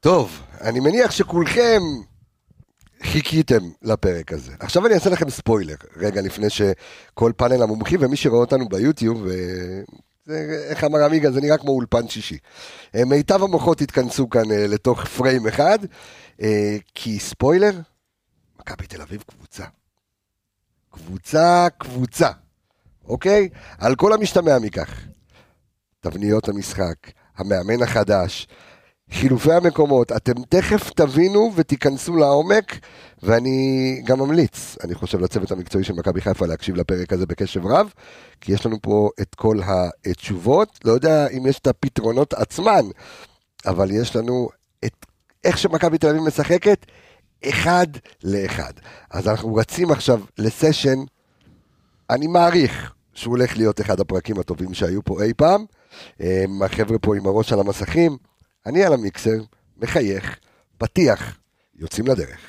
טוב, אני מניח שכולכם חיכיתם לפרק הזה. עכשיו אני אעשה לכם ספוילר, רגע לפני שכל פאנל המומחים ומי שרואה אותנו ביוטיוב, אה, זה, איך אמר עמיגה, זה נראה כמו אולפן שישי. אה, מיטב המוחות התכנסו כאן אה, לתוך פריים אחד, אה, כי ספוילר, מכבי תל אביב קבוצה. קבוצה, קבוצה, אוקיי? על כל המשתמע מכך. תבניות המשחק, המאמן החדש, חילופי המקומות, אתם תכף תבינו ותיכנסו לעומק, ואני גם ממליץ, אני חושב, לצוות המקצועי של מכבי חיפה להקשיב לפרק הזה בקשב רב, כי יש לנו פה את כל התשובות, לא יודע אם יש את הפתרונות עצמן, אבל יש לנו את איך שמכבי תל אביב משחקת, אחד לאחד. אז אנחנו רצים עכשיו לסשן, אני מעריך שהוא הולך להיות אחד הפרקים הטובים שהיו פה אי פעם. אמ, החבר'ה פה עם הראש על המסכים, אני על המיקסר, מחייך, פתיח, יוצאים לדרך.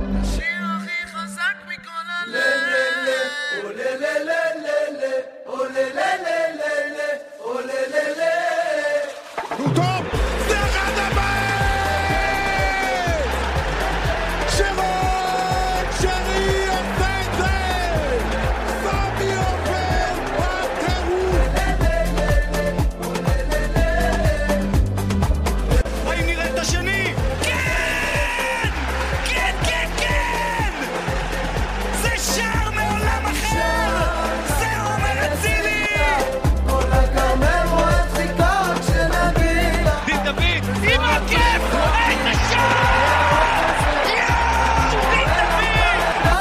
השיר הכי חזק מכל הלב. טוב, דרך הבית! שרון שרי עושה את זה! סמי עופר בטירוף! האם נראה את השני? כן! כן, כן, כן! זה שער מעולם אחר! זה עומר אצילי! דין דוד, עם הכיף! איזה שער! יואו, דין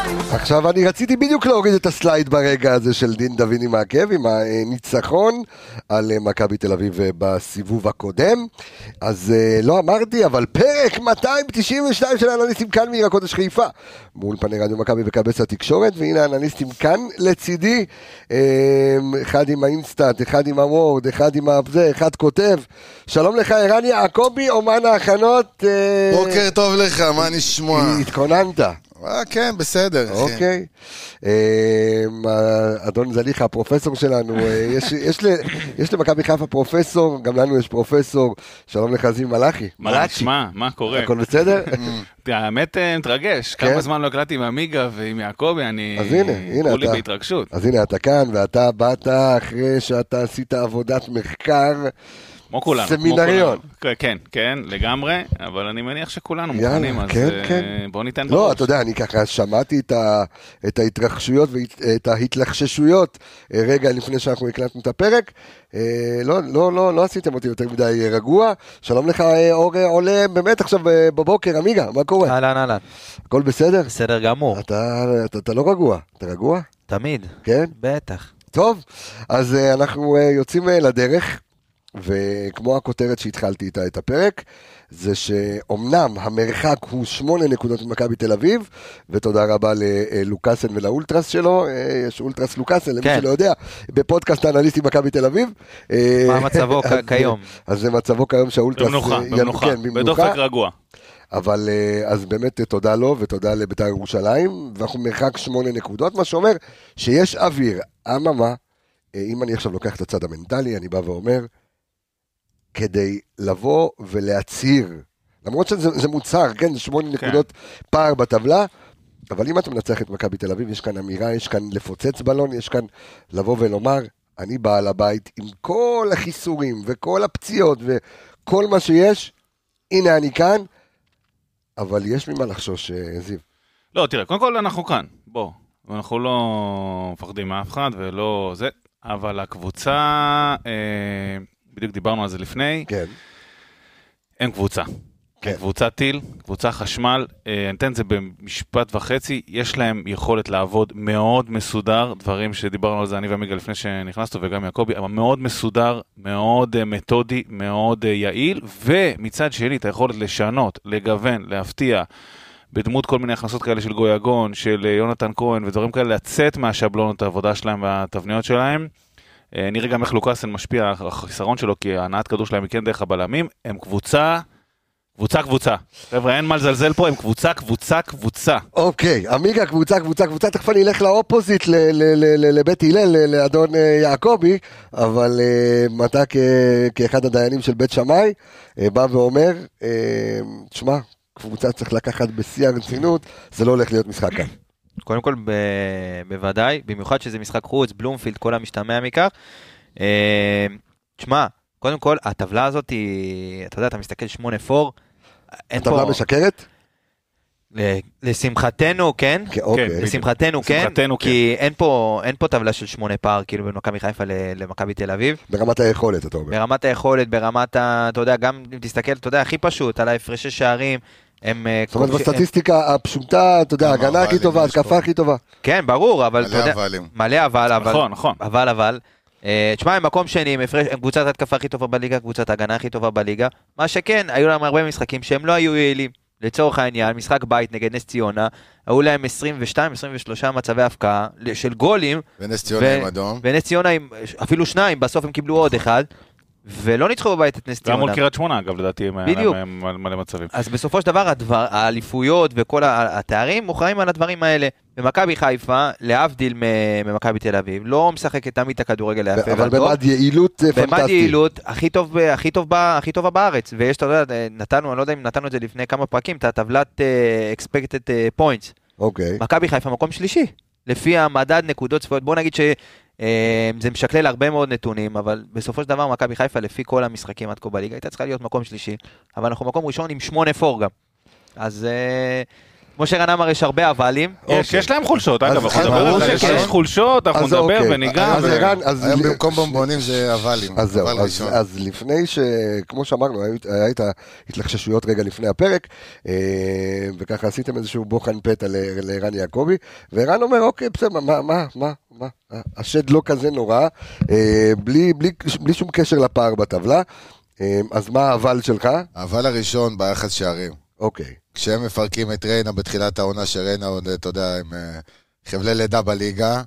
דוד! עכשיו, אני רציתי בדיוק להוריד את הסלייד ברגע הזה של דין דוד עם העקב, עם הניצחון על אה, מכבי תל אביב אה, בסיבוב הקודם. אז אה, לא אמרתי, אבל פרק 292 של האנליסטים כאן מעיר הקודש חיפה. באולפני רדיו מכבי וכבש התקשורת, והנה האנליסטים כאן לצידי. אה, אחד עם האינסטאט, אחד עם הוורד, אחד עם זה, אחד כותב. שלום לך, ערן יעקבי, אומן ההכנות. אה, בוקר טוב לך, מה נשמע? התכוננת. אה, כן, בסדר, אחי. אוקיי. אמ, אדון זליכה, הפרופסור שלנו, אה, יש- יש ל- יש למכבי חיפה פרופסור, גם לנו יש פרופסור, שלום לך זיו מלאכי. מה נשמע? מה קורה? הכל בסדר? האמת אה, מתרגש, כן? כמה זמן לא הקלטתי עם עמיגה ועם יעקבי, אני... אז הנה, הנה כולי אתה. בהתרגשות. אז הנה אתה כאן, ואתה באת אחרי שאתה עשית עבודת מחקר. כמו כולנו. כמו סמינריון. כולנו. כן, כן, לגמרי, אבל אני מניח שכולנו יאללה, מוכנים, אז כן, אה, כן. בואו ניתן לא, אתה יודע, אני ככה שמעתי את ה- את ההתרחשויות ואת ההתלחששויות אה, רגע לפני שאנחנו הקלטנו את הפרק. אה, לא, לא, לא, לא עשיתם אותי יותר מדי אה, רגוע. שלום לך, אה, אור אה, עולה באמת עכשיו אה, בבוקר, עמיגה, מה קורה? אהלן אהלן, הכל בסדר? אה. בסדר גמור, אתה, אתה, אתה לא רגוע, אתה רגוע? תמיד, כן? בטח. טוב, אז אה, אנחנו אה, יוצאים אה, לדרך, וכמו הכותרת שהתחלתי איתה את הפרק, זה שאומנם המרחק הוא שמונה נקודות ממכבי תל אביב, ותודה רבה ללוקאסן ולאולטרס שלו, אה, יש אולטרס לוקאסן, למי כן. שלא יודע, בפודקאסט האנליסטים מכבי תל אביב. אה, מה מצבו כ- אז, אה, כיום? אז זה מצבו כיום שהאולטרס... במנוחה, אה, ינ- במנוחה, כן, בדופק רגוע. אבל אה, אז באמת אה, תודה לו ותודה לבית"ר ירושלים, ואנחנו מרחק שמונה נקודות, מה שאומר שיש אוויר. אממה, אה, אם אני עכשיו לוקח את הצד המנטלי, אני בא ואומר, כדי לבוא ולהצהיר, למרות שזה זה מוצהר, כן, זה שמונה כן. נקודות פער בטבלה, אבל אם אתה מנצח את מכבי תל אביב, יש כאן אמירה, יש כאן לפוצץ בלון, יש כאן לבוא ולומר, אני בעל הבית עם כל החיסורים וכל הפציעות וכל מה שיש, הנה אני כאן, אבל יש ממה לחשוש, אה, זיו. לא, תראה, קודם כל אנחנו כאן, בוא. אנחנו לא מפחדים מאף אחד ולא זה, אבל הקבוצה, אה, בדיוק דיברנו על זה לפני, כן, הם קבוצה. כן. כן. קבוצה טיל, קבוצה חשמל, אה, אני אתן את זה במשפט וחצי, יש להם יכולת לעבוד מאוד מסודר, דברים שדיברנו על זה אני ועמיגה לפני שנכנסנו וגם יעקבי, אבל מאוד מסודר, מאוד אה, מתודי, מאוד אה, יעיל, ומצד שני את היכולת לשנות, לגוון, להפתיע, בדמות כל מיני הכנסות כאלה של גויגון, של אה, יונתן כהן ודברים כאלה, לצאת מהשבלונות העבודה שלהם והתבניות שלהם. אה, נראה גם איך לוקאסן משפיע, החיסרון שלו, כי ההנעת כדור שלהם היא כן דרך הבלמים. הם קבוצה קבוצה קבוצה. חבר'ה, אין מה לזלזל פה, הם קבוצה קבוצה קבוצה. אוקיי, עמיגה קבוצה, קבוצה, קבוצה, תכף אני אלך לאופוזיט, ל- ל- ל- ל- לבית הלל, ל- לאדון אה, יעקבי, אבל אה, אתה כ- כאחד הדיינים של בית שמאי, אה, בא ואומר, אה, תשמע, קבוצה צריך לקחת בשיא הרצינות, זה לא הולך להיות משחק כאן. קודם כל, ב... בוודאי, במיוחד שזה משחק חוץ, בלומפילד, כל המשתמע מכך. אה, תשמע, קודם כל, הטבלה הזאת היא, אתה יודע, אתה מסתכל 8-4, אין פה... הטבלה משקרת? ל- לשמחתנו, כן? כן, אוקיי. בדיוק. לשמחתנו, כן? לשמחתנו, כי אין פה, אין פה טבלה של שמונה פער, כאילו, בין מכבי חיפה ל- למכבי תל אביב. ברמת היכולת, אתה אומר. ברמת היכולת, ברמת ה... אתה יודע, גם אם תסתכל, אתה יודע, הכי פשוט, על ההפרשי שערים, הם... אה, זאת אומרת, כובשים- בסטטיסטיקה הפשוטה, אתה יודע, כמה ההגנה הכי אוהלים טובה, יש פה. התקפה הכי טובה. כן, ברור, אבל אתה מלא יודע... אבלים. מלא אבל, אבל... נכון, נכון. אבל, אבל. אה, תשמע, הם מקום שני, הם הפרש- הם קבוצת התקפה הכי טובה בליגה, קבוצת ההגנה הכי טובה בליגה. מה שכן, היו להם הרבה משחקים שהם לא היו יעילים. לצורך העניין, משחק בית נגד נס ציונה, היו להם 22-23 מצבי הפקעה ל- של גולים, ונס ו- ציונה עם אדום. ונס ציונה עם אפילו שניים, בסוף הם קיבלו עוד אחד, ולא ניצחו בבית את נס גם ציונה. מול קריית שמונה, אגב, לדעתי, הם- היה בדיוק. להם מלא מצבים. אז בסופו של דבר הדבר, האליפויות וכל ה- התארים מוכרעים על הדברים האלה. ומכבי חיפה, להבדיל מ- ממכבי תל אביב, לא משחקת תמיד את הכדורגל היפה אבל והטוב. במד יעילות אה, פנטסטי. במד יעילות, הכי טוב, ב- הכי טוב, ב- הכי טובה בארץ. ויש, אתה יודע, נתנו, אני לא יודע אם נתנו את זה לפני כמה פרקים, את הטבלת אה, expected אה, points. אוקיי. מכבי חיפה מקום שלישי, לפי המדד נקודות צפויות. בוא נגיד שזה משקלל הרבה מאוד נתונים, אבל בסופו של דבר מכבי חיפה, לפי כל המשחקים עד כה בליגה, הייתה צריכה להיות מקום שלישי, אבל אנחנו מקום ראשון עם 8-4 גם. אז אה, כמו שרן אמר, יש הרבה אבלים. יש, יש להם חולשות, אגב, אוקיי. אז אז אנחנו נדבר ברור על זה, שכן. יש חולשות, אנחנו אז נדבר אוקיי. וניגע. אז ו- ערן, אז- היום במקום בומבונים זה אבלים. אז זהו, אבל אז, ראשון. אז לפני ש... כמו שאמרנו, היו- היה את ההתלחששויות רגע לפני הפרק, אה, וככה עשיתם איזשהו בוחן פתע ל- לערן יעקבי, וערן אומר, אוקיי, בסדר, מה, מה, מה, מה, השד לא כזה נורא, אה, בלי, בלי, בלי שום קשר לפער בטבלה, אה, אז מה האבל שלך? האבל הראשון ביחס שערים. אוקיי. כשהם מפרקים את ריינה בתחילת העונה, שריינה עוד, אתה יודע, עם אה, חבלי לידה בליגה,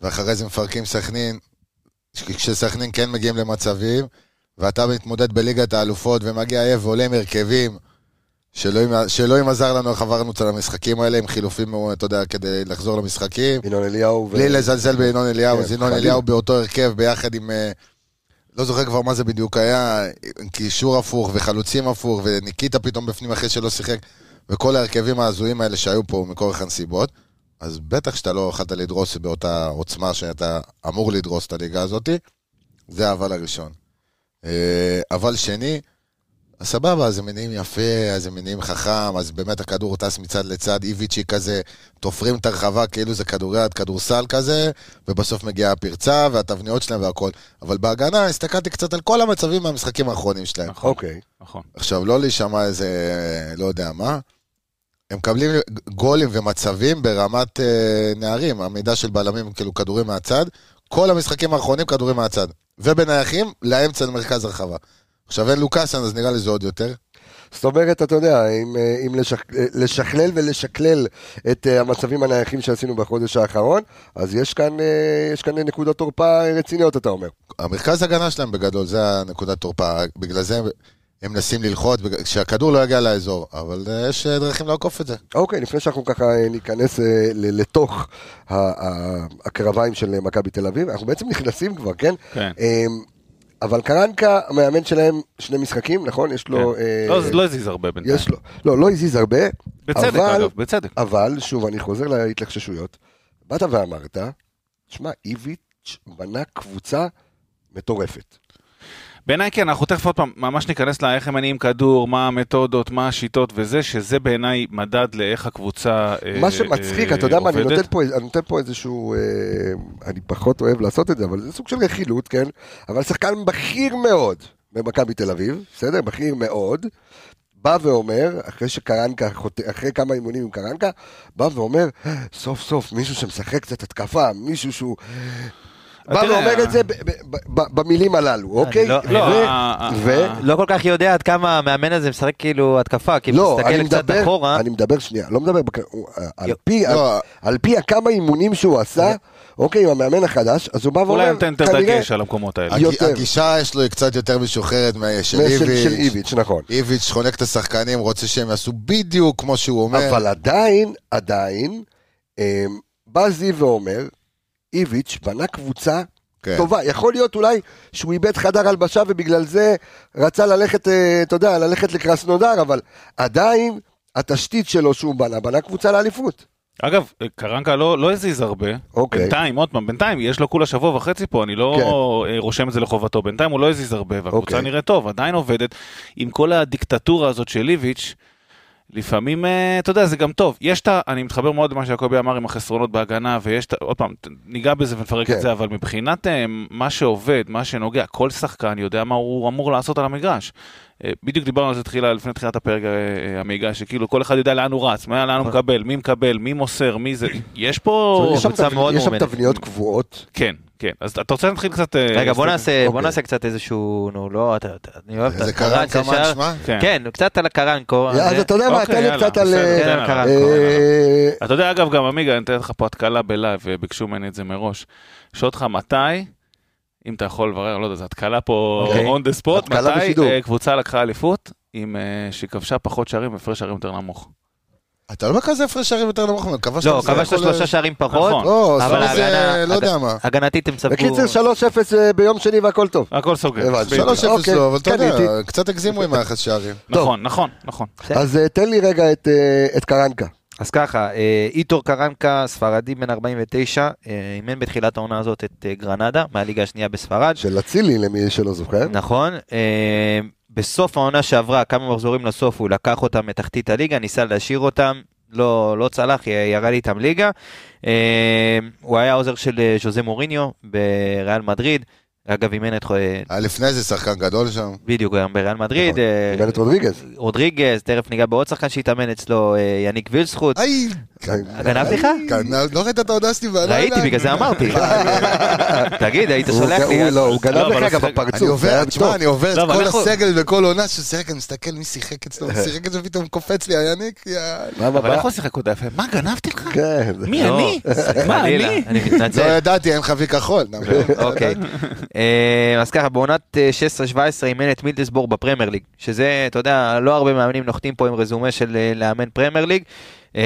ואחרי זה מפרקים סכנין, כש- כשסכנין כן מגיעים למצבים, ואתה מתמודד בליגת האלופות ומגיע עייף ועולה עם הרכבים, שאלוהים- שאלוהים עזר לנו איך עברנו את המשחקים האלה, עם חילופים, אתה יודע, כדי לחזור למשחקים. ינון אליהו ו... בלי לזלזל בינון אליהו, כן, אז ינון חלילה. אליהו באותו הרכב ביחד עם... אה, לא זוכר כבר מה זה בדיוק היה, עם קישור הפוך וחלוצים הפוך, וניקיטה פתאום בפנים אחרי שלא שיחק, וכל ההרכבים ההזויים האלה שהיו פה מכורח הנסיבות, אז בטח שאתה לא יכולת לדרוס באותה עוצמה שאתה אמור לדרוס את הליגה הזאת, זה האבל הראשון. אה, אבל שני, אז סבבה, אז הם מניעים יפה, אז הם מניעים חכם, אז באמת הכדור טס מצד לצד, איביצ'י כזה, תופרים את הרחבה כאילו זה כדוריד, כדורסל כזה, ובסוף מגיעה הפרצה והתבניות שלהם והכל. אבל בהגנה הסתכלתי קצת על כל המצבים מהמשחקים האחרונים שלהם. נכון, אוקיי. נכון. עכשיו, לא להישמע איזה, לא יודע מה, הם מקבלים גולים ומצבים ברמת אה, נערים, עמידה של בלמים, כאילו כדורים מהצד, כל המשחקים האחרונים כדורים מהצד, ובנייחים לאמצע למרכז הרחבה. עכשיו אין לוקאסן, אז נראה לי זה עוד יותר. זאת אומרת, אתה יודע, אם, אה, אם לשכ... אה, לשכלל ולשקלל את אה, המצבים הנייחים שעשינו בחודש האחרון, אז יש כאן, אה, יש כאן נקודות תורפה רציניות, אתה אומר. המרכז הגנה שלהם בגדול, זה הנקודת תורפה, בגלל זה הם, הם מנסים ללחוץ, בגלל- שהכדור לא יגיע לאזור, אבל אה, יש אה, דרכים לעקוף את זה. אוקיי, לפני שאנחנו ככה אה, ניכנס אה, ל- לתוך ה- ה- הקרביים של אה, מכבי תל אביב, אנחנו בעצם נכנסים כבר, כן? כן. אה, אבל קרנקה, המאמן שלהם, שני משחקים, נכון? יש לו... כן. אה, לא, זה לא הזיז הרבה בינתיים. יש לו, לא, לא הזיז הרבה, בצדק, אבל- אגב, בצדק. אבל, שוב, אני חוזר להתלחששויות. באת ואמרת, שמע, איביץ' בנה קבוצה מטורפת. בעיניי כן, אנחנו תכף עוד פעם, ממש ניכנס לאיך הם מניעים כדור, מה המתודות, מה השיטות וזה, שזה בעיניי מדד לאיך הקבוצה אה, מה שמצחיק, אה, אתה יודע מה, אני עובדת. נותן פה- אני נותן פה איזשהו, אה, אני פחות אוהב לעשות את זה, אבל זה סוג של רכילות, כן? אבל שחקן בכיר מאוד במכבי תל אביב, בסדר? בכיר מאוד, בא ואומר, אחרי שקרנקה, חות- אחרי כמה אימונים עם קרנקה, בא ואומר, סוף סוף מישהו שמשחק קצת התקפה, מישהו שהוא בא תראה, ואומר אה, את זה ב- ב- ב- במילים הללו, אוקיי? לא- לא, ו- אה, אה, ו... אה. לא כל כך יודע עד כמה המאמן הזה משחק כאילו התקפה, כי הוא לא, אני מסתכל קצת מדבר, אחורה. אני מדבר שנייה, לא מדבר, בק- הוא, אה, על יו- פי, על, לא. על פי הכמה אימונים שהוא עשה, אוקיי, עם המאמן החדש, אז הוא בא ואומר, אולי הוא נותן יותר כנראה- דגש על המקומות האלה. אני- יותר. הג- הגישה יש לו היא קצת יותר משוחררת משל של- של איביץ'. איביץ', נכון. איביץ' חונק את השחקנים, רוצה שהם יעשו בדיוק כמו שהוא אומר. אבל עדיין, עדיין, אה, בא זיו ואומר, איביץ' בנה קבוצה כן. טובה. יכול להיות אולי שהוא איבד חדר הלבשה ובגלל זה רצה ללכת, אה, אתה יודע, ללכת לקרסנודר, אבל עדיין התשתית שלו שהוא בנה, בנה קבוצה לאליפות. אגב, קרנקה לא לא הזיז הרבה. אוקיי. בינתיים, עוד פעם, בינתיים, יש לו כולה שבוע וחצי פה, אני לא אה, רושם את זה לחובתו. בינתיים הוא לא הזיז הרבה, והקבוצה כן. אוקיי. נראית טוב, עדיין עובדת. עם כל הדיקטטורה הזאת של איביץ', לפעמים, אה, אתה יודע, זה גם טוב. יש את ה... אני מתחבר מאוד למה שיעקבי אמר עם החסרונות בהגנה, ויש את ה... עוד פעם, ת- ניגע בזה ונפרק כן. את זה, אבל מבחינת אה, מה שעובד, מה שנוגע, כל שחקן יודע מה הוא אמור לעשות על המגרש. אה, בדיוק דיברנו על זה תחילה, לפני תחילת הפרק אה, אה, המגע, שכאילו כל אחד יודע לאן הוא רץ, מה- לאן הוא מקבל, מי מקבל, מי מוסר, מי זה. יש פה... יש שם קבוצה תבנ- מאוד יש שם מאומנת. תבניות קבועות. כן, כן. אז אתה רוצה להתחיל קצת... אה, רגע, בוא סטפ- נעשה, בוא אוקיי. נעשה קצת איזשהו, נו, לא, אתה, אתה- אני אוהב את זה קרן הרץ כמה ישר. נשמע? כן. כן, קצת על הקרנקו. אה, אז זה- אתה יודע מה, אוקיי, תן לי יאללה, קצת על... בסדר, אה, תן על קרנקה. הקרנקה. אה, אתה יודע, אגב, גם עמיגה, אני אתן לך פה התקלה בלייב, אה, ביקשו ממני את זה מראש. שואל אותך מתי, אם אתה יכול לברר, לא יודע, זו התקלה פה אוקיי. on the spot, התקלה מתי בשידור. אה, קבוצה לקחה אליפות עם אה, שהיא כבשה פחות שערים והפרש שערים יותר נמוך. אתה לא בכזה הפרש שערים יותר נמוך, אבל כבשת... לא, בסך כבשת הכל- שלושה שערים פחות. נכון. לא, אבל עשו איזה... ההגנה- לא יודע מה. הגנתית הם ספגו. בקיצר 3-0 ביום שני והכל טוב. הכל סוגר. הבנתי. בדיוק. 3-0 לא, אבל אתה יודע, אוקיי, קניתי. קצת הגזימו עם היחס שערים. נכון, נכון, נכון. אז אה, תן לי רגע את, אה, את קרנקה. אז ככה, אה, איטור קרנקה, ספרדי בן 49, אה, אימן בתחילת העונה הזאת את אה, גרנדה, מהליגה השנייה בספרד. של אצילי למי שלא זוכר. נכון. אה, בסוף העונה שעברה, כמה מחזורים לסוף, הוא לקח אותם מתחתית הליגה, ניסה להשאיר אותם, לא, לא צלח, י- ירד איתם ליגה. אה, הוא היה עוזר של אה, ז'וזה מוריניו בריאל מדריד. אגב, אימן את... אה, היה לפני זה שחקן גדול שם. בדיוק, גם בריאל מדריד. נכון. אה, אימן את רודריגז. רודריגז, תכף ניגע בעוד שחקן שהתאמן אצלו, אה, יניק וילסחוט. היי! גנבתי לך? גנב- לא ראית את ההודעה שלי בלילה? ראיתי, בגלל זה אמרתי. תגיד, היית הוא- שולח לי. הוא- לא, הוא לא, גנב אבל לך גם הוא שיחק- אני בפרצוף. זה עובר, היה תשמע, טוב. אני עובר לא, את אבל כל אנחנו- הסגל וכל עונה שהוא שיחק, אני מסתכל מי שיחק אצלו, מי שיחק אצלו, פתאום קופץ לי היניק, יאללה. מה, מה, אבל מה? איך הוא שיחק עוד יפה? מה, גנבתי לך? כן. מי לא, אני? זה מה, חלילה, אני? אני לא מתנצל. ידעתי, אין חבי כחול. נאמר. אוקיי. אה, אז ככה, בעונת אה, 16-17 אימן את מילדסבורג בפרמייר ליג, שזה, אתה יודע, לא הרבה מאמנים נוחתים פה עם רזומה של אה, לאמן פרמייר ליג. אה,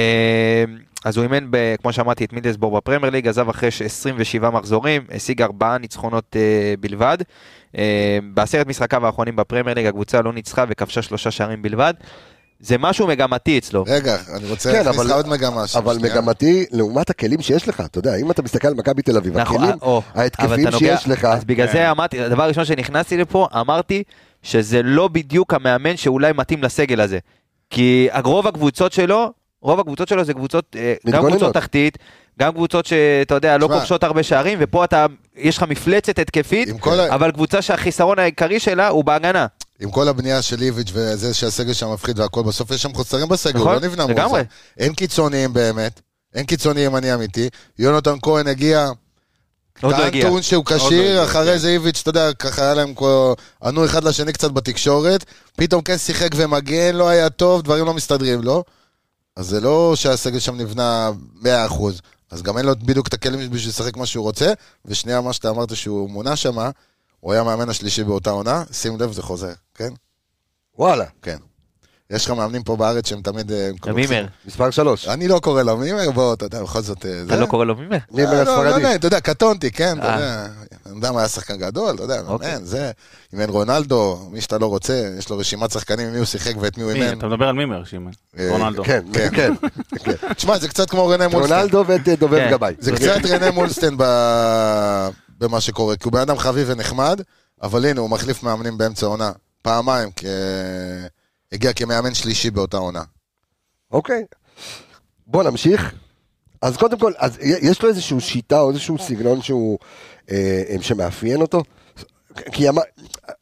אז הוא אימן, ב- כמו שאמרתי, את מילדסבורג בפרמייר ליג, עזב אחרי ש- 27 מחזורים, השיג ארבעה ניצחונות אה, בלבד. אה, בעשרת משחקיו האחרונים בפרמייר ליג הקבוצה לא ניצחה וכבשה שלושה שערים בלבד. זה משהו מגמתי אצלו. רגע, אני רוצה כן, להכניס אבל- לך עוד מגמה. שם, אבל שנייה. מגמתי, לעומת הכלים שיש לך, אתה יודע, אם אתה מסתכל על מכבי תל אביב, הכלים או, אבל ההתקפיים אתה נוגע- שיש לך, אז בגלל כן. זה אמרתי, הדבר הראשון שנכנסתי לפה, אמרתי שזה לא בדיוק המאמן שאולי מתאים לסגל הזה. כי רוב הקבוצות שלו, רוב הקבוצות שלו זה קבוצות, אה, גם מתגוננות. קבוצות תחתית, גם קבוצות שאתה יודע, לא תשמע. כובשות הרבה שערים, ופה אתה, יש לך מפלצת התקפית, עם כל ה- אבל קבוצה שהחיסרון העיקרי שלה הוא בהגנה. עם כל הבנייה של איביץ' וזה שהסגל שם מפחיד והכל, בסוף יש שם חוסרים בסגל, הוא נכון, לא נבנה מול לגמרי. זה. אין קיצוניים באמת, אין קיצוני ימני אמיתי. יונתן כהן הגיע, עוד לא טען הגיע. כן. טעון שהוא הגיע, כשיר, אחרי זה איביץ', אתה יודע, ככה היה להם כל... ענו אחד לשני קצת בתקשורת, פתאום כן שיחק ומגן, לא היה טוב, דברים לא מסתדרים לו. אז זה לא שהסגל שם נבנה 100%, אז גם אין לו בדיוק את הכלים בשביל לשחק מה שהוא רוצה, ושנייה, מה שאתה אמרת שהוא מונה שמה, הוא היה המאמן השלישי באותה עונה, שים לב, זה חוזר, כן? וואלה, כן. יש לך מאמנים פה בארץ שהם תמיד... אה, הם קוראים- מימר, מספר שלוש. אני לא קורא לו מימר, בוא, אתה יודע, בכל זאת... אה, אתה זה. לא קורא לו מימר? מימר אה, לא, לא הספרדי. יודע, אתה יודע, קטונתי, כן, אתה אה. יודע. אני יודע מה היה שחקן גדול, אתה יודע, אוקיי. מאמן, זה. אם אין רונלדו, מי שאתה לא רוצה, יש לו רשימת שחקנים, עם מי הוא שיחק ואת מי הוא מי? אימן. אתה מדבר על מימר, שימן. אה, רונלדו. כן, כן. כן. תשמע, זה קצת כמו רנה מולסטיין. רונלדו ואת אה, דובב כן. גבאי. זה קצת רנה מולסטיין ב- במה שקורה, כי הוא בן אדם חביב ונחמד, אבל הנה, הוא מחליף מאמנים באמצע העונה. פעמיים, כ- הגיע כמאמן שלישי באותה עונה. אוקיי. בוא נמשיך. אז קודם כל, אז יש לו איזושהי שיטה או איזשהו סגנון שהוא, אה, שמאפיין אותו? כי אמר-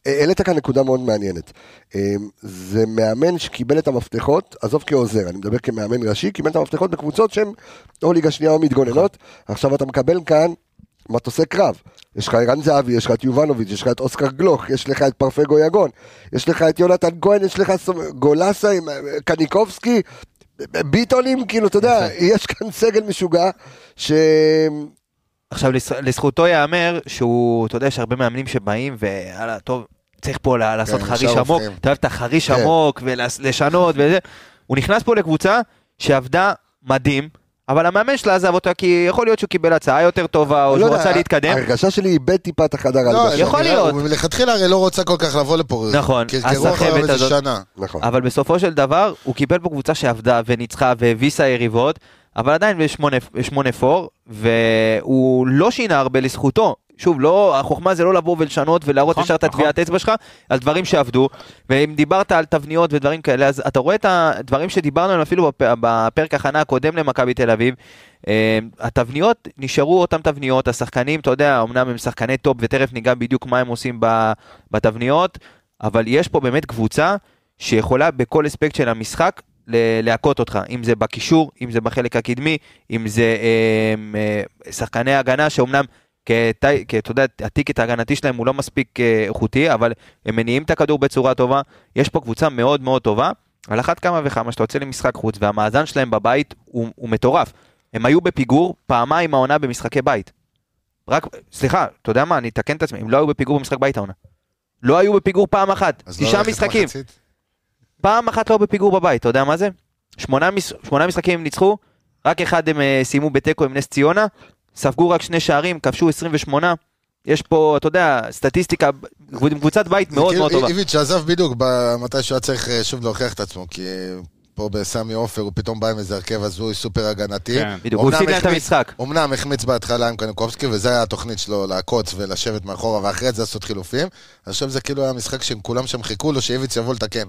אה, העלית כאן נקודה מאוד מעניינת. אה, זה מאמן שקיבל את המפתחות, עזוב כעוזר, אני מדבר כמאמן ראשי, קיבל את המפתחות בקבוצות שהן או ליגה שנייה או מתגוננות, עכשיו אתה מקבל כאן מטוסי קרב. יש לך ערן זהבי, יש לך את יובנוביץ', יש לך את אוסקר גלוך, יש לך את פרפגו יגון, יש לך את יונתן כהן, יש לך סו- גולסה, עם- אה, קניקובסקי, ביטונים, כאילו, אתה יודע, יש כאן סגל משוגע, ש... עכשיו, לס- לזכותו ייאמר שהוא, אתה יודע, יש הרבה מאמנים שבאים, ויאללה, טוב, צריך פה לה- לעשות כן, חריש ישר עמוק, הופכים. אתה אוהב את החריש כן. עמוק, ולשנות וזה. הוא נכנס פה לקבוצה שעבדה מדהים, אבל המאמן שלה עזב אותה כי יכול להיות שהוא קיבל הצעה יותר טובה, או לא שהוא יודע, רצה להתקדם. ההרגשה שלי איבד טיפה את החדר לא, הלבשה. יכול נראה, להיות. הוא מלכתחילה הרי לא רוצה כל כך לבוא לפה. נכון, קרקרו הסחבת אחריו איזה הזאת. שנה. נכון. אבל בסופו של דבר, הוא קיבל פה קבוצה שעבדה וניצחה והביסה יריבות, אבל עדיין ב-8-4, והוא לא שינה הרבה לזכותו. שוב, לא, החוכמה זה לא לבוא ולשנות ולהראות נכון, ישר את נכון. הטביעת אצבע שלך על דברים שעבדו, ואם דיברת על תבניות ודברים כאלה, אז אתה רואה את הדברים שדיברנו עליהם אפילו בפ- בפרק הכנה הקודם למכבי תל אביב. אה, התבניות נשארו אותן תבניות, השחקנים, אתה יודע, אמנם הם שחקני טופ ותכף ניגע בדיוק מה הם עושים ב- בתבניות, אבל יש פה באמת קבוצה שיכולה בכל אספקט של המשחק ל- להכות אותך, אם זה בקישור, אם זה בחלק הקדמי, אם זה אה, אה, שחקני הגנה שאומנם... כת- כ- אתה יודע, הטיקט ההגנתי שלהם הוא לא מספיק אה, איכותי, אבל הם מניעים את הכדור בצורה טובה. יש פה קבוצה מאוד מאוד טובה, על אחת כמה וכמה שאתה יוצא למשחק חוץ, והמאזן שלהם בבית הוא, הוא מטורף. הם היו בפיגור פעמיים העונה במשחקי בית. רק, סליחה, אתה יודע מה, אני אתקן את עצמי, הם לא היו בפיגור במשחק בית העונה. לא היו בפיגור פעם אחת, אז לא תשעה ללכת משחקים. מחצית? פעם אחת לא בפיגור בבית, אתה יודע מה זה? שמונה, מש... שמונה משחקים הם ניצחו, רק אחד הם אה, סיימו בתיקו עם נס ציונה, ספגו רק שני שערים, כבשו 28. יש פה, אתה יודע, סטטיסטיקה, קבוצת בית זה מאוד כאילו מאוד טובה. איביץ' שעזב בדיוק ב- מתי שהוא היה צריך אה, שוב להוכיח את עצמו, כי אה, פה בסמי עופר הוא פתאום בא עם איזה הרכב הזוי סופר הגנתי. כן. בדיוק, הוא אמנם הפסיד להם את החמיץ- המשחק. אמנם החמיץ בהתחלה עם קניקובסקי, וזו הייתה התוכנית שלו לעקוץ ולשבת מאחורה, ואחרי זה לעשות חילופים. אז עכשיו זה כאילו היה משחק שכולם שם חיכו לו שאיביץ' יבוא לתקן.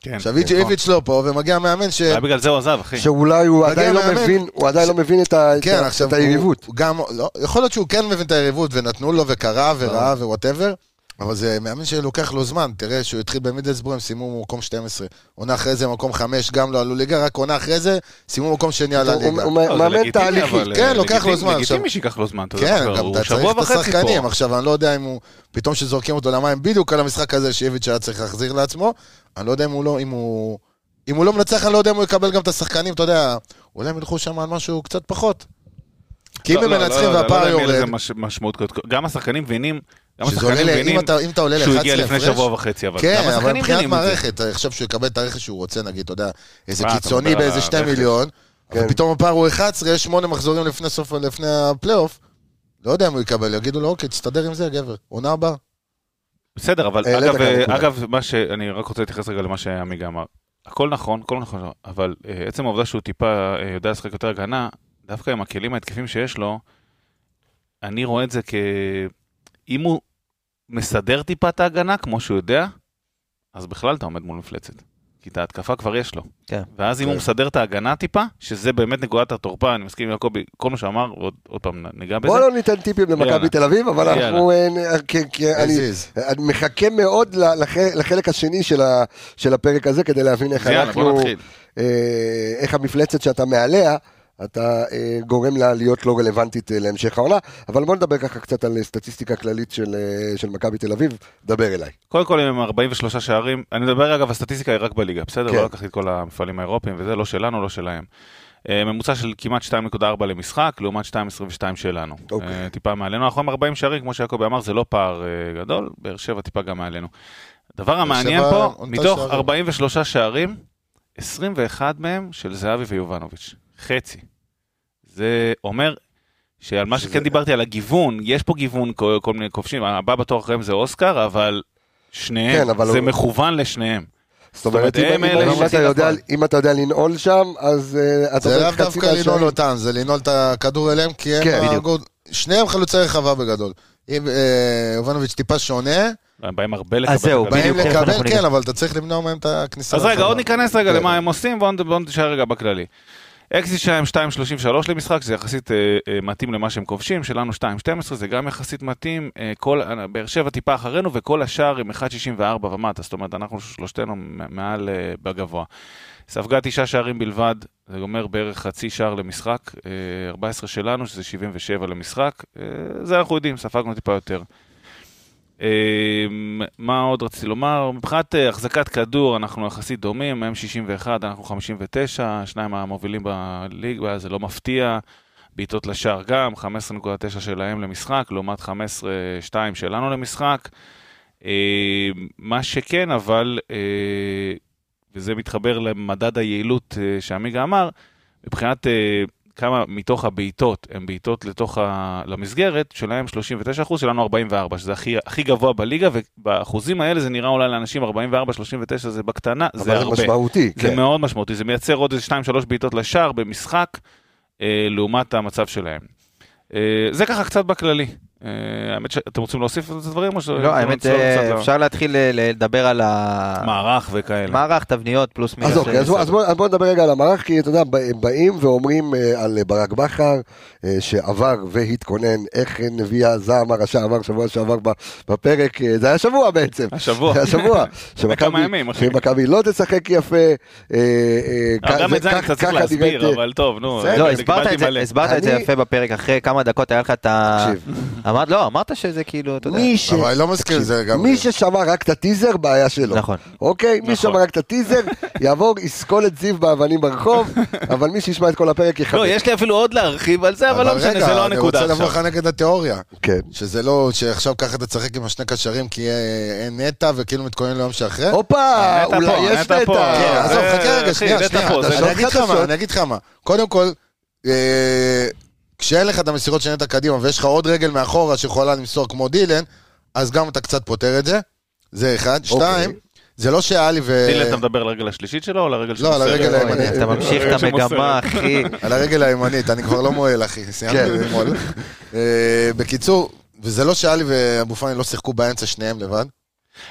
כן. עכשיו איביץ'- איביץ' לא פה, ומגיע מאמן ש... אולי בגלל זה הוא עזב, אחי. שאולי הוא מגיע עדיין לא מאמן. מבין, הוא עדיין לא מבין את ה- את כן, ה- עכשיו את היריבות. הוא גם, לא, יכול להיות שהוא כן מבין את היריבות, ונתנו לו, וקרא, וראה, לא. ווואטאבר, אבל זה מאמן שלוקח לו זמן. תראה, שהוא התחיל במידלסבורג, הם סיימו במקום 12. עונה אחרי זה, מקום 5, גם לא עלו ליגה, רק עונה אחרי זה, סיימו במקום שני על הוא- הוא- הליגה. הוא לא, זה מאמן לגיטימי, תהליכי. אבל, כן, אה, לוקח לו לגיטימי- זמן עכשיו. לגיטימי שייקח לו זמן, אתה יודע. כן, כבר גם הוא אתה צריך שבוע את וחצי פה. השחקנים. עכשיו, אני לא יודע אם הוא... פתאום שזורקים אותו למים, בדיוק על המשחק הזה שאיביץ' היה צריך להחזיר לעצמו, אני לא יודע אם הוא לא... אם הוא, אם הוא לא מנצח, אני לא יודע אם הוא יקבל גם את השחקנים, אתה יודע, אולי הם ילכו שם על משהו קצת פחות. כי אם לא, הם לא, לא, מנצחים לא, לא והפער יודע אם יהיה יורד, לזה מש- משמעות כזאת. גם השחקנים מבינים, גם שזה עולה השחקנים ל- אם מבינים אתה, אם אתה עולה ל-11 שהוא הגיע לפני שבוע וחצי, אבל גם כן, אבל השחקנים מבחינת מבינים את זה. מערכת, אני חושב שהוא יקבל את הרכש שהוא רוצה, נגיד, אתה יודע, איזה מה, אתה קיצוני מדבר על באיזה 2 הרכש? מיליון, כן. ופתאום הפער הוא 11, יש 8 מחזורים לפני סוף, לפני הפלייאוף, לא יודע אם הוא יקבל, יגידו לו, אוקיי, תסתדר עם זה, גבר, עונה הבאה. בסדר, אבל העלית אגב, כאן אה, נקודה. אגב, מה ש... אני רק רוצה להתייחס רגע למה שעמיגה אמר. הכל נכון, הכל נכון, אבל אה, עצם העובדה שהוא טיפה אה, יודע לשחק יותר הגנה, דווקא עם הכלים ההתקפים שיש לו, אני רואה את זה כ... אם הוא מסדר טיפה את ההגנה, כמו שהוא יודע, אז בכלל אתה עומד מול מפלצת. כי את ההתקפה כבר יש לו. כן. ואז אם כן. הוא מסדר את ההגנה טיפה, שזה באמת נקודת התורפה, אני מסכים עם יעקבי, כל מה שאמר, עוד, עוד פעם ניגע בזה. בוא לא ניתן טיפים למכבי יאללה. תל אביב, אבל יאללה. אנחנו... אה, נ- כי- כי אני- הזיז. אני מחכה מאוד ל- לח- לחלק השני של ה- של הפרק הזה כדי להבין איך אז יאללה, בוא אנחנו... נתחיל. אה, איך המפלצת שאתה מעליה, אתה אה, גורם לה להיות לא רלוונטית אה, להמשך העונה. אבל בוא נדבר ככה קצת על אה, סטטיסטיקה כללית של אה, של מכבי תל אביב, דבר אליי. קודם כל הם 43 שערים, אני מדבר אגב, הסטטיסטיקה היא רק בליגה, בסדר? כן. לא לקחתי את כל המפעלים האירופיים וזה, לא שלנו, לא שלהם. אה, ממוצע של כמעט 2.4 למשחק, לעומת 2.22 שלנו. אוקיי. אה, טיפה מעלינו, אנחנו עם 40 שערים, כמו שיעקבי אמר, זה לא פער אה, גדול, באר שבע טיפה גם מעלינו. הדבר המעניין שבע פה, עונתה מתוך שערים. 43 שערים, 21 מהם של זהבי ויובנוביץ', חצי. זה אומר שעל מה שזה- שכן דיברתי, על הגיוון, יש פה גיוון כל כל מיני כובשים, הבא בתור אחריהם זה אוסקר, אבל שניהם, כן, אבל זה הוא- מכוון לשניהם. זאת אומרת, אם- הם אם- אלה אם שעושים אתה יודע- נכון. אם אתה יודע לנעול שם, אז אה, אתה זה עובר לאו חצי דווקא מהשערים. לנעול אותם, זה לנעול את הכדור אליהם, כי כן, הם... בדיוק. הגול- שניהם חלוצי רחבה בגדול. אם אה, יובנוביץ' טיפה שונה, הם באים הרבה אז לקבל. זהו, את באים בדיוק, תכף אנחנו לקבל, ניגע. כן, אבל אתה צריך למנוע מהם את הכניסה. אז רגע, לרחבה. עוד ניכנס רגע כן. למה הם עושים, בואו בוא נשאר רגע בכללי. אקזיט שלהם 2.33 למשחק, זה יחסית אה, אה, מתאים למה שהם כובשים, שלנו 2.12 זה גם יחסית מתאים, אה, כל, אה, באר שבע טיפה אחרינו וכל השאר עם 1.64 ומטה, זאת אומרת אנחנו שלושתנו מ- מעל אה, בגבוה. ספגה תשעה שערים בלבד, זה גומר בערך חצי שער למשחק, אה, 14 שלנו, שזה 77 למשחק. אה, זה אנחנו יודעים, ספגנו טיפה יותר. אה, מה עוד רציתי לומר? מבחינת אה, החזקת כדור, אנחנו יחסית דומים, הם 61, אנחנו 59, שניים המובילים בליגה, זה לא מפתיע. בעיטות לשער גם, 15.9 שלהם למשחק, לעומת 15.2 שלנו למשחק. אה, מה שכן, אבל, אה, וזה מתחבר למדד היעילות אה, שעמיגה אמר, מבחינת אה, כמה מתוך הבעיטות הן בעיטות לתוך ה... למסגרת, שלהם 39%, שלנו 44%, שזה הכי, הכי גבוה בליגה, ובאחוזים האלה זה נראה אולי לאנשים 44-39 זה בקטנה, זה אבל זה הרבה. משמעותי, זה כן. מאוד משמעותי, זה מייצר עוד איזה 2-3 בעיטות לשער במשחק, אה, לעומת המצב שלהם. אה, זה ככה קצת בכללי. אה, האמת שאתם רוצים להוסיף על זה דברים? או ש- לא, האמת, נצלול אה, קצת ל- אפשר להתחיל אה, לדבר על המערך, מערך וכאלה. תבניות, פלוס מינוס. אז אוקיי, אז בוא- אז בוא- אז בוא נדבר רגע על המערך, כי אתה יודע, ב- באים ואומרים אה, על ברק בכר, אה, שעבר והתכונן, איך נביא הזעם הרשע עבר שבוע שעבר ב- בפרק, אה, זה היה שבוע בעצם. השבוע. זה היה שבוע. לפני שמכבי- כמה ימים, אחי. שמכבי לא תשחק יפה. אה, אה, אה, גם זה- את זה אני כך- קצת צריך ככה נראית, להסביר, אה, אבל טוב, נו. בסדר. לא, רגע, הסברת קיבלתי את זה- מלא. הסברת את זה אני- יפה בפרק, אחרי כמה דקות היה לך את ה... תקשיב. אמרת, לא, אמרת שזה כאילו, אתה יודע. מי ש... אבל אני לא מסכים, תקשיב, זה גם- מי ששמע רק את הטיזר, בעיה שלו. נכון. אוקיי? מי נכון. ששמע רק את הטיזר, יעבור, יסקול את זיו באבנים ברחוב, אבל מי שישמע את כל הפרק יחבק. לא, יש לי אפילו עוד להרחיב על זה, אבל לא משנה, רגע, זה לא הנקודה אני רוצה לבוא עכשיו. לך נגד התיאוריה. כן. שזה לא, שעכשיו ככה אתה תשחק עם השני קשרים כי אה, אין נטע וכאילו מתכונן ליום שאחרי. הופה, נטע אולי פה, יש נטע פה. נטע. כן, אה, עזוב, זה- חכה רגע, אחי, שנייה, נטע שנייה. פה, זה אני שעות אגיד לך חדשות. מה, אני אגיד לך מה. קודם כל, אה, כשאין לך את המסירות של נטע קדימה ויש לך עוד רגל מאחורה שיכולה למסור כמו דילן, אז גם אתה קצת פותר את זה. זה אחד. אוקיי. שתיים, זה לא שאלי ו... תהילה, אתה מדבר על הרגל השלישית שלו או על הרגל אה, לא, על שמוסרת? הרגל אוי, הימנית. אתה ממשיך את שמוסרת. המגמה, אחי. על הרגל הימנית, אני כבר לא מועל, אחי, סיימתי כן. למועל. אה, בקיצור, וזה לא שאלי ואבו פאני לא שיחקו באמצע שניהם לבד.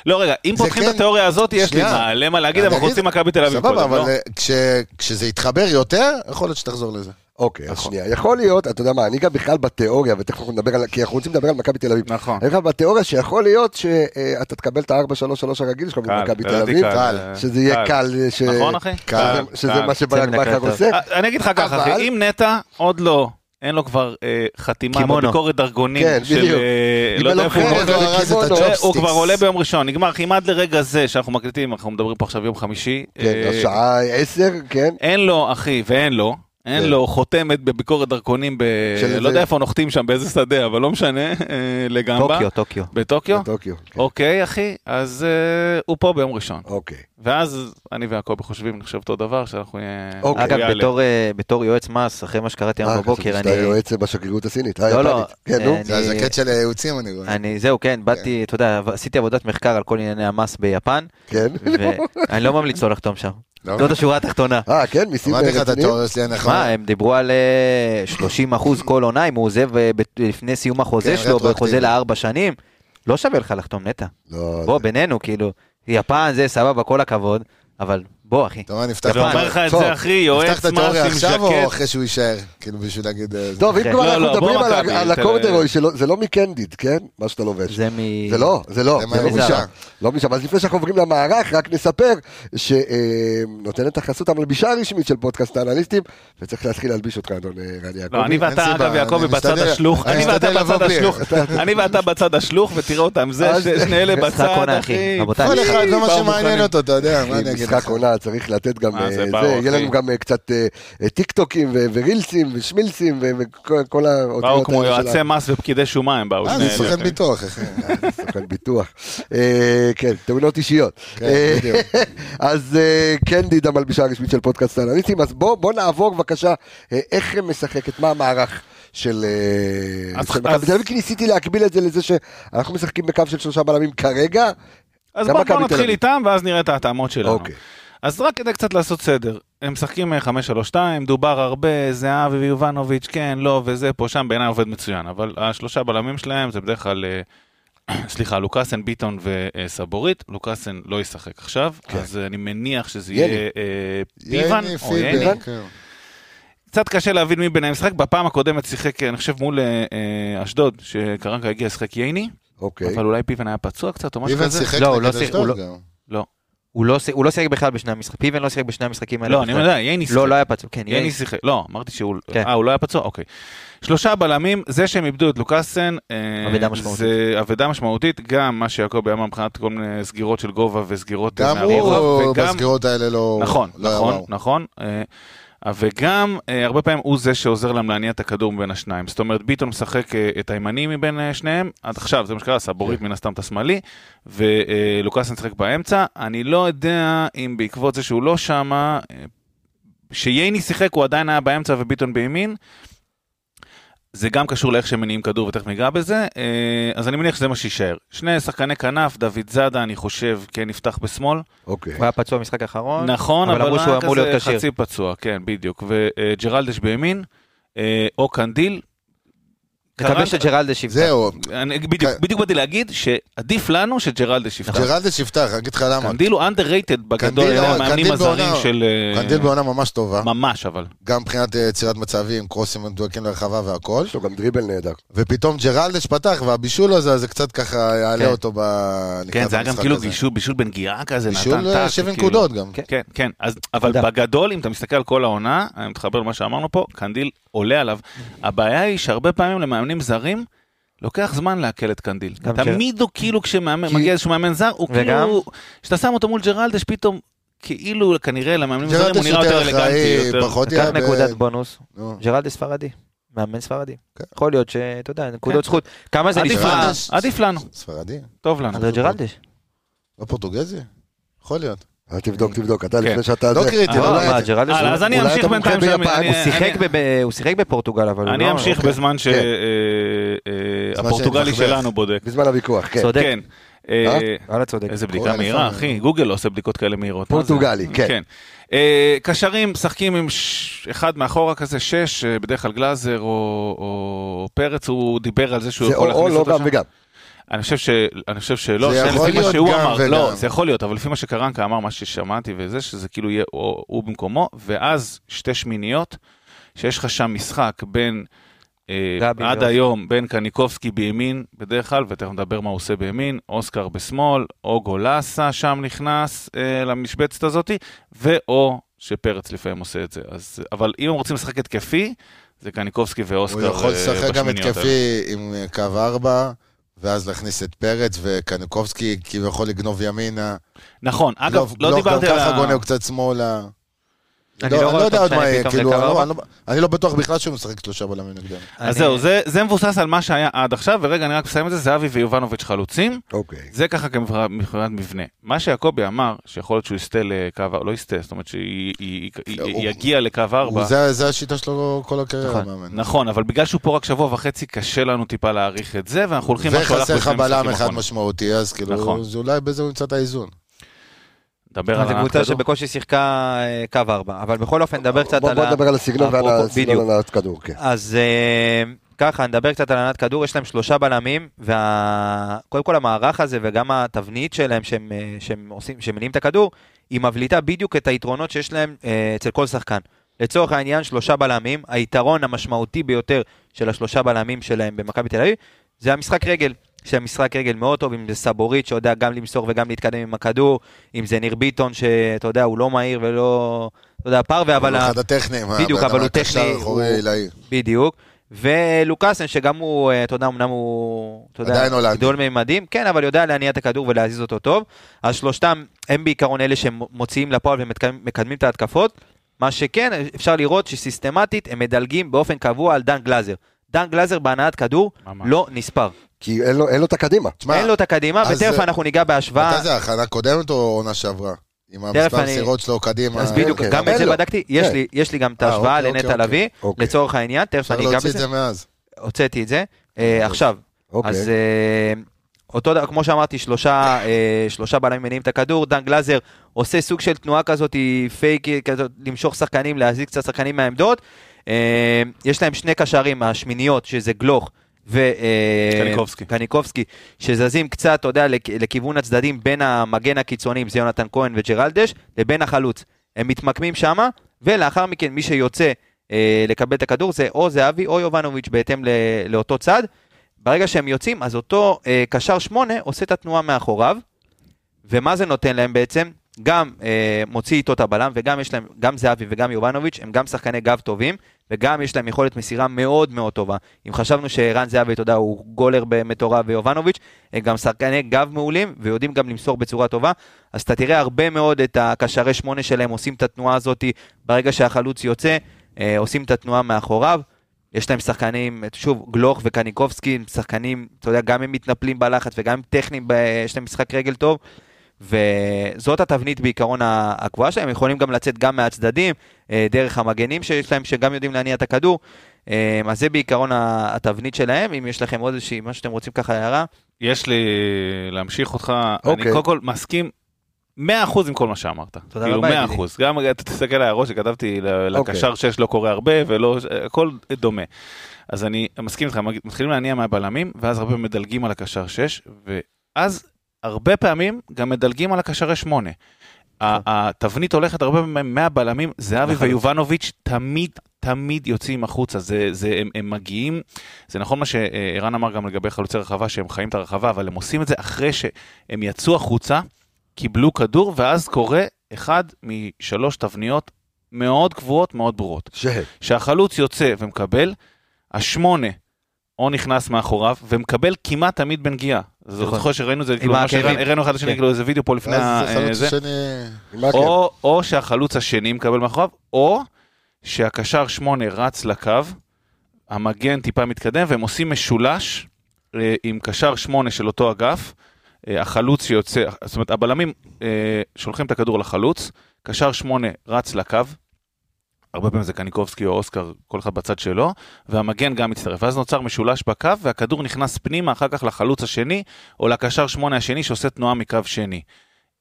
לא, רגע, אם זה פותחים כן- את התיאוריה הזאת, יש לי שנייה. מלא מה להגיד, אבל אני אנחנו אגיד- רוצים מכבי תל אביב סבבה, קודם, אבל לא? אה, כש- כשזה יתחבר יותר, יכול להיות שתחזור לזה. אוקיי, נכון. אז שנייה. יכול להיות, אתה יודע מה, אני גם בכלל בתיאוריה, ותכף אנחנו נדבר על, כי אנחנו רוצים לדבר על מכבי תל אביב. נכון. אני בכלל בתיאוריה שיכול להיות שאתה תקבל את ה-4-3-3 הרגיל שלך קל, במכבי תל לדעתי אביב, קל, שזה יהיה קל, אה, ש- נכון, אחי? שזה- קל, שזה קל. מה שברק יוצא מן בכר הכלל טוב. עושה. אה, אני אגיד לך ככה, אבל- אחי, אם נטע עוד לא, אין לו כבר אה, חתימה קימונו. בביקורת דרגונים כן, של... בדיוק. אה, אם לא יודע לא איפה הוא כן, עומד, לא אבל- הרס את הוא הג'ובסטיקס. הוא כבר עולה ביום ראשון, נגמר, אחי, אם עד לרגע זה שאנחנו מקליטים, אנחנו מדברים פה עכשיו יום חמישי. כן, אה, השעה 10, כן. אין לו, אחי, ואין לו. אין כן. לו חותמת בביקורת דרכונים ב... של איזה- לא יודע איפה נוחתים שם, באיזה שדה, אבל לא משנה, אה, לגמרי. טוקיו, טוקיו. בטוקיו? בטוקיו. כן. אוקיי, אחי, אז אה, הוא פה ביום ראשון. אוקיי. ואז אני ויעקבי חושבים, נחשב אותו דבר, שאנחנו נהיה... אוקיי. הוא אגב, יעלה. בתור, אה, בתור יועץ מס, אחרי מה שקראתי אה, היום חשבתי בבוקר, שאתה אני... יועץ בשגרירות הסינית. לא, לא, היפנית. כן, נו. אה, זה אני- הז'קט של הייעוצים, אני רואה. אני, זהו, כן, באתי, אתה יודע, עשיתי עבודת מחקר על כל ענייני המס ביפן, כן. ואני לא ממליץ לו לחתום שם. לא? זאת השורה התחתונה. אה, נכון. כן, מיסים אמרתי לך את רציניים? התיאוריה שלי הנכונה. מה, הם דיברו על אה, 30 אחוז כל עונה, אם הוא עוזב אה, ב- לפני סיום כן, החוזה שלו, רטרואקטיבי. בחוזה לארבע שנים, לא שווה לך לחתום נטע. לא, בוא, זה- בינינו, כאילו, יפן זה סבבה, כל הכבוד, אבל בוא, אחי. אתה רואה, נפתח את זה אומר התיאוריה. לך את טוב, זה, אחי, יועץ נפתח מס את עם התיאוריה עכשיו או ז'קט. אחרי שהוא יישאר? כאילו בשביל להגיד... אה, זה. טוב, אם אחרי. כבר לא, אנחנו לא, בוא מדברים על מכבי, ה- על תל- הקורדרוי, שלא- זה לא מקנדיד, כן? מה שאתה לובש. זה מ... זה לא, זה לא, זה זה לא מהמגזר. משם, לא משם. אז לפני שאנחנו עוברים למערך, רק נספר שנותנת החסות המלבישה הרשמית של פודקאסט האנליסטים, וצריך להתחיל להלביש אותך, אדון אה, רן לא, יעקבי. אני אין ואתה, סיבה, אגב, אני יעקבי בצד מסתדר- השלוך. אני אני ואתה מסתדר בצד לבוא בלי. השלוך. אני ואתה בצד השלוך, ותראה אותם. זה, אז- ש- שני אלה משחק בצד, עונה, אחי. אחי. רבותיי. כל אחד לא מה באו שמעניין מוכנים. אותו, אתה יודע, מה אני אגיד משחק לך? עונה, צריך לתת גם, מה, אה, זה זה, ברור, יהיה לנו אחי. גם אה, קצת אה, אה, טיקטוקים ו- ורילסים ושמילסים ו- וכל כל האותיות באו כמו האלה של יועצי מס ופקידי שומה הם באו. אוקיי. אה, שני זה אלה, סוכן אחי. ביטוח, אחי. סוכן ביטוח. אה, כן, תאונות אישיות. כן, אה, בדיוק. אז אה, קנדיד המלבישה הרשמית של פודקאסט האנליסטים, אז בוא בוא נעבור בבקשה, אה, איך משחקת, מה המערך של אה, אז- של מכבי אז- תל אביב, כי ניסיתי להקביל את זה לזה שאנחנו משחקים בקו של שלושה בלמים כרגע. אז גם בואו מכבי בוא תל נתחיל אביב. איתם, ואז נראה את ההתאמות שלנו. אוקיי. אז רק כדי קצת לעשות סדר, הם משחקים אה, 5-3-2, דובר הרבה, זהבי ויובנוביץ', כן, לא, וזה פה, שם, בעיניי עובד מצוין, אבל השלושה בלמים שלהם זה בדרך כלל, אה, סליחה, לוקאסן, ביטון וסבורית, לוקאסן לא ישחק עכשיו, אז אה, אני מניח שזה יהיה יני. אה, פיבן, יני או יני, פיבן. כן. קצת קשה להבין מי ביניהם משחק, בפעם הקודמת שיחק, אני חושב, מול אה, אה, אשדוד, שקרנקה הגיע לשחק ייני, אוקיי. אבל אולי פיבן היה פצוע קצת או משהו פיבן כזה. שיחק לא, הוא לא נגד שיחק, הוא אשדוד לא- גם. לא. הוא לא ש- הוא לא שיחק בכלל בשני המשחקים, פיבן לא שיחק בשני המשחקים האלה. לא, אני בכלל. יודע, ייני שיחק. לא, לא היה פצוע, כן, ייני ייני. שיחק. לא, אמרתי שהוא... כן. אה, הוא לא היה פצוע? אוקיי. שלושה בלמים, זה שהם איבדו את לוקאסן, אה, אבדה משמעותית. זה אבדה משמעותית, גם מה שיעקבי אמר מבחינת כל מיני סגירות של גובה וסגירות אה, גם מהרוחב, הוא וגם- בסגירות האלה לא... נכון, לא היה נכון, וואו. נכון. אה, וגם, אה, הרבה פעמים הוא זה שעוזר להם להניע את הכדור מבין השניים. זאת אומרת, ביטון משחק אה, את הימני מבין אה, שניהם, עד עכשיו, זה מה שקרה, סבורית כן. מן הסתם את השמאלי, ולוקאסן משחק באמצע. אני לא יודע אם בעקבות זה שהוא לא שמה, אה, שייני שיחק, הוא עדיין היה באמצע וביטון בימין. זה גם קשור לאיך שהם מניעים כדור, ותכף ניגע בזה. אה, אז אני מניח שזה מה שיישאר. שני שחקני כנף, דוד זאדה, אני חושב, כן יפתח בשמאל. אוקיי. הוא היה פצוע במשחק האחרון. נכון, אבל אבל אמרו הוא שהוא היה אמור כזה להיות כשיר. חצי פצוע, כן, בדיוק. וג'רלדש בימין, אה, או קנדיל. מקווה קרן- שג'רלדש יפתח. זהו, אני- בדיוק ק- בדיוק באתי להגיד שעדיף לנו שג'רלדש יפתח. ג'רלדש יפתח, אני אגיד לך למה. קנדיל הוא underrated בגדול, קנדיל, היום אה, המאמנים קנדיל הזרים בעונה- של... אה, קנדיל בעונה ממש טובה, ממש אבל. גם מבחינת אה, יצירת מצבים, קרוסים מדויקים לרחבה והכל. יש לו גם דריבל נהדר. ופתאום ג'רלדש פתח, והבישול הזה, אז זה קצת ככה יעלה כן. אותו ב... כן, לקראת זה היה גם המשחק כאילו הזה. בישול בישול בנגיעה כזה, נתן בישול אה, טאק, 70 כאילו. נקודות גם. כן, כן, אז, אבל תודה. בגדול, אם אתה מסתכל על כל העונה, אני מתחבר למה שאמרנו פה, קנדיל עולה עליו. הבעיה היא שהרבה פעמים למאמנים זרים, לוקח זמן לעכל את קנדיל. גם כן. תמיד הוא כאילו, כי- כשמגיע איזשהו מאמן זר, הוא וגם- כאילו, כשאתה שם אותו מול ג'רלדש, פתאום, כאילו, כנראה למאמנים הזרים הוא ג'רלדש נראה יותר יותר אלגנטי, אחראי, יותר... פחות לקח יעבד. נקודת בונוס, נו. ג'רלדש ספרדי. מאמן ספרדי. כן. יכול להיות שאתה יודע, כן. נקודות זכות. כמה זה עדיף נשמע? לנו, ג'רלדש- עדיף לנו, ספרדי? טוב לנו. אנדרי ג'רלדש. לא פורטוגזי? יכול להיות. אל תבדוק, תבדוק, אתה כן. לפני שאתה... לא זה- קריטי, אה, לא מה, ראיתי. ג'רלדש הלאה, הוא- אז אני אולי אמשיך אתה בינתיים. מומחה שם, ביפן. אני- הוא שיחק אני- בב- הוא שיחק בפורטוגל, אבל הוא אני לא- אמשיך אוקיי. בזמן שהפורטוגלי כן. שאני שלנו בודק. בזמן הוויכוח, כן. צודק. כן. אה, וואלה, צודק. איזה אוי, בדיקה מהירה, לפעמים. אחי, גוגל לא עושה בדיקות כאלה מהירות. מה זה? פורטוגלי, כן. אה, קשרים משחקים עם ש- אחד מאחורה כזה, שש, אה, בדרך כלל גלאזר או או פרץ, הוא דיבר על זה שהוא זה יכול או או להכניס לא אותו גם שם. וגם. אני חושב ש... אני חושב שלא, זה יכול לפי מה להיות שהוא גם אמר, וגם. לא, זה יכול להיות, אבל לפי מה שקרנקה אמר, מה ששמעתי וזה, שזה כאילו יהיה או- הוא במקומו, ואז שתי שמיניות, שיש לך שם משחק בין... אה, גבי עד ואוס- היום בין קניקובסקי בימין בדרך כלל, ותכף נדבר מה הוא עושה בימין, אוסקר בשמאל, או גולסה שם נכנס אה, למשבצת הזאתי, ואו שפרץ לפעמים עושה את זה. אז, אבל אם הם רוצים לשחק התקפי, זה קניקובסקי הוא ואוסקר יכול אה, לשחק גם בשמיניות האלה. התקפי עם אה, קו ארבע, ואז להכניס את פרץ וקניקובסקי כביכול לגנוב ימינה. נכון, אגב, גלוב- לא גלוב דיברתי גם על ככה ה... גונב קצת שמאלה. אני לא, לא אני רואה לא יודע עוד אותו מה משנה יהיה, פתאום כאילו, לקו אני לא- ארבע. אני לא- אני לא בטוח בכלל שהוא משחק שלושה בלמים נגדנו. אז אני- אה, זהו, זה, זה מבוסס על מה שהיה עד עכשיו, ורגע, אני רק מסיים את זה, זהבי ויובנוביץ' חלוצים, אוקיי. זה ככה כמבחינת מבחינת מבנה. מה שיעקבי אמר, שיכול להיות שהוא יסטה לקו, ה- לא יסטה, זאת אומרת הוא- שיגיע לקו ארבע. הוא- זה- זה השיטה שלו כל הקריירה, נכון. מאמן. נכון, אבל בגלל שהוא פה רק שבוע וחצי, קשה לנו טיפה להעריך את זה, ואנחנו הולכים... מה שהלך וחסר לך בשני בלם משחקים אחד נכון. האחרונים. משמעותי, אז כאילו, נכון. אז אולי בזה הוא ימצא את האיזון. דבר על זו הנעת כדור. קבוצה שבקושי שיחקה אה, קו ארבע, אבל בכל אופן נדבר קצת בוא על בוא נדבר על הסגנון ועל אפרופו- בדיוק. הסגנון על הכדור, כן. אוקיי. אז אה, ככה, נדבר קצת על ענת כדור, יש להם שלושה בלמים, וקודם כל המערך הזה וגם התבנית שלהם שהם, אה, שהם עושים, שמניעים את הכדור, היא מבליטה בדיוק את היתרונות שיש להם אה, אצל כל שחקן. לצורך העניין, שלושה בלמים, היתרון המשמעותי ביותר של השלושה בלמים שלהם במכבי תל אביב, זה המשחק רגל. יש להם משחק רגל מאוד טוב, אם זה סבורית שיודע גם למסור וגם להתקדם עם הכדור, אם זה ניר ביטון שאתה יודע, הוא לא מהיר ולא, אתה יודע, פרווה, אבל... הוא ה- אחד הטכניים. הבן בדיוק, אדם אבל הוא הקשר טכני, האחורי הוא- עילאי. בדיוק. ולוקאסן, שגם הוא, אה, אתה יודע, אמנם הוא, אתה יודע, עדיין הולנדי. גדול מימדים, כן, אבל יודע להניע את הכדור ולהזיז אותו טוב. אז שלושתם הם בעיקרון אלה שהם מוציאים לפועל ומקדמים את ההתקפות. מה שכן, אפשר לראות שסיסטמטית הם מדלגים באופן קבוע על דן גלאזר. דן גלאזר בהנעת כדור ממש. לא נספר. כי אין לו- אין לו את הקדימה. תשמע, אין לו את הקדימה, אז, ותכף אה, אנחנו ניגע בהשוואה. מתי זה, הכנה קודמת או עונה שעברה? עם תכף המספר אני- סירות שלו קדימה. אז בדיוק, אוקיי, גם אבל את זה אין לו. בדקתי, יש כן. לי- יש לי גם את לא. אה, ההשוואה אוקיי, לנטע אוקיי, לביא, אוקיי. לצורך העניין, תכף אפשר אני אגע להוציא את בזה. זה מאז. הוצאתי את זה. אה, עכשיו, אוקיי. אז אה, אותו דבר, כמו שאמרתי, שלושה, אה, שלושה בלמים מניעים את הכדור, דן גלאזר עושה סוג של תנועה כזאת, היא פייק, אה, כזאת, למשוך שחקנים, להזיק קצת שחקנים מהעמדות. אה, יש להם שני קשרים, השמיניות, שזה גלוך. ו... אה, קניקובסקי. קניקובסקי, שזזים קצת, אתה יודע, לכ- לכיוון הצדדים בין המגן הקיצוני, אם זה יונתן כהן וג'רלדש, לבין החלוץ. הם מתמקמים שמה, ולאחר מכן מי שיוצא אה, לקבל את הכדור זה או זהבי או יובנוביץ' בהתאם ל- לאותו צד. ברגע שהם יוצאים, אז אותו אה, קשר שמונה עושה את התנועה מאחוריו, ומה זה נותן להם בעצם? גם אה, מוציא איתו את הבלם, וגם יש להם, גם זהבי וגם יובנוביץ', הם גם שחקני גב טובים, וגם יש להם יכולת מסירה מאוד מאוד טובה. אם חשבנו שערן זהבי, אתה יודע, הוא גולר מטורף ויובנוביץ', הם גם שחקני גב מעולים, ויודעים גם למסור בצורה טובה, אז אתה תראה הרבה מאוד את הקשרי שמונה שלהם עושים את התנועה הזאת, ברגע שהחלוץ יוצא, אה, עושים את התנועה מאחוריו. יש להם שחקנים, אה, שוב, גלוך וקניקובסקי, הם שחקנים, אתה יודע, גם הם מתנפלים בלחץ וגם הם טכניים, ב- יש להם משחק רגל טוב. וזאת התבנית בעיקרון ה- הקבועה שלהם, הם יכולים גם לצאת גם מהצדדים, אה, דרך המגנים שיש להם, שגם יודעים להניע את הכדור. אה, אז זה בעיקרון ה- התבנית שלהם, אם יש לכם עוד איזושהי, מה שאתם רוצים ככה הערה. יש לי להמשיך אותך, אני אוקיי. קודם כל מסכים 100% עם כל מה שאמרת. תודה כאילו רבה, 100%. ידידי. גם אתה תסתכל על ההערות שכתבתי ל- אוקיי. לקשר 6 לא קורה הרבה, ולא, הכל דומה. אז אני מסכים איתך, מג- מתחילים להניע מהבלמים, ואז הרבה פעמים מדלגים על הקשר 6, ואז הרבה פעמים גם מדלגים על הקשרי 8. התבנית הולכת הרבה פעמים מהבלמים, זהבי לחלוטין. ויובנוביץ' תמיד, תמיד יוצאים החוצה, זה, זה, הם, הם מגיעים, זה נכון מה שערן אמר גם לגבי חלוצי רחבה, שהם חיים את הרחבה, אבל הם עושים את זה אחרי שהם יצאו החוצה, קיבלו כדור, ואז קורה אחד משלוש תבניות מאוד קבועות, מאוד ברורות. ש... שהחלוץ יוצא ומקבל, השמונה או נכנס מאחוריו, ומקבל כמעט תמיד בנגיעה. אז אני נכון. זוכר שראינו את זה, כאילו, מה העקבים. שהראינו אחד לשני, כן. כאילו, איזה וידאו פה לפני ואז זה ה- אה, אה, חלוץ זה. שני... מה כן? או, או שהחלוץ השני מקבל מאחוריו, או שהקשר שמונה רץ לקו, המגן טיפה מתקדם, והם עושים משולש אה, עם קשר שמונה של אותו אגף, אה, החלוץ שיוצא, זאת אומרת, הבלמים אה, שולחים את הכדור לחלוץ, קשר שמונה רץ לקו, הרבה פעמים זה קניקובסקי או אוסקר, כל אחד בצד שלו, והמגן גם מצטרף. ואז נוצר משולש בקו, והכדור נכנס פנימה אחר כך לחלוץ השני, או לקשר שמונה השני שעושה תנועה מקו שני.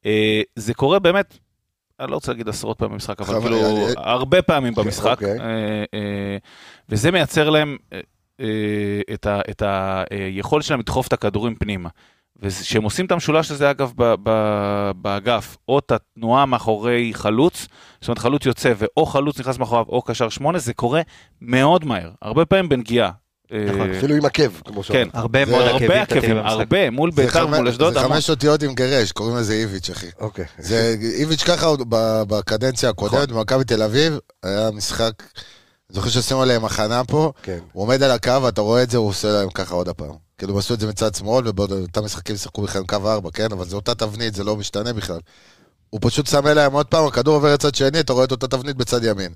אה, זה קורה באמת, אני לא רוצה להגיד עשרות פעמים במשחק, אבל חבר'ה, כאילו, אני- הרבה פעמים במשחק. אוקיי. אה, אה, וזה מייצר להם אה, אה, את ה- את היכולת שלהם לדחוף את הכדורים פנימה. וכשהם עושים את המשולש הזה, אגב, ב- ב- באגף, או את התנועה מאחורי חלוץ, זאת אומרת חלוץ יוצא ואו חלוץ נכנס מאחוריו או קשר שמונה, זה קורה מאוד מהר, הרבה פעמים בנגיעה. נכון, אה, אפילו עם עקב, כמו שאומרים. כן, הרבה זה מאוד הרבה עקבים תתחיל עקבים, במשחק. הרבה, מול זה בית"ר חמש- מול אשדוד, זה המון. חמש אותיות עם גרש, קוראים לזה איביץ', אחי. אוקיי. זה איביץ' ככה עוד ב- בקדנציה הקודמת, נכון. במכבי תל אביב, היה משחק, אני זוכר שעשינו עליהם הכנה פה, כן. הוא עומד על הקו, אתה רואה את זה, הוא עושה להם ככה עוד הפעם. כאילו, הם עשו את זה מצד שמאל, ובאותם משחקים שיחקו בכלל קו ארבע, כן? אבל זו אותה תבנית, זה לא משתנה בכלל. הוא פשוט שם אליהם עוד פעם, הכדור עובר לצד שני, אתה רואה את אותה תבנית בצד ימין.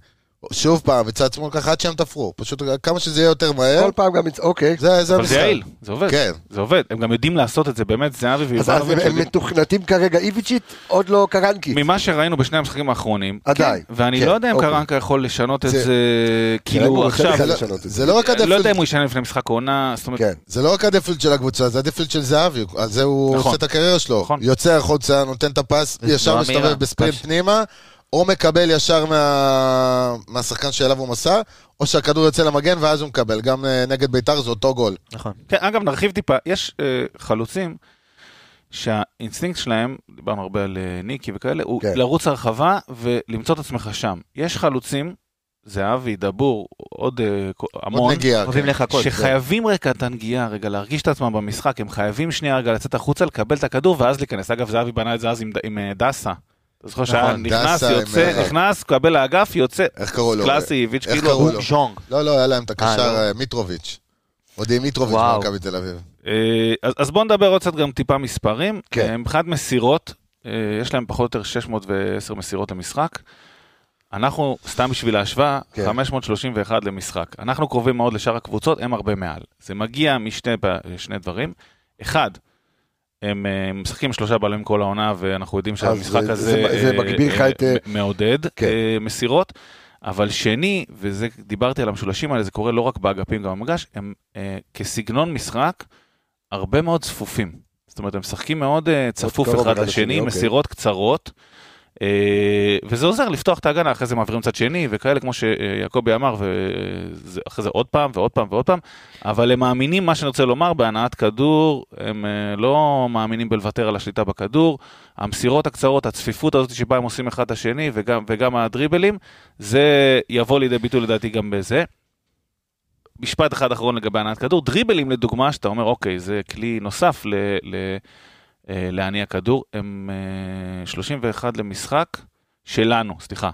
שוב פעם, מצד שמאל ככה, עד שהם תפרו. פשוט כמה שזה יהיה יותר מהר, כל פעם גם... מצ- אוקיי. זה זה אבל המשחק. זה יעיל, זה עובד, כן. זה עובד, הם גם יודעים לעשות את זה, לא באמת, זהבי אז אז ויובנוביץ' הם- הם יודעים. מתוכנתים כרגע איביצ'ית, עוד לא קרנקי. ממה שראינו בשני המשחקים האחרונים, עדיין. כן, ואני כן, לא יודע אם אוקיי. קרנקה יכול לשנות את זה- זה, אם הוא כאילו רוצה עכשיו, בכלל זה לא- לשנות את זה לא רק לא יודע אם הדפילד, הוא ישנה לפני משחק עונה, זאת אומרת, כן. זה לא רק הדפילד של הקבוצה, זה הדפילד של זהבי, על זה הוא נכון. עושה את הקריירה שלו. נכון. יוצא החוצה, נותן את הפס, זה ישר תנועה מהירה, מסתובב בספרינט קש. פנימה, או מקבל ישר מה- מהשחקן שאליו הוא מסר, או שהכדור יוצא למגן ואז הוא מקבל. גם אה, נגד ביתר זה אותו גול. נכון. כן, אגב, נרחיב טיפה. יש אה, חלוצים שהאינסטינקט שלהם, דיברנו הרבה על אה, ניקי וכאלה, הוא כן. לרוץ הרחבה ולמצוא את עצמך שם. יש חלוצים, זהבי, דבור, עוד אה, כ- עוד המון, נגיעה. אוהבים כן. לחכות. שחייבים רגע את הנגיעה, רגע להרגיש את עצמם במשחק, הם חייבים שנייה רגע לצאת החוצה, לקבל את הכדור ואז להיכנס. אגב, זהבי בנה את זה אז עם, ד- עם אה, דסה. אתה זוכר שהיה נכון, נכנס, דסה עם, יוצא, אה, נכנס, מקבל לאגף, יוצא. איך קראו לו? קלאסי, איביץ', אה, איך כאילו, קראו לו? ז'ונג. לא, לא, היה להם את אה, הקשר לא. אה, מיטרוביץ'. עוד עם מיטרוביץ' וואו. במכבי תל אביב. אה, אז, אז בואו נדבר עוד קצת גם טיפה מספרים. כן. כן. מבחינת מסירות, אה, יש להם פחות או יותר 610 מסירות למשחק. אנחנו, סתם בשביל ההשוואה, כן. כן. 531 למשחק. אנחנו קרובים מאוד לשאר הקבוצות, הם הרבה מעל. זה מגיע משני ב- שני דברים. אחד, הם אה, משחקים שלושה בלמים כל העונה, ואנחנו יודעים שהמשחק אה, זה- הזה זה- זה אה, מגביר לך אה, את, אה, מ- מעודד כן. אה, מסירות. אבל שני, וזה, דיברתי על המשולשים האלה, זה קורה לא רק באגפים, גם במגרש, הם אה, כסגנון משחק, הרבה מאוד צפופים. זאת אומרת, הם משחקים מאוד אה, צפוף קרוב אחד אחד לשני, לשני, אוקיי. מסירות קצרות, אה, וזה עוזר לפתוח את ההגנה, אחרי זה מעבירים צד שני, וכאלה, כמו שיעקבי אמר, ואחרי זה עוד פעם ועוד פעם ועוד פעם, אבל הם מאמינים, מה שאני רוצה לומר, בהנעת כדור, הם אה, לא מאמינים בלוותר על השליטה בכדור, המסירות הקצרות, הצפיפות הזאת שבה הם עושים אחד את השני, וגם, וגם הדריבלים, זה יבוא לידי ביטוי לדעתי גם בזה. משפט אחד אחרון לגבי הנעת כדור, דריבלים לדוגמה, שאתה אומר, אוקיי, זה כלי נוסף ל... ל אה, להניע כדור, הם אה, 31 למשחק שלנו, סליחה.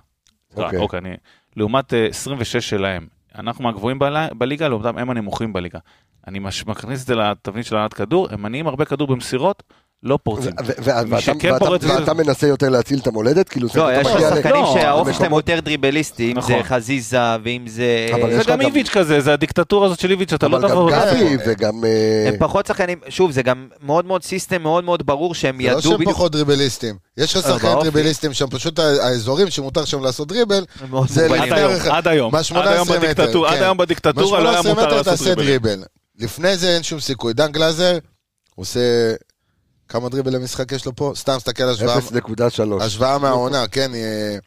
אוקיי. אוקיי. אוקיי, אני... לעומת אה, 26 שלהם. אנחנו מהגבוהים בלי- בליגה, לעומתם הם הנמוכים בליגה. אני מש... מכניס את זה לתבנית של הנעת כדור, הם מניעים הרבה כדור במסירות, לא ו- פורצים. ו- ואתה- מי שכן ואתה- פורץ- ואתה מנסה יותר להציל את המולדת? כאילו, לא, אתה יש מגיע ל- שחקנים לא, שהאופי אבל- שלהם יותר דריבליסטי, אם זה נכון. חזיזה ואם זה... אבל יש לך וגם גם- איביץ' כזה, זה הדיקטטורה הזאת של איביץ', אתה לא אבל גם תבוא... גבי וגם... אה, הם פחות שחקנים, שוב, זה גם מאוד מאוד סיסטם, מאוד מאוד ברור שהם זה לא ידעו שהם בדיוק... אה, פחות דריבליסטים. יש לך שחקנים באופי. דריבליסטים שם, פשוט ה- האזורים שמותר שם לעשות דריבל, הם מאוד זה מוגבלים. עד לפני היום, הרחב. עד היום, מה- עד 18 היום מטר, בדיקטטורה, עד כן. היום בדיקטטורה לא היה מ-18 מותר מטר לעשות תעשה דריבלים. דריבל. לפני זה אין שום סיכוי. דן גלאזר, הוא עושה... כמה דריבל למשחק יש לו פה? סתם, תסתכל על השוואה 0.3. השוואה מהעונה, כן. אה,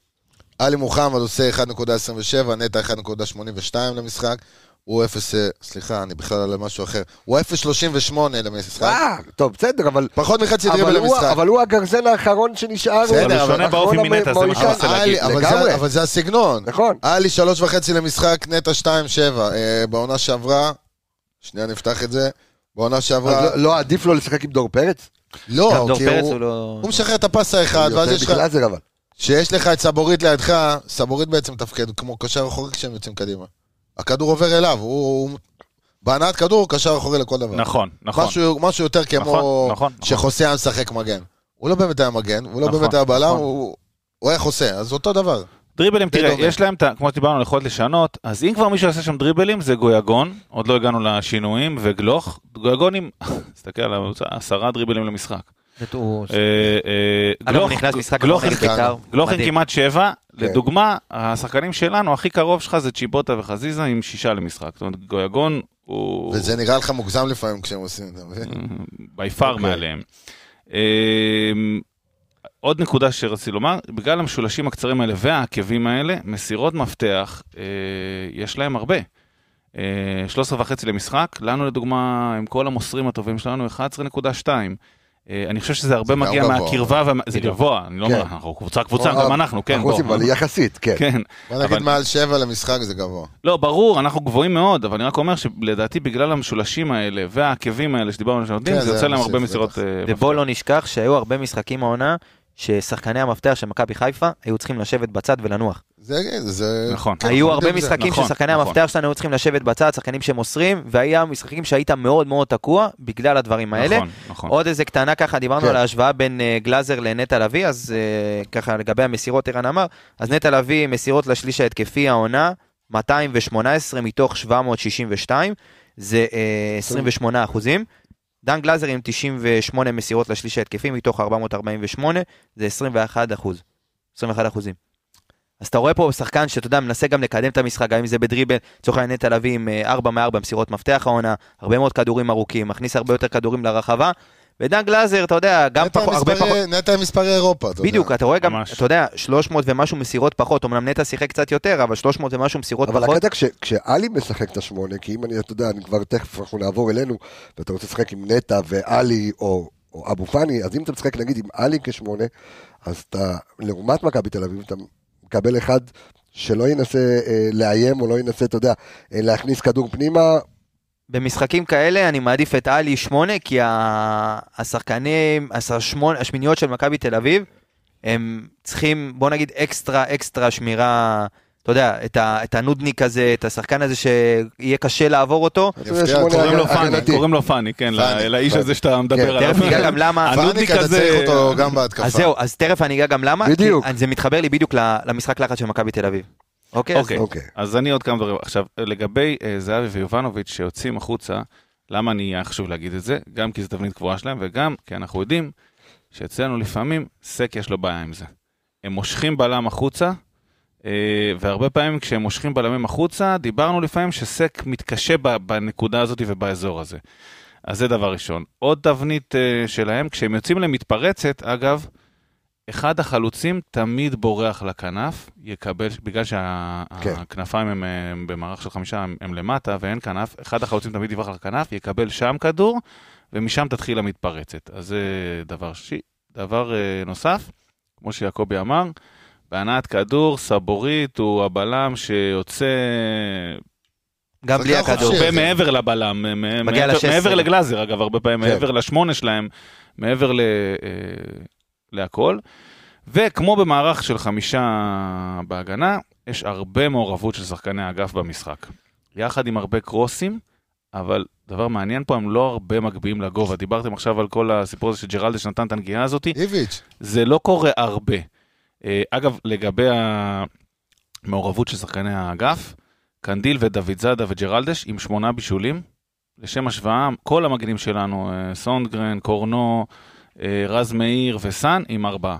עלי מוחמד עושה 1.27, נטע 1.82 למשחק. הוא 0, סליחה, אני בכלל על משהו אחר. הוא 0.38 למשחק. אה, טוב, בסדר, אבל... פחות מחצי אבל דריבל הוא- למשחק. אבל הוא הגרזן האחרון שנשאר. בסדר, אבל הוא שונה האחרון באופי מנטע, זה מה המאוישן. שאני מנסה אבל להגיד. עלי- אבל לגמרי. זה- אבל זה הסגנון. נכון. עלי שלוש וחצי למשחק, נטע 2.7. אה, בעונה שעברה, שנייה נפתח את זה. בעונה אז שעברה, לא- לא עדיף לו לשחק עם דור פרץ? לא, גם דור כי פרץ הוא- הוא לא... הוא משחרר את הפס האחד, כן, ואז יש לך, בגלל זה אבל. שיש לך את סבורית לידך, סבורית בעצם מתפקד כמו קשר אחורי כשהם יוצאים קדימה. הכדור עובר אליו, הוא... הוא- בהנעת כדור הוא קשר אחורי לכל דבר. נכון, נכון. משהו, משהו יותר כמו נכון, נכון, נכון. שחוסה היה משחק מגן. הוא לא באמת היה מגן, הוא לא נכון, באמת היה בלם, נכון. הוא, הוא היה חוסה, אז אותו דבר. דריבלים, די תראה, דומה. יש להם, את ה- כמו שדיברנו, על יכולת לשנות, אז אם כבר מישהו יעשה שם דריבלים, זה גויגון, עוד לא הגענו לשינויים, וגלוך, גויגונים, תסתכל על הממוצע, עשרה דריבלים למשחק. זה הוא- אה, אה, אגב, הוא גלוך- נכנס משחק גלוך עם- נגד בית"ר. גלוך עם מדהים. כמעט שבע, לדוגמה, השחקנים שלנו, הכי קרוב שלך זה צ'יבוטה וחזיזה עם שישה למשחק. זאת אומרת, גויגון הוא... נכון. וזה נראה לך מוגזם לפעמים כשהם עושים את זה. אבל- בי פאר אוקיי. מעליהם. אמ, עוד נקודה שרציתי לומר, בגלל המשולשים הקצרים האלה והעקבים האלה, מסירות מפתח, אה, יש להם הרבה. אה, 13 וחצי למשחק, לנו לדוגמה, עם כל המוסרים הטובים שלנו, 11.2. אה, אני חושב שזה הרבה גם מגיע גבוה. מהקרבה, וה- זה גבוה, אני לא כן. אומר, אנחנו קבוצה קבוצה, גם אנחנו, כן, אה, אנחנו בוא. עושים, אבל יחסית, כן. כן, בוא נגיד אבל- מעל שבע למשחק זה גבוה. לא, ברור, אנחנו גבוהים מאוד, אבל אני רק אומר שלדעתי בגלל המשולשים האלה והעקבים האלה שדיברנו עליהם שנותנים, כן, זה זה יוצא להם מוסיף, הרבה מסירות... בטח. אה, ובוא לא נשכח שהיו הרבה משחקים העונה ששחקני המפתח של מכבי חיפה היו צריכים לשבת בצד ולנוח. זה... זה... נכון. כן, היו אנחנו הרבה יודעים זה. משחקים נכון, ששחקני נכון. המפתח שלנו היו צריכים לשבת בצד, שחקנים שמוסרים, והיה משחקים שהיית מאוד מאוד תקוע בגלל הדברים האלה. נכון, נכון. עוד איזה קטנה ככה, דיברנו כן. על ההשוואה בין אה, גלאזר לנטע לביא, אז אה, ככה לגבי המסירות ערן אמר, אז נטע לביא מסירות לשליש ההתקפי העונה, 218 מתוך 762, זה אה, 28 אחוזים. דן גלאזר עם 98 מסירות לשליש ההתקפי מתוך 448, זה 21 אחוז. 21 אחוזים. אז אתה רואה פה שחקן שאתה יודע, מנסה גם לקדם את המשחק, גם אם זה בדריבל, לצורך העניין נטע לביא עם 4 מ-4 מסירות מפתח העונה, הרבה מאוד כדורים ארוכים, מכניס הרבה יותר כדורים לרחבה, ודן גלאזר, אתה יודע, גם נטע פחות, הרבה מספרי- פחות... נטע מספרי אירופה, אתה יודע. בדיוק, אתה רואה גם, ממש. אתה יודע, 300 ומשהו מסירות פחות, אמנם נטע שיחק קצת יותר, אבל 300 ומשהו מסירות אבל פחות, הקטע כש- כשאלי משחק את השמונה, כי אם אני, אתה יודע, אני כבר תכף אנחנו נעבור אלינו, ואתה רוצה לשחק עם נטע ואלי או או אבו פאני, אז אם אתה משחק נגיד עם עלי כשמונה, אז אתה, לעומת מכבי תל אביב, אתה מקבל אחד שלא ינסה אה, לאיים או לא ינסה, אתה יודע, אה, להכניס כדור פנימה, במשחקים כאלה אני מעדיף את עלי 8, כי ה- השחקנים, השמונ- השמיניות של מכבי תל אביב, הם צריכים, בוא נגיד, אקסטרה אקסטרה שמירה, אתה יודע, את, ה, את הנודניק הזה, את השחקן הזה שיהיה קשה לעבור אותו. אתה יודע, יפתיע, שמונה קוראים לו הגנתי. פאני, קוראים לו פאני, כן, ל- פאני, לאיש הזה שאתה מדבר עליו. תכף ניגע גם למה... אני- פאניק, הנודניק אתה הזה- צריך אותו גם בהתקפה. אז זהו, אז תכף אני אגע גם למה. כי בדיוק. זה מתחבר לי בדיוק ל- למשחק לחץ של מכבי תל אביב. אוקיי? אז- אוקיי, אוקיי. אז אני עוד כמה דברים. עכשיו, לגבי אה, זהבי ויובנוביץ' שיוצאים החוצה, למה אני, היה חשוב להגיד את זה? גם כי זו תבנית קבועה שלהם, וגם כי אנחנו יודעים שאצלנו לפעמים סק יש לו בעיה עם זה. הם מושכים בלם החוצה, אה, והרבה פעמים כשהם מושכים בלמים החוצה, דיברנו לפעמים שסק מתקשה ב- בנקודה הזאת ובאזור הזה. אז זה דבר ראשון. עוד תבנית אה, שלהם, כשהם יוצאים למתפרצת, אגב, אחד החלוצים תמיד בורח לכנף, יקבל, בגלל כן. שהכנפיים כן. הם, אה, הם במערך של חמישה, הם, הם למטה ואין כנף, אחד החלוצים תמיד יברח לכנף, יקבל שם כדור, ומשם תתחיל המתפרצת. אז זה דבר שלישי. דבר אה, נוסף, כמו שיעקבי אמר, בהנעת כדור, סבורית הוא הבלם שיוצא גם לא בלי שחקן כן, הכדור. חופשי. הרבה מעבר לבלם, מ- כן. מגיע מעבר- ל-16. מעבר לגלאזר אגב, הרבה פעמים כן. מעבר לשמונה שלהם, מעבר ל, אה, להכל. וכמו במערך של חמישה בהגנה, יש הרבה מעורבות של שחקני האגף במשחק. יחד עם הרבה קרוסים, אבל דבר מעניין פה, הם לא הרבה מגביהים לגובה. דיברתם עכשיו על כל הסיפור הזה שג'רלדה שנתן את הנגיעה הזאת, איביץ', זה לא קורה הרבה. אה, אגב, לגבי המעורבות של שחקני האגף, קנדיל ודוד זאדה וג'רלדש עם שמונה בישולים. לשם השוואה, כל המגנים שלנו, אה, סונדגרן, קורנו, אה, רז מאיר וסאן, עם ארבעה.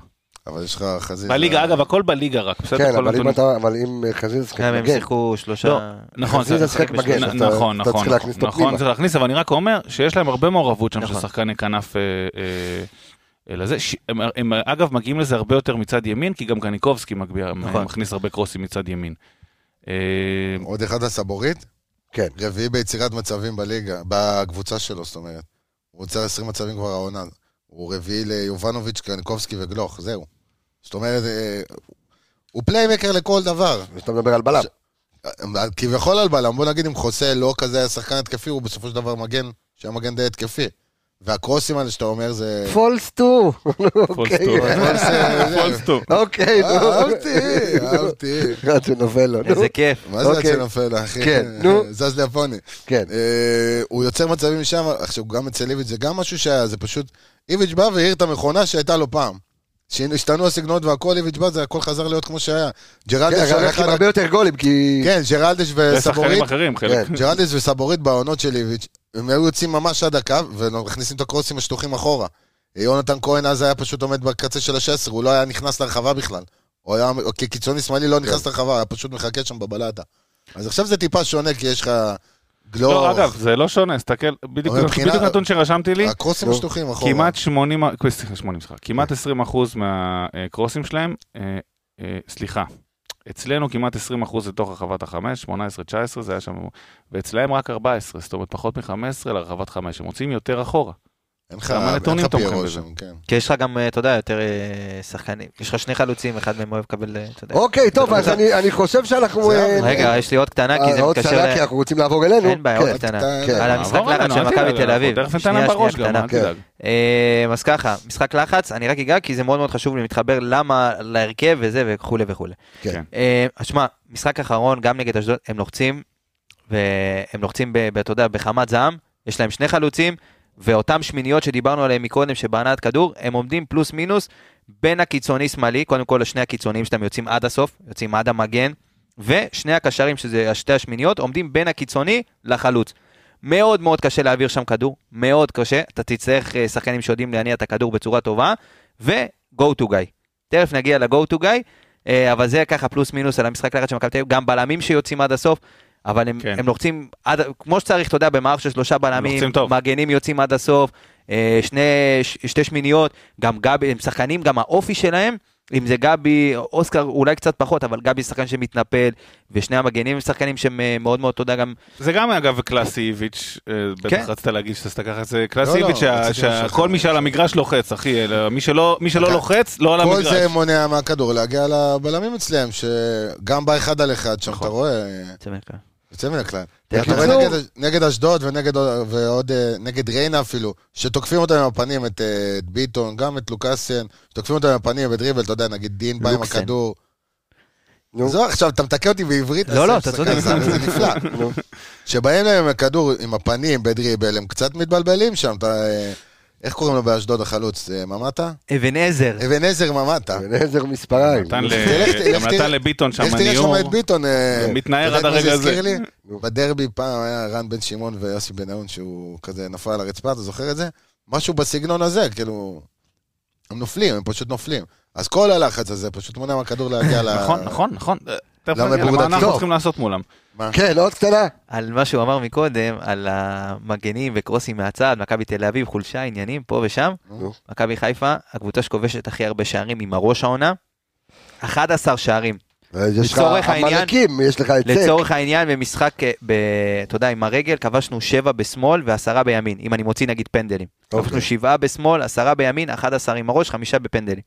אבל יש לך חזיזה. בליגה, אגב, הכל בליגה רק, בסדר? כן, כל אבל אם הנתונים- אתה, אבל אם אה, חזיזה שחק גם הם מגן, שיחקו לא, שלושה... נכון, חזיזה אתה- שיחק מגן, נ- אז אתה- נכון, אתה נכון, צריך להכניס אותו נכון, פנימה. צריך להכניס, אבל אני רק אומר שיש להם הרבה מעורבות שם של נכון. שחקני כנף אה, אה, לזה. ש- הם- הם אגב מגיעים לזה הרבה יותר מצד ימין, כי גם קניקובסקי מגביה- נכון. מכניס הרבה קרוסים מצד ימין. אה, עוד אחד הסבורית, כן. רביעי ביצירת מצבים בליגה, בקבוצה שלו, זאת אומרת. הוא יוצר 20 מצבים כבר העונה. הוא רביעי ליובנוביץ', קרניקובסקי וגלוך, זהו. זאת אומרת, אה, הוא פליימקר לכל דבר. כשאתה מדבר על בלם. כביכול על בלם, בוא נגיד אם חוסה לא כזה היה שחקן התקפי, הוא בסופו של דבר מגן, שהיה מגן די התקפי. והקרוסים האלה שאתה אומר זה... פולס טו. פולסטור. פולסטור. אוקיי, נו. אהבתי, אהבתי. עד שנופל לו, נו. איזה כיף. מה זה עד אוקיי. שנופל, אחי? כן, נו. זז ליפוני. כן. אה, הוא יוצר מצבים משם, עכשיו גם אצל איביץ' זה גם משהו שהיה, זה פשוט, איביץ' בא והעיר את המכונה שהייתה לו פעם. שהשתנו הסגנונות והכל, איביץ' בא, זה הכל חזר להיות כמו שהיה. כן, ג'רלדש אבל הולך הלכתי עם על... הרבה יותר גולים, כי... כן, ג'רלדש זה שחקנים וסבורית, אחרים, חלק. כן. ג'רלדש וסבורית בעונות של איביץ', הם היו יוצאים ממש עד הקו, ומכניסים את הקרוסים השטוחים אחורה. יונתן כהן אז היה פשוט עומד בקצה של ה-16, הוא לא היה נכנס לרחבה בכלל. הוא היה, כקיצוני שמאלי לא נכנס לרחבה, היה פשוט מחכה שם בבלטה. אז עכשיו זה טיפה שונה, כי יש לך גלוך. לא, אגב, זה לא שונה, הסתכל, בדיוק אבל מבחינה- בדיוק נתון שרשמתי לי. הקרוסים לא. השטוחים אחורה. כמעט 80, אה, סליחה, 80, סליחה, כן. כמעט 20 אחוז מהקרוסים שלהם, אה, אה, סליחה, אצלנו כמעט 20 אחוז לתוך רחבת החמש, 18, 19, זה היה שם, ואצלהם רק 14, זאת אומרת פחות מ-15 לרחבת חמש, הם מוצאים יותר אחורה. אין לך כמה אין נתונים לך תומכים פיירו בזה? שם, כן. כי יש לך גם, אה, אתה יודע, יותר אה, שחקנים. יש לך שני חלוצים, אחד מהם אוהב לקבל, אה, אתה יודע. אוקיי, טוב, אז אני- אני חושב שאנחנו... זה- אה, רגע, יש לי עוד קטנה, כי זה עוד מתקשר... קטנה, ל- כי אנחנו רוצים לעבור אלינו. אין בעיה, כן. עוד קטנה. אתה- כן. על המשחק נעבור לחץ אלינו, של אל מכבי תדאג, תל אביב. אוקיי, אנחנו תכף ניתן שנייה, להם בראש שנייה, גם, אה? אל כן. קטנה. תדאג. אמ, אז ככה, משחק לחץ, אני רק אגע כי זה מאוד מאוד חשוב לי להתחבר למה להרכב וזה וכולי וכולי. כן. אמ, אז שמע, משחק אחרון, גם נגד אשדוד, הם לוחצים, והם לוחצים, ב- ב- אתה יודע, בחמת זעם, יש להם שני חלוצים, ואותם שמיניות שדיברנו עליהם מקודם, שבהנעת כדור, הם עומדים פלוס מינוס בין הקיצוני שמאלי, קודם כל לשני הקיצוניים שאתם יוצאים עד הסוף, יוצאים עד המגן, ושני הקשרים, שזה שתי השמיניות, עומדים בין הקיצוני לחלוץ. מאוד מאוד קשה להעביר שם כדור, מאוד קשה, אתה תצטרך אה, שחקנים שיודעים להניע את הכדור בצורה טובה, ו-go to guy. תכף נגיע ל-go to guy, אה, אבל זה ככה פלוס מינוס על המשחק לחץ של מכבי תל אביב, גם בלמים שיוצאים עד הסוף, אבל הם, כן. כן. הם לוחצים עד, כמו שצריך, אתה יודע, במערך של שלושה בלמים, לוחצים טוב. מגנים יוצאים עד הסוף, אה, שני, ש, שתי שמיניות, גם גבי, הם שחקנים, גם האופי שלהם, אם זה גבי, אוסקר אולי קצת פחות, אבל גבי שחקן שמתנפל, ושני המגנים הם שחקנים שהם אה, מאוד מאוד, אתה יודע, גם זה גם אגב קלאסי איביץ', אה, בטח כן. רצית להגיד שאתה לקחת את זה, לא, קלאסי איביץ', שה- רציתי שה- משהו אחר. כל מי שעל המגרש לוחץ, אחי, אלא מי שלא מי שלא אגב, לוחץ, לא על כל המגרש. זה מונע מהכדור להגיע לבלמים אצלם, שגם בא אחד על אחד שם, נכון. אתה רואה, כן. יוצא מן הכלל. תראה, אתה רואה בקיצור- נגד- נגד אשדוד ונגד ועוד, אה, נגד ריינה אפילו, שתוקפים אותם עם הפנים, את אה, את ביטון, גם את לוקאסן, שתוקפים אותם עם הפנים בדריבל, אתה יודע, נגיד דין בא עם לוקסן. הכדור. נו. זו, עכשיו, אתה מתקן אותי בעברית? לא, אז לא, זה אתה הפסקה, צודק. זה זה נפלא. נו. שבאים להם עם הכדור עם הפנים בדריבל, הם קצת מתבלבלים שם, אתה... אה, איך קוראים לו באשדוד החלוץ? אה, ממטה? אבן עזר, אבן עזר ממטה. ונעזר מספריים. נתן ל- תלך, תלך, גם נתן תלך. לבביטון שם איך תראה שם ניור. את ביטון? אה, מתנער אתה יודע עד מה זה הרגע הזה. הזכיר לי? בדרבי פעם היה רן בן שמעון ויוסי בניון שהוא כזה נפל על הרצפה, אתה זוכר את זה? משהו בסגנון הזה, כאילו... הם נופלים, הם פשוט נופלים. אז כל הלחץ הזה פשוט מונע מהכדור להגיע ל... נכון, נכון, נכון. אה, תכף למה נגיע למה ברודק אנחנו לא? צריכים לעשות מולם. מה? כן, עוד קטנה. על מה שהוא אמר מקודם, על המגנים וקרוסים מהצד, מכבי תל אביב, חולשה, עניינים, פה ושם. נו. מכבי חיפה, הקבוצה שכובשת הכי הרבה שערים עם הראש העונה. 11 שערים. יש לך לצורך העניין- עמלקים, יש לך היצק. לצורך העניין, במשחק, אה, ב- אתה יודע, עם הרגל, כבשנו 7 בשמאל ועשרה בימין, אם אני מוציא נגיד פנדלים. אוקיי. כבשנו 7 בשמאל, 10 בימין, 11 עם הראש, 5 בפנדלים.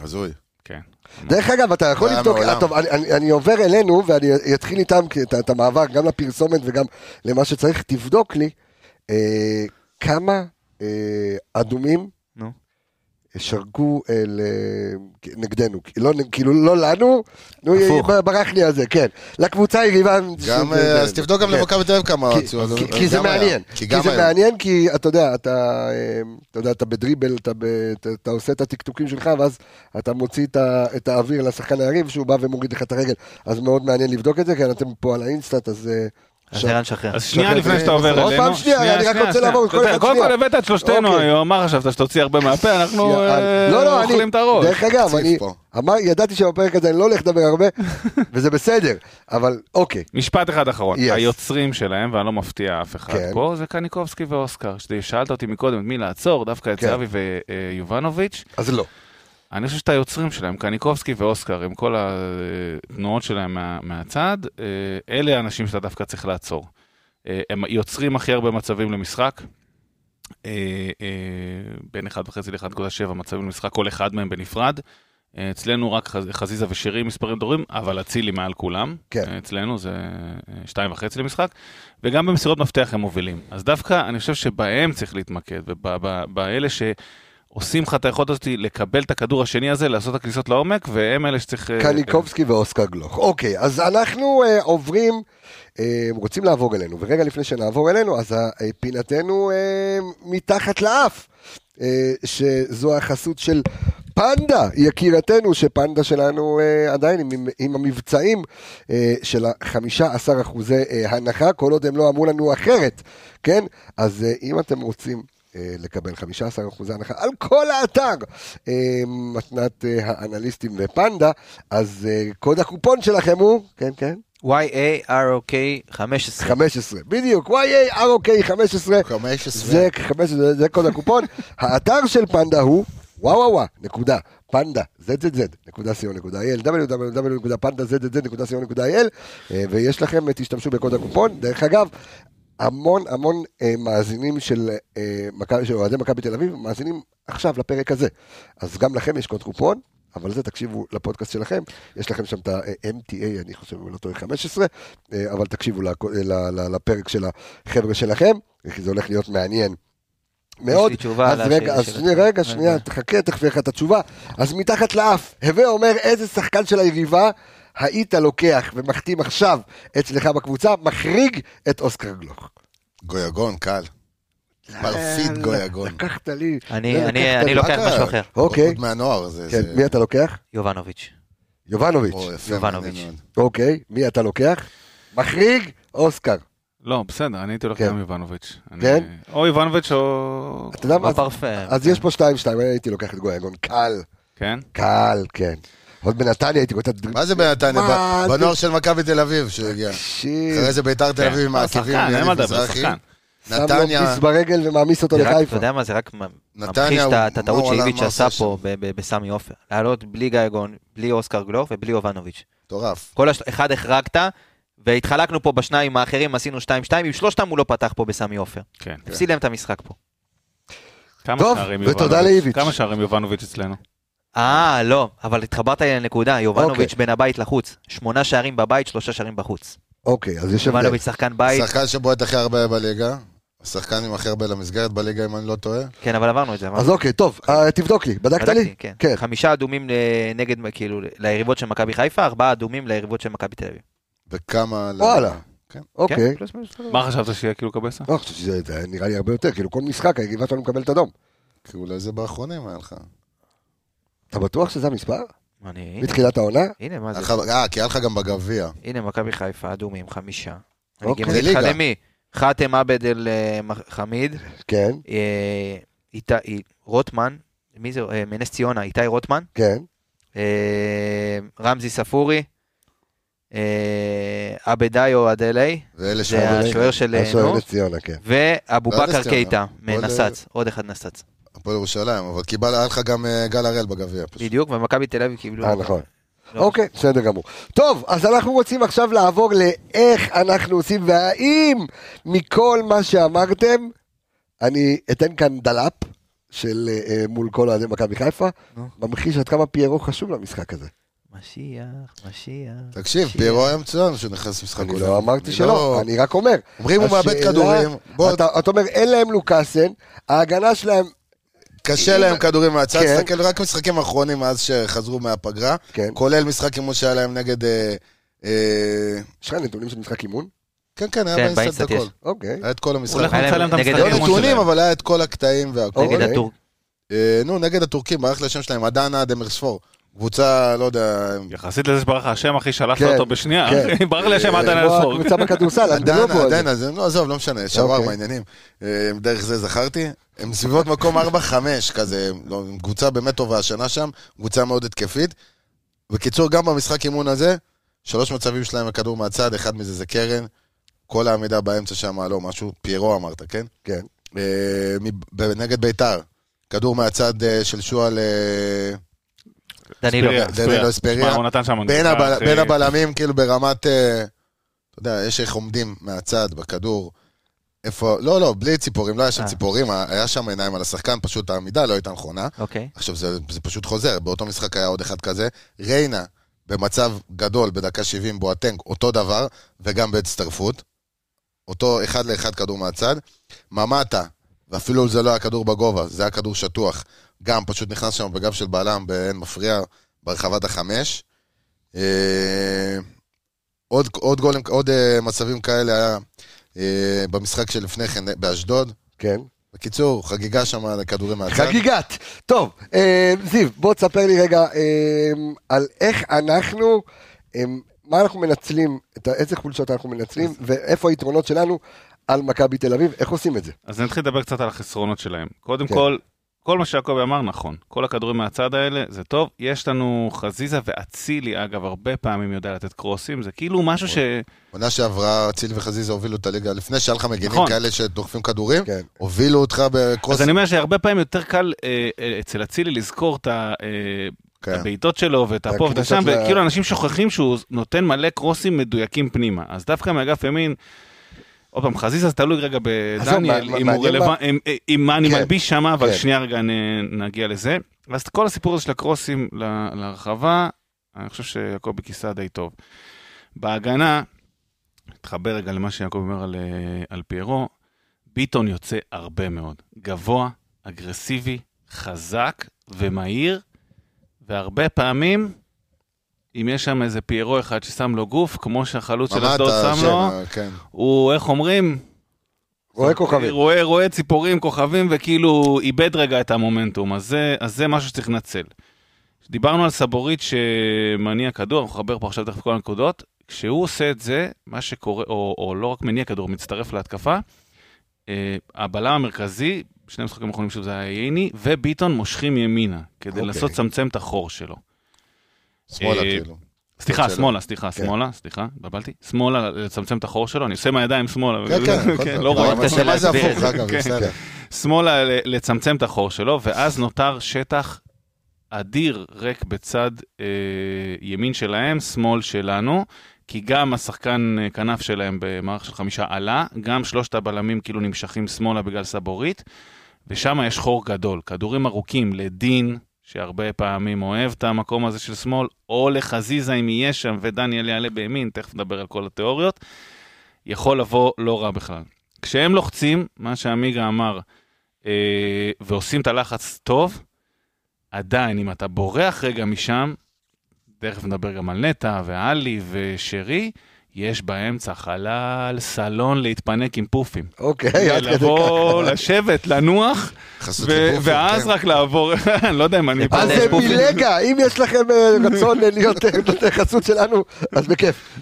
הזוי. כן. דרך אגב, אתה יכול זה היה לבדוק, מעולם. טוב, אני- אני אני עובר אלינו ואני אתחיל איתם כי את- את המעבר גם לפרסומת וגם למה שצריך, תבדוק לי אה, כמה אה, אדומים נו. שרקו אל, אה, נגדנו, לא, נ- כאילו לא לנו, נו, הפוך. ב- ברח לי על זה, כן, לקבוצה היריבה. גם, שזה- אה, אז תבדוק גם כן. למכבי תל אביב כמה כי- הוציאו. אה, אז- כי- אז כי זה גם היה. מעניין, כי כי גם זה היה. מעניין, כי אתה יודע, אתה אה, אתה יודע, אתה בדריבל, אתה ב- אתה- אתה עושה את הטקטוקים שלך, ואז אתה מוציא את ה- את האוויר לשחקן היריב, שהוא בא ומוריד לך את הרגל, אז מאוד מעניין לבדוק את זה, כי אתם פה על האינסטאט, אז... אה, אז שם- ערן שחרר. אז שנייה שחר, לפני זה- שאתה עובר אה, אוקיי. עוד אלינו. פעם שנייה, אני רק רוצה לעבור את כל אתה יודע, אחד קודם כל שנייה. הבאת את שלושתנו אוקיי. היום, מה חשבת, שתוציא הרבה מהפה? אנחנו אה, לא, לא, אוכלים אני- את הראש. דרך אגב, ציף אני פה. אמר- ידעתי שבפרק הזה אני לא הולך לדבר הרבה, וזה בסדר, אבל אוקיי. משפט אחד אחרון, Yes. היוצרים שלהם, ואני לא מפתיע אף אחד כן. פה, זה קניקובסקי ואוסקר. ששאלת אותי מקודם את מי לעצור, דווקא את כן. זהבי אה, ויובנוביץ', אז לא. אני חושב שאת היוצרים שלהם, קניקובסקי ואוסקר, עם כל התנועות שלהם מה, מהצד, אה, אלה האנשים שאתה דווקא צריך לעצור. אה, הם יוצרים הכי הרבה מצבים למשחק, אה, אה, בין 1.5 ל-1.7 מצבים למשחק, כל אחד מהם בנפרד. אה, אצלנו רק חז- חזיזה ושירי מספרים דורים, אבל אצילי מעל כולם. כן. אה, אצלנו זה אה, שתיים וחצי למשחק, וגם במסירות מפתח הם מובילים. אז דווקא אני חושב שבהם צריך להתמקד, ובאלה שעושים לך את היכולת הזאת לקבל את הכדור השני הזה, לעשות את הכניסות לעומק, והם אלה שצריך... אה, קניקובסקי ואוסקר גלוך. אוקיי, אז אנחנו אה, עוברים, אה, רוצים לעבור אלינו, ורגע לפני שנעבור אלינו, אז אה, פינתנו אה, מתחת לאף, אה, שזו החסות של פנדה, יקירתנו, שפנדה שלנו אה, עדיין עם, עם המבצעים אה, של ה-15 אחוזי אה, הנחה, כל עוד הם לא אמרו לנו אחרת, כן? אז אה, אם אתם רוצים... אה, לקבל 15% הנחה על כל האתר, אה, מתנת אה, האנליסטים ופנדה, אז אה, קוד הקופון שלכם הוא, כן, כן, YAROK 15. 15, בדיוק, YAROK 15, 15. זה, 15, זה- זה קוד הקופון, האתר של פנדה הוא וואו וואו וואו, נקודה, פנדה, zzz.co.il, www.pandazzz.co.il, אה, ויש לכם, תשתמשו בקוד הקופון, דרך אגב, המון המון אה, מאזינים של אה, מכבי- של אוהדי מכבי תל אביב, מאזינים עכשיו לפרק הזה. אז גם לכם יש קוד קופון, אבל זה תקשיבו לפודקאסט שלכם, יש לכם שם את ה-MTA, אני חושב, אם אני לא טועה, 15, אה, אבל תקשיבו לקו- אה, ל- ל- לפרק של החבר'ה שלכם, כי זה הולך להיות מעניין. מאוד, לי תשובה אז על רגע, השאלה אז שלך. שנייה, רגע, רגע. שנייה, תחכה, תכף יהיה לך את התשובה. אז מתחת לאף, הווה אומר איזה שחקן של היריבה היית לוקח ומחתים עכשיו אצלך בקבוצה, מחריג את אוסקר גלוך. גויגון, קל. מרפיד גויגון. לקחת לי. אני- זה אני לקחת לי. אני לוקח מה משהו קרה? אחר. אוקיי. עוד מהנוער. זה- כן, זה- מי אתה לוקח? יובנוביץ'. יובנוביץ'. או, יפה, יובנוביץ'. מעניין מאוד. אוקיי, מי אתה לוקח? מחריג, אוסקר. לא, בסדר, אני הייתי הולך כן. גם עם איוונוביץ'. אני- כן? או איוונוביץ' או... אתה יודע מה? לא פרפם. אז יש פה 2-2, אני הייתי לוקח את גויגון. קל, כן? קל, כן. עוד בנתניה הייתי רוצה... מה זה בנתניה? מה ב- זה? אה, בנוער של מכבי תל אביב שהוא הגיע. תקשיב, אחרי זה ביתר תל אביב עם כן. העקיבים, שחקן, אין מה יניב לדבר, מזרחי. שחקן. לא שם לו נתניה, פיס ברגל ומעמיס אותו זה רק- לחיפה. אתה יודע מה, זה רק מ- נתניה ממחיש את הוא ה- את הטעות מור על שאיביץ' מה עשה עושה פה ב- ב- בסמי עופר. לעלות בלי גייגון, בלי אוסקר גלוך ובלי יובנוביץ'. מטורף. כל הש- אחד החרגת, והתחלקנו פה בשניים האחרים, עשינו 2-2, עם שלושתם הוא לא פתח פה בסמי עופר. כן. הפסיד להם את המשחק פה. כמה טוב, שערים ותודה יובנוביץ'? לאיביץ'. כמה שערים יובנוביץ' אצלנו? אה, לא, אבל התחברת לי לנקודה, יובנוביץ' בין הבית לחוץ. שמונה שערים בבית, שלושה שערים בחוץ. אוקיי, אז יש הבדל. יובנוביץ' שחקן בית, השחקן שבועט הכי הרבה בליגה. השחקן עם הכי הרבה למסגרת בליגה, אם אני לא טועה. כן, אבל עברנו את זה. נכון? עברנו. אז אוקיי, טוב, אה, תבדוק לי, בדקת לי? כן. כן. חמישה אדומים ל- נגד, כאילו, ליריבות של מכבי חיפה, ארבעה אדומים ליריבות של מכבי תל אביב. וכמה... ל- וואלה. כן. אוקיי. כן, פלוס מינוס. מה חשבת שיהיה כאילו קבסה? לא, חשבתי שזה זה נראה לי הרבה יותר, כאילו כל משחק היריבה שלנו מקבלת אדום. כי אולי זה כאילו, באחרונים היה לך. אתה בטוח שזה המספר? אני... מתחילת העונה? הנה, מה זה? היה לך- אה, כי היה לך גם בגביע. הנה, מכבי חיפה, אדומים, חמישה. אני אוקיי. גם אגיד לך ליגה. למי. חאתם עבד אל אה, מח- חמיד, כן, אה, איתי- אי- רוטמן, מי זה? אה, מנס ציונה, איתי רוטמן, כן. אה, רמזי ספורי, אה, עבדאיו עדלי, ואלה זה השוער של... אה, השוער נו, לציונה, כן. ואבו לא בכר נס ציונה. קייטה, עוד, מנסץ, עוד אחד נסץ. הפועל ירושלים, אבל קיבל, היה לך גם אה, גל הראל בגביע. פשוט. בדיוק, ומכבי תל אביב קיבלו... אה, נכון. לא, אוקיי, בסדר גמור. טוב, אז אנחנו רוצים עכשיו לעבור לאיך אנחנו עושים, והאם מכל מה שאמרתם, אני אתן כאן דלאפ של אה, אה, מול כל אוהדי מכבי חיפה, נו. ממחיש עד כמה פיירו חשוב למשחק הזה. משיח, משיח. תקשיב, משיח. פירו היום מצוין שהוא נכנס למשחק. אני ראשון. לא אמרתי אני שלא, לא- אני רק אומר. אומרים הוא מאבד השאלה- כדורים, בוא, אתה אתה אומר, אין להם לוקאסן, ההגנה שלהם, קשה להם כדורים מהצד, כן. תסתכל רק משחקים אחרונים מאז שחזרו מהפגרה, כן. כולל משחק אימון שהיה להם נגד... אה, אה, יש לך נתונים של משחק אימון? כן, כן, כן, היה באינסטנט באינסטנט הכל. יש. אוקיי. היה את כל המשחק. הולך למצוא להם את נגד- המשחק. לא האימון נתונים, שלהם. אבל היה את כל הקטעים והכל. נגד אוקיי. הטור... אה, נו, נגד הטורקים, ברח לי השם שלהם, עדנה דמרספור. קבוצה, לא יודע, יחסית לזה שברח השם, אחי, שלף כן, לו אותו בשנייה. כן. אחי, ברח לי השם עד אה, עליו כמו לספור. הקבוצה בכדורסל, אנדלופו עדנה, הזה. עדנה, זה לא, עזוב, לא משנה, אוקיי. שווארמה, עניינים. אה, דרך זה זכרתי. הם סביבות מקום 4-5 כזה, לא, הם קבוצה באמת טובה השנה שם, קבוצה מאוד התקפית. בקיצור, גם במשחק אימון הזה, שלוש מצבים שלהם הכדור מהצד, אחד מזה זה קרן, כל העמידה באמצע שם, לא, משהו, פיירו אמרת, כן? כן. אה, מב- ב- נגד ביתר, כדור מהצד אה, של שועה ל- דנילו. אספריה, דנילו אספריה. אספריה. שמע, הוא נתן שם... בין, הנגחה, הבל... אחי. בין הבלמים, כאילו ברמת, אה, אתה יודע, יש איך עומדים מהצד, בכדור. איפה, לא, לא, בלי ציפורים, לא היה שם אה. ציפורים, ה- היה שם עיניים על השחקן, פשוט העמידה לא הייתה נכונה. אוקיי. עכשיו, זה, זה פשוט חוזר, באותו משחק היה עוד אחד כזה. ריינה, במצב גדול, בדקה 70, בואטנק, אותו דבר, וגם בהצטרפות. אותו אחד לאחד כדור מהצד. ממטה, ואפילו זה לא היה כדור בגובה, זה היה כדור שטוח. גם פשוט נכנס שם בגב של בלם, באין מפריע, ברחבת החמש. אה, עוד, עוד, גולים, עוד אה, מצבים כאלה היה אה, במשחק שלפני כן אה, באשדוד. כן. בקיצור, חגיגה שם על הכדורים מהצד. חגיגת. טוב, אה, זיו, בוא תספר לי רגע אה, על איך אנחנו, אה, מה אנחנו מנצלים, את ה- איזה חולשות אנחנו מנצלים, ואיפה היתרונות שלנו על מכבי תל אביב, איך עושים את זה? אז נתחיל לדבר קצת על החסרונות שלהם. קודם כן. כל, כל מה שיעקבי אמר נכון. כל הכדורים מהצד האלה, זה טוב. יש לנו חזיזה ואצילי, אגב, הרבה פעמים יודע לתת קרוסים, זה כאילו משהו ש... עונה שעברה, אציל וחזיזה הובילו את הליגה, לפני שהיה לך מגינים נכון. כאלה שדוחפים כדורים, כן. הובילו אותך בקרוס... אז אני אומר שהרבה פעמים יותר קל אה, אה, אצל אצילי לזכור את ה... אה, כן. הבעיטות שלו ואת הפה ואת הכניסות השם, ל- וכאילו אנשים שוכחים שהוא נותן מלא קרוסים מדויקים פנימה. אז דווקא מאגף ימין, עוד פעם, חזיזה זה תלוי רגע עזוב, בדניאל, מה- אם מה- הוא מעניין רלוונטי, עם מה אני כן, מלביש שמה, אבל כן. שנייה רגע נ- נגיע לזה. אז כל הסיפור הזה של הקרוסים ל- להרחבה, אני חושב שיעקבי כיסה די טוב. בהגנה, אתחבר רגע למה שיעקב אומר על, אה, על פיירו, ביטון יוצא הרבה מאוד. גבוה, אגרסיבי, חזק ומהיר, והרבה פעמים, אם יש שם איזה פיירו אחד ששם לו גוף, כמו שהחלוץ של ממ"ט, אשדוד שם השם, לו, כן. הוא, איך אומרים? רואה כוכבים. אוקיי. רואה, רואה ציפורים, כוכבים, וכאילו איבד רגע את המומנטום. אז זה, אז זה משהו שצריך לנצל. דיברנו על סבורית שמניע כדור, אנחנו נחבר פה עכשיו תכף כל הנקודות. כשהוא עושה את זה, מה שקורה, או, או לא רק מניע כדור, מצטרף להתקפה, אה, הבלם המרכזי, שני משחקים האחרונים שלו זה היה ייני, וביטון מושכים ימינה, כדי אוקיי. לנסות לצמצם את החור שלו. שמאלה אה, כאילו. סליחה, שלו. שמאלה, סליחה, כן. שמאלה, סליחה, התבלבלתי. שמאלה, לצמצם את החור שלו, אני עושה עם הידיים שמאלה. כן, כן, הכל טוב. לא רואה. אבל מה זה קשה להסביר הפוך, את זה. אגב, כן. בסדר. שמאלה ל- לצמצם את החור שלו, ואז נותר שטח אדיר ריק בצד אה, ימין שלהם, שמאל שלנו, כי גם השחקן אה, כנף שלהם במערך של חמישה עלה, גם שלושת הבלמים כאילו נמשכים שמאלה בגלל סבורית, ושם יש חור גדול. כדורים ארוכים לדין, שהרבה פעמים אוהב את המקום הזה של שמאל, או לחזיזה אם יהיה שם, ודניאל יעלה בימין, תכף נדבר על כל התיאוריות, יכול לבוא לא רע בכלל. כשהם לוחצים, מה שעמיגה אמר, אה, ועושים את הלחץ טוב, עדיין, אם אתה בורח רגע משם, תכף נדבר גם על נטע ועלי ושרי, יש באמצע חלל, סלון להתפנק עם פופים. אוקיי, עד כדי לבוא, כך. לשבת, לנוח, חסות ו- ליבופי, ואז כן. רק לעבור, אני לא יודע אם אני... אז אה, אה, יש פופים. מלגע, אם יש לכם אה, רצון אה, להיות אה, נותני חסות שלנו, אז בכיף.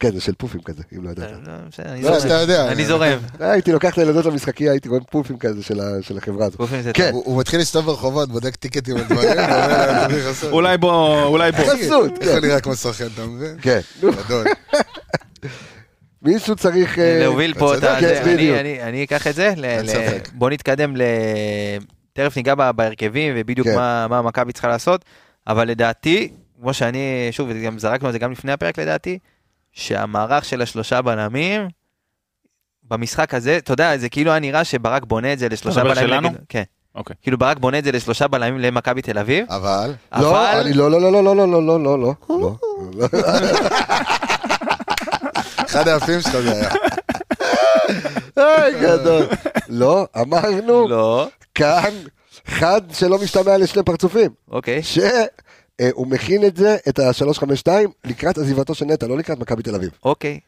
כן, זה של פופים כזה, אם לא ידעת. לא, בסדר, אני לא, זורם. אתה יודע. אני זורם. הייתי לוקח את הילדות למשחקייה, הייתי רואה פופים כזה של ה- של החברה הזאת. באופן זה כן. טוב. הוא הוא מתחיל להסתובב ברחובות, בודק טיקטים על דברים, ואומר "אה, להם, "תביא חסות". אולי בוא, אולי בוא. אה, חסות, איך כן. הוא נראה כמו סוכן, אתה מבין? כן. גדול. מישהו צריך... אה, להוביל פה את צודק, כן, ה... זה, אני- בדיוק. אני- אני אקח את זה. ל- אין ל- ספק. בוא נתקדם ל... תכף ניגע בה- בהרכבים ובדיוק כן. מה מה מכבי צריכה לעשות, אבל לדעתי, כמו שאני, שוב, גם זרקנו את זה גם לפני הפרק לדעתי, שהמערך של השלושה בלמים, במשחק הזה, אתה יודע, זה כאילו היה נראה שברק בונה את זה לשלושה מדבר בלמים. שלנו? נגד- כן. אוקיי. כאילו ברק בונה את זה לשלושה בלמים למכבי תל אביב, אבל... לא, אבל אני לא, לא, לא, לא, לא, לא, לא, לא, לא, לא. אחד היפים שלך זה היה. היי, גדול. לא, אמרנו לא, כאן, חד שלא משתמע לשני פרצופים, אוקיי. שהוא מכין את זה, את ה-352, לקראת עזיבתו של נטע, לא לקראת מכבי תל אביב. אוקיי.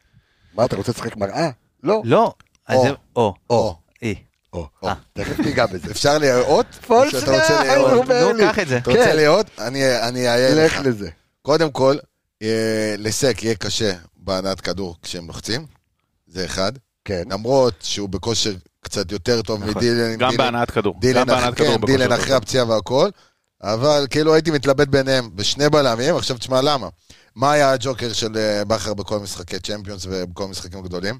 מה, אתה רוצה לשחק מראה? לא. לא, אז או. זה... או. או, אי. או, אה. תכף ניגע בזה. אפשר לראות? או שאתה רוצה פולסנר, הוא לראות? אה, נו, אומר לי. קח את זה. אתה רוצה כן. לראות? אני אני אעיין לך לך. לזה. קודם כל, אה, לסק יהיה קשה בהנעת כדור כשהם לוחצים, זה אחד. כן. למרות שהוא בכושר קצת יותר טוב נכון. מדילן. גם דילן- בהנעת כדור. גם דילן בהנעת אחרי- כדור. כן, בכושר דילן טוב. אחרי הפציעה והכל, אבל כאילו הייתי מתלבט ביניהם בשני בלמים, עכשיו תשמע למה. מה היה הג'וקר של אה, בכר בכל משחקי צ'מפיונס ובכל המשחקים הגדולים?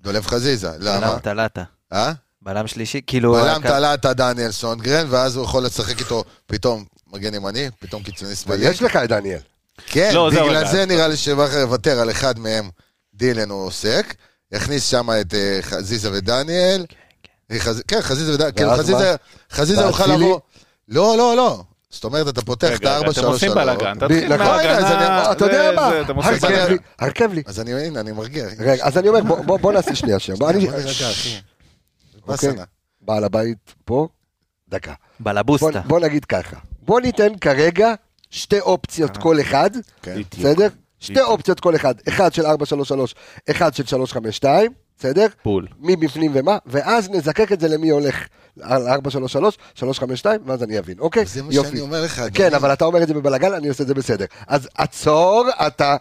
דולב חזיזה, למה? בלם תלאטה. אה? בלם שלישי, כאילו... בלם רק- תלה את דניאל סונגרן, ואז הוא יכול לשחק איתו פתאום מגן ימני, פתאום קיצוני אבל שמאלי. יש לך את דניאל. כן, לא, זהו, בגלל רגע. זה נראה לי שבכר יוותר על אחד מהם, דילן הוא עוסק, יכניס שם את אה, חזיזה ודניאל. חז- כן, חזיזה ודניאל, כאילו ואז חזיזה, חזיזה ואז יוכל צילי? לבוא. לא, לא, לא. זאת אומרת, אתה פותח את רגע, הארבע אתם שלוש עושים בלאגן, תתחיל נכון, מההגנה, אז אני- אתה זה- יודע מה? זה, אתם עושים הרכב בלאגן. לי, הרכב לי. אז אני, הנה, אני מרגיע. רגע, אז אני אומר, בוא- בוא- בוא נעשה שנייה שם. בוא, אני- בוא נירגע, אחי. מה אוקיי. סנה? בעל הבית פה, דקה. בוא- בלבוסטה. בוא נגיד ככה, בוא ניתן כרגע שתי אופציות כל אחד, אה. כן. בסדר? שתי אופציות כל אחד, אחד של 433, אחד של 352, בסדר? בול. מי בפנים ומה, ואז נזקק את זה למי הולך על 433, 352, ואז אני אבין, אוקיי? זה מה יופי. שאני אומר לך. כן, אדוני. אבל אתה אומר את זה בבלאגן, אני עושה את זה בסדר. אז עצור, אתה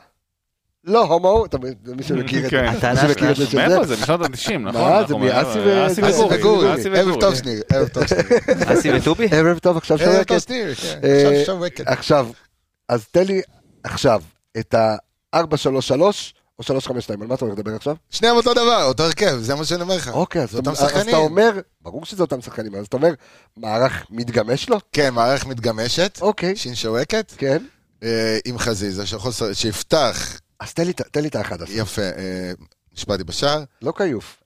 לא הומו, אתה מי שמכיר את כן. זה, מי הטענה שמכיר את זה שזה, מאיפה זה? משנות ה-90, נכון? זה אנחנו- מאסי ו- אסי אסי וגורי, וגורי, אסי ערב טוב שניר, ערב טוב שניר. אסי וטובי? ערב טוב, עכשיו ערב שורקת. טוב שניר, כן. אה, עכשיו שורקת. עכשיו, אז תן לי עכשיו את ה-433 או 352, על מה אתה הולך לדבר עכשיו? שניהם אותו דבר, אותו הרכב, זה מה שאני אומר לך. אוקיי, אז זה אותם אתה- אז שחקנים. אתה אומר, ברור שזה אותם שחקנים, אז אתה אומר, מערך מתגמש לו? כן, מערכת מתגמשת, אוקיי, שין שורקת, כן. אה, עם חזיזה, שיכול לשחק- שיפתח, אז תן לי את ה- תן לי את האחד הזה, יפה, אה, נשבעתי בשער. לא כיוף.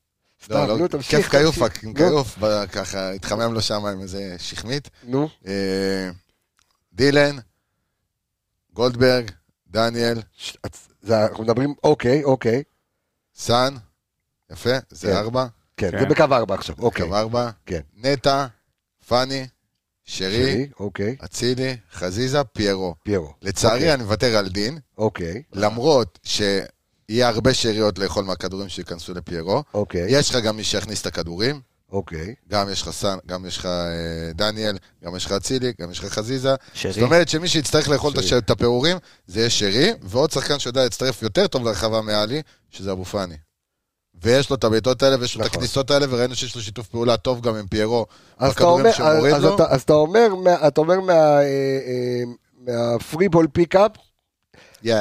לא, סתם, לא, נו, תמשיך. כיף כיופק, תמשיך. עם נו, כיוף, ב- ככה, התחמם לו שם עם איזה שכמית. נו, אה, דילן, גולדברג, דניאל, ש- אז- זה- אנחנו מדברים, אוקיי, אוקיי, סאן, יפה, כן. זה ארבע, כן, זה כן. בקו ארבע עכשיו, אוקיי. קו ארבע, כן. נטע, פאני, שרי, שני, אוקיי, אצילי, חזיזה, פיירו. פיירו, אוקיי. לצערי, אני מוותר על דין. אוקיי, למרות שיהיה הרבה שאריות לאכול מהכדורים שייכנסו לפיירו. אוקיי, יש לך גם מי שיכניס את הכדורים, אוקיי, גם יש לך סאן, גם יש לך אה, דניאל, גם יש לך אצילי, גם יש לך חזיזה. זאת שרי. אומרת שמי שיצטרך לאכול את שרי. הש- את הפירורים, זה יהיה שרי, ועוד שחקן שיודע להצטרף יותר טוב לרחבה מעלי, שזה אבו פאני. ויש לו את הבעיטות האלה, ויש לו את נכון. הכניסות האלה, וראינו שיש לו שיתוף פעולה טוב גם עם פיירו. אז אתה בכדורים אומר, שמוריד אז לו. אתה, אז אתה אומר, מה- אתה אומר מה, אה, אה, מהפריבול פיקאפ, יא.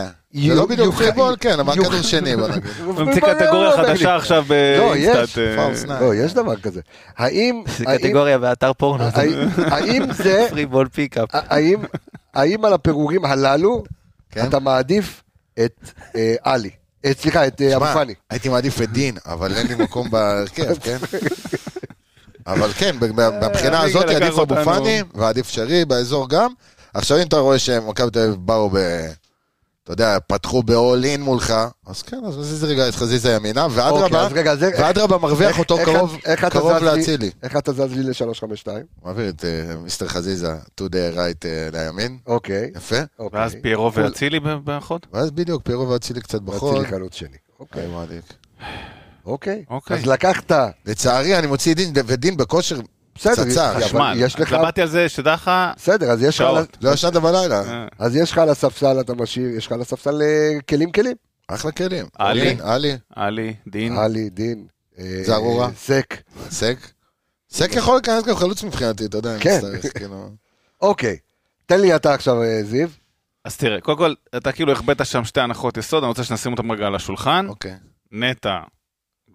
זה לא בדיוק חיבול, כן, אבל you- כדור שני, בוא נגיד. הוא המציא קטגוריה חדשה עכשיו לא, יש, באינסטנט. אה, פאוס נאי. לא, יש דבר כזה. האם, זה האם- קטגוריה באתר פורנו. האם- האם זה, פרי בול פיקאפ. האם, האם על הפירורים הללו, כן. אתה מעדיף את אה, עלי, אה, סליחה, את אה, אבו שמע, פאני. הייתי מעדיף את דין, אבל אין לי מקום בהרכב, כן? אבל כן, ב- ב- מהבחינה אה, הזאת הליגה עדיף לקח אבו אותנו. פאני ועדיף שרי באזור גם. עכשיו אם אתה רואה שמכבי תל אביב באו ב... אתה יודע, פתחו ב-all in מולך, אז כן, אז מזיז רגע את חזיזה ימינה, אוקיי, ואדרבה, אז רגע, אז איך- ואדרבה מרוויח איך- אותו איך- קרוב איך אתה קרוב זז לי- לאצילי. איך אתה זז לי ל-352? מעביר את אה, מיסטר חזיזה to the right אה, לימין, אוקיי. יפה. אוקיי. ואז פיירו ואצילי ב- באחוד? ואז בדיוק, פירו ואצילי קצת בחול. אצילי חלוץ שני. אוקיי. היי, מעדיק. אוקיי. אוקיי. אז לקחת, לצערי, אני מוציא דין, ודין בכושר בסדר, פצצה. אבל חשמל. יש לך- התלבטתי על זה, שתדע לך... בסדר, אז יש לך... שעות. לא ישנת בלילה. אה, אז יש לך על הספסל, אתה משאיר, יש לך על הספסל אה, כלים כלים. אחלה כלים. עלי. כן, עלי, עלי, דין. עלי, דין. אה, זערורה. סק. סק. סק אה. יכול להיכנס גם חלוץ מבחינתי, אתה יודע, אם כן. צריך, כאילו. אוקיי. תן לי אתה עכשיו, אה, זיו. אז תראה, קודם כל, אתה כאילו החבאת אוקיי. שם שתי הנחות יסוד, אני רוצה שנשים אותן רגע על השולחן. אוקיי. נטע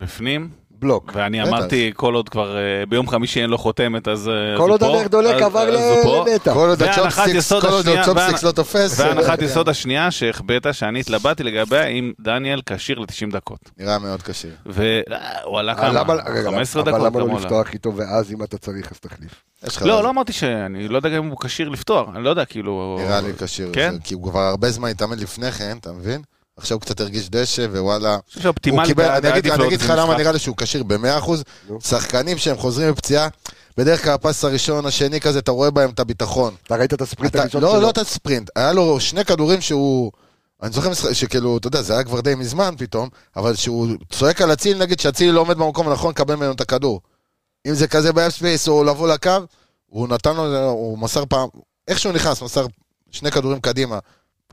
בפנים. בלוק. ואני בטח. אמרתי, כל עוד כבר אה, ביום חמישי אין לו חותמת, אז אה, אז כל הוא עוד פה, הנר דולק אז- עבר אז הוא פה. ל- לנטע. כל עוד והנחת הצ'ופסטיקס יסוד כל עוד השנייה, הצ'ופסטיקס והנ- לא תופס, והנחת אה, כן. יסוד השנייה שהחבאת, שאני התלבטתי לגביה, אם דניאל כשיר ל-90 דקות. נראה מאוד קשה. והוא עלה אבל כמה? אה, למה- רגע, 15 אה, דקות? אבל למה לא כמה עלה? לפתוח איתו, ואז אם אתה צריך אז תחליף. יש לך לא, לא אמרתי שאני לא יודע גם אם הוא כשיר לפתוח, אני לא יודע, כאילו... נראה לי כשיר. כן? זה, כי הוא כבר הרבה זמן התאמן לפני כן, אתה מבין? עכשיו הוא קצת הרגיש דשא, ווואלה. אני חושב שאופטימלי הוא קיבל, היה אני אגיד עדיף אני לו אגיד עוד לך למה משחק. נראה לי שהוא כשיר ב-100%. לא. שחקנים שהם חוזרים מפציעה, בדרך כלל הפס הראשון, השני כזה, אתה רואה בהם את הביטחון. אתה ראית את הספרינט אתה, הראשון לא, לא שלו? את הספרינט, היה לו שני כדורים שהוא... אני זוכר משחק- שכאילו, אתה יודע, זה היה כבר די מזמן פתאום, אבל שהוא צועק על אצילי, נגיד שאצילי לא עומד במקום הנכון, קבל ממנו את הכדור. אם זה כזה באפ ספייס או לבוא לקו, הוא נתן לו, הוא מסר פעם, איך שהוא נכנס, מסר שני כדורים קדימה.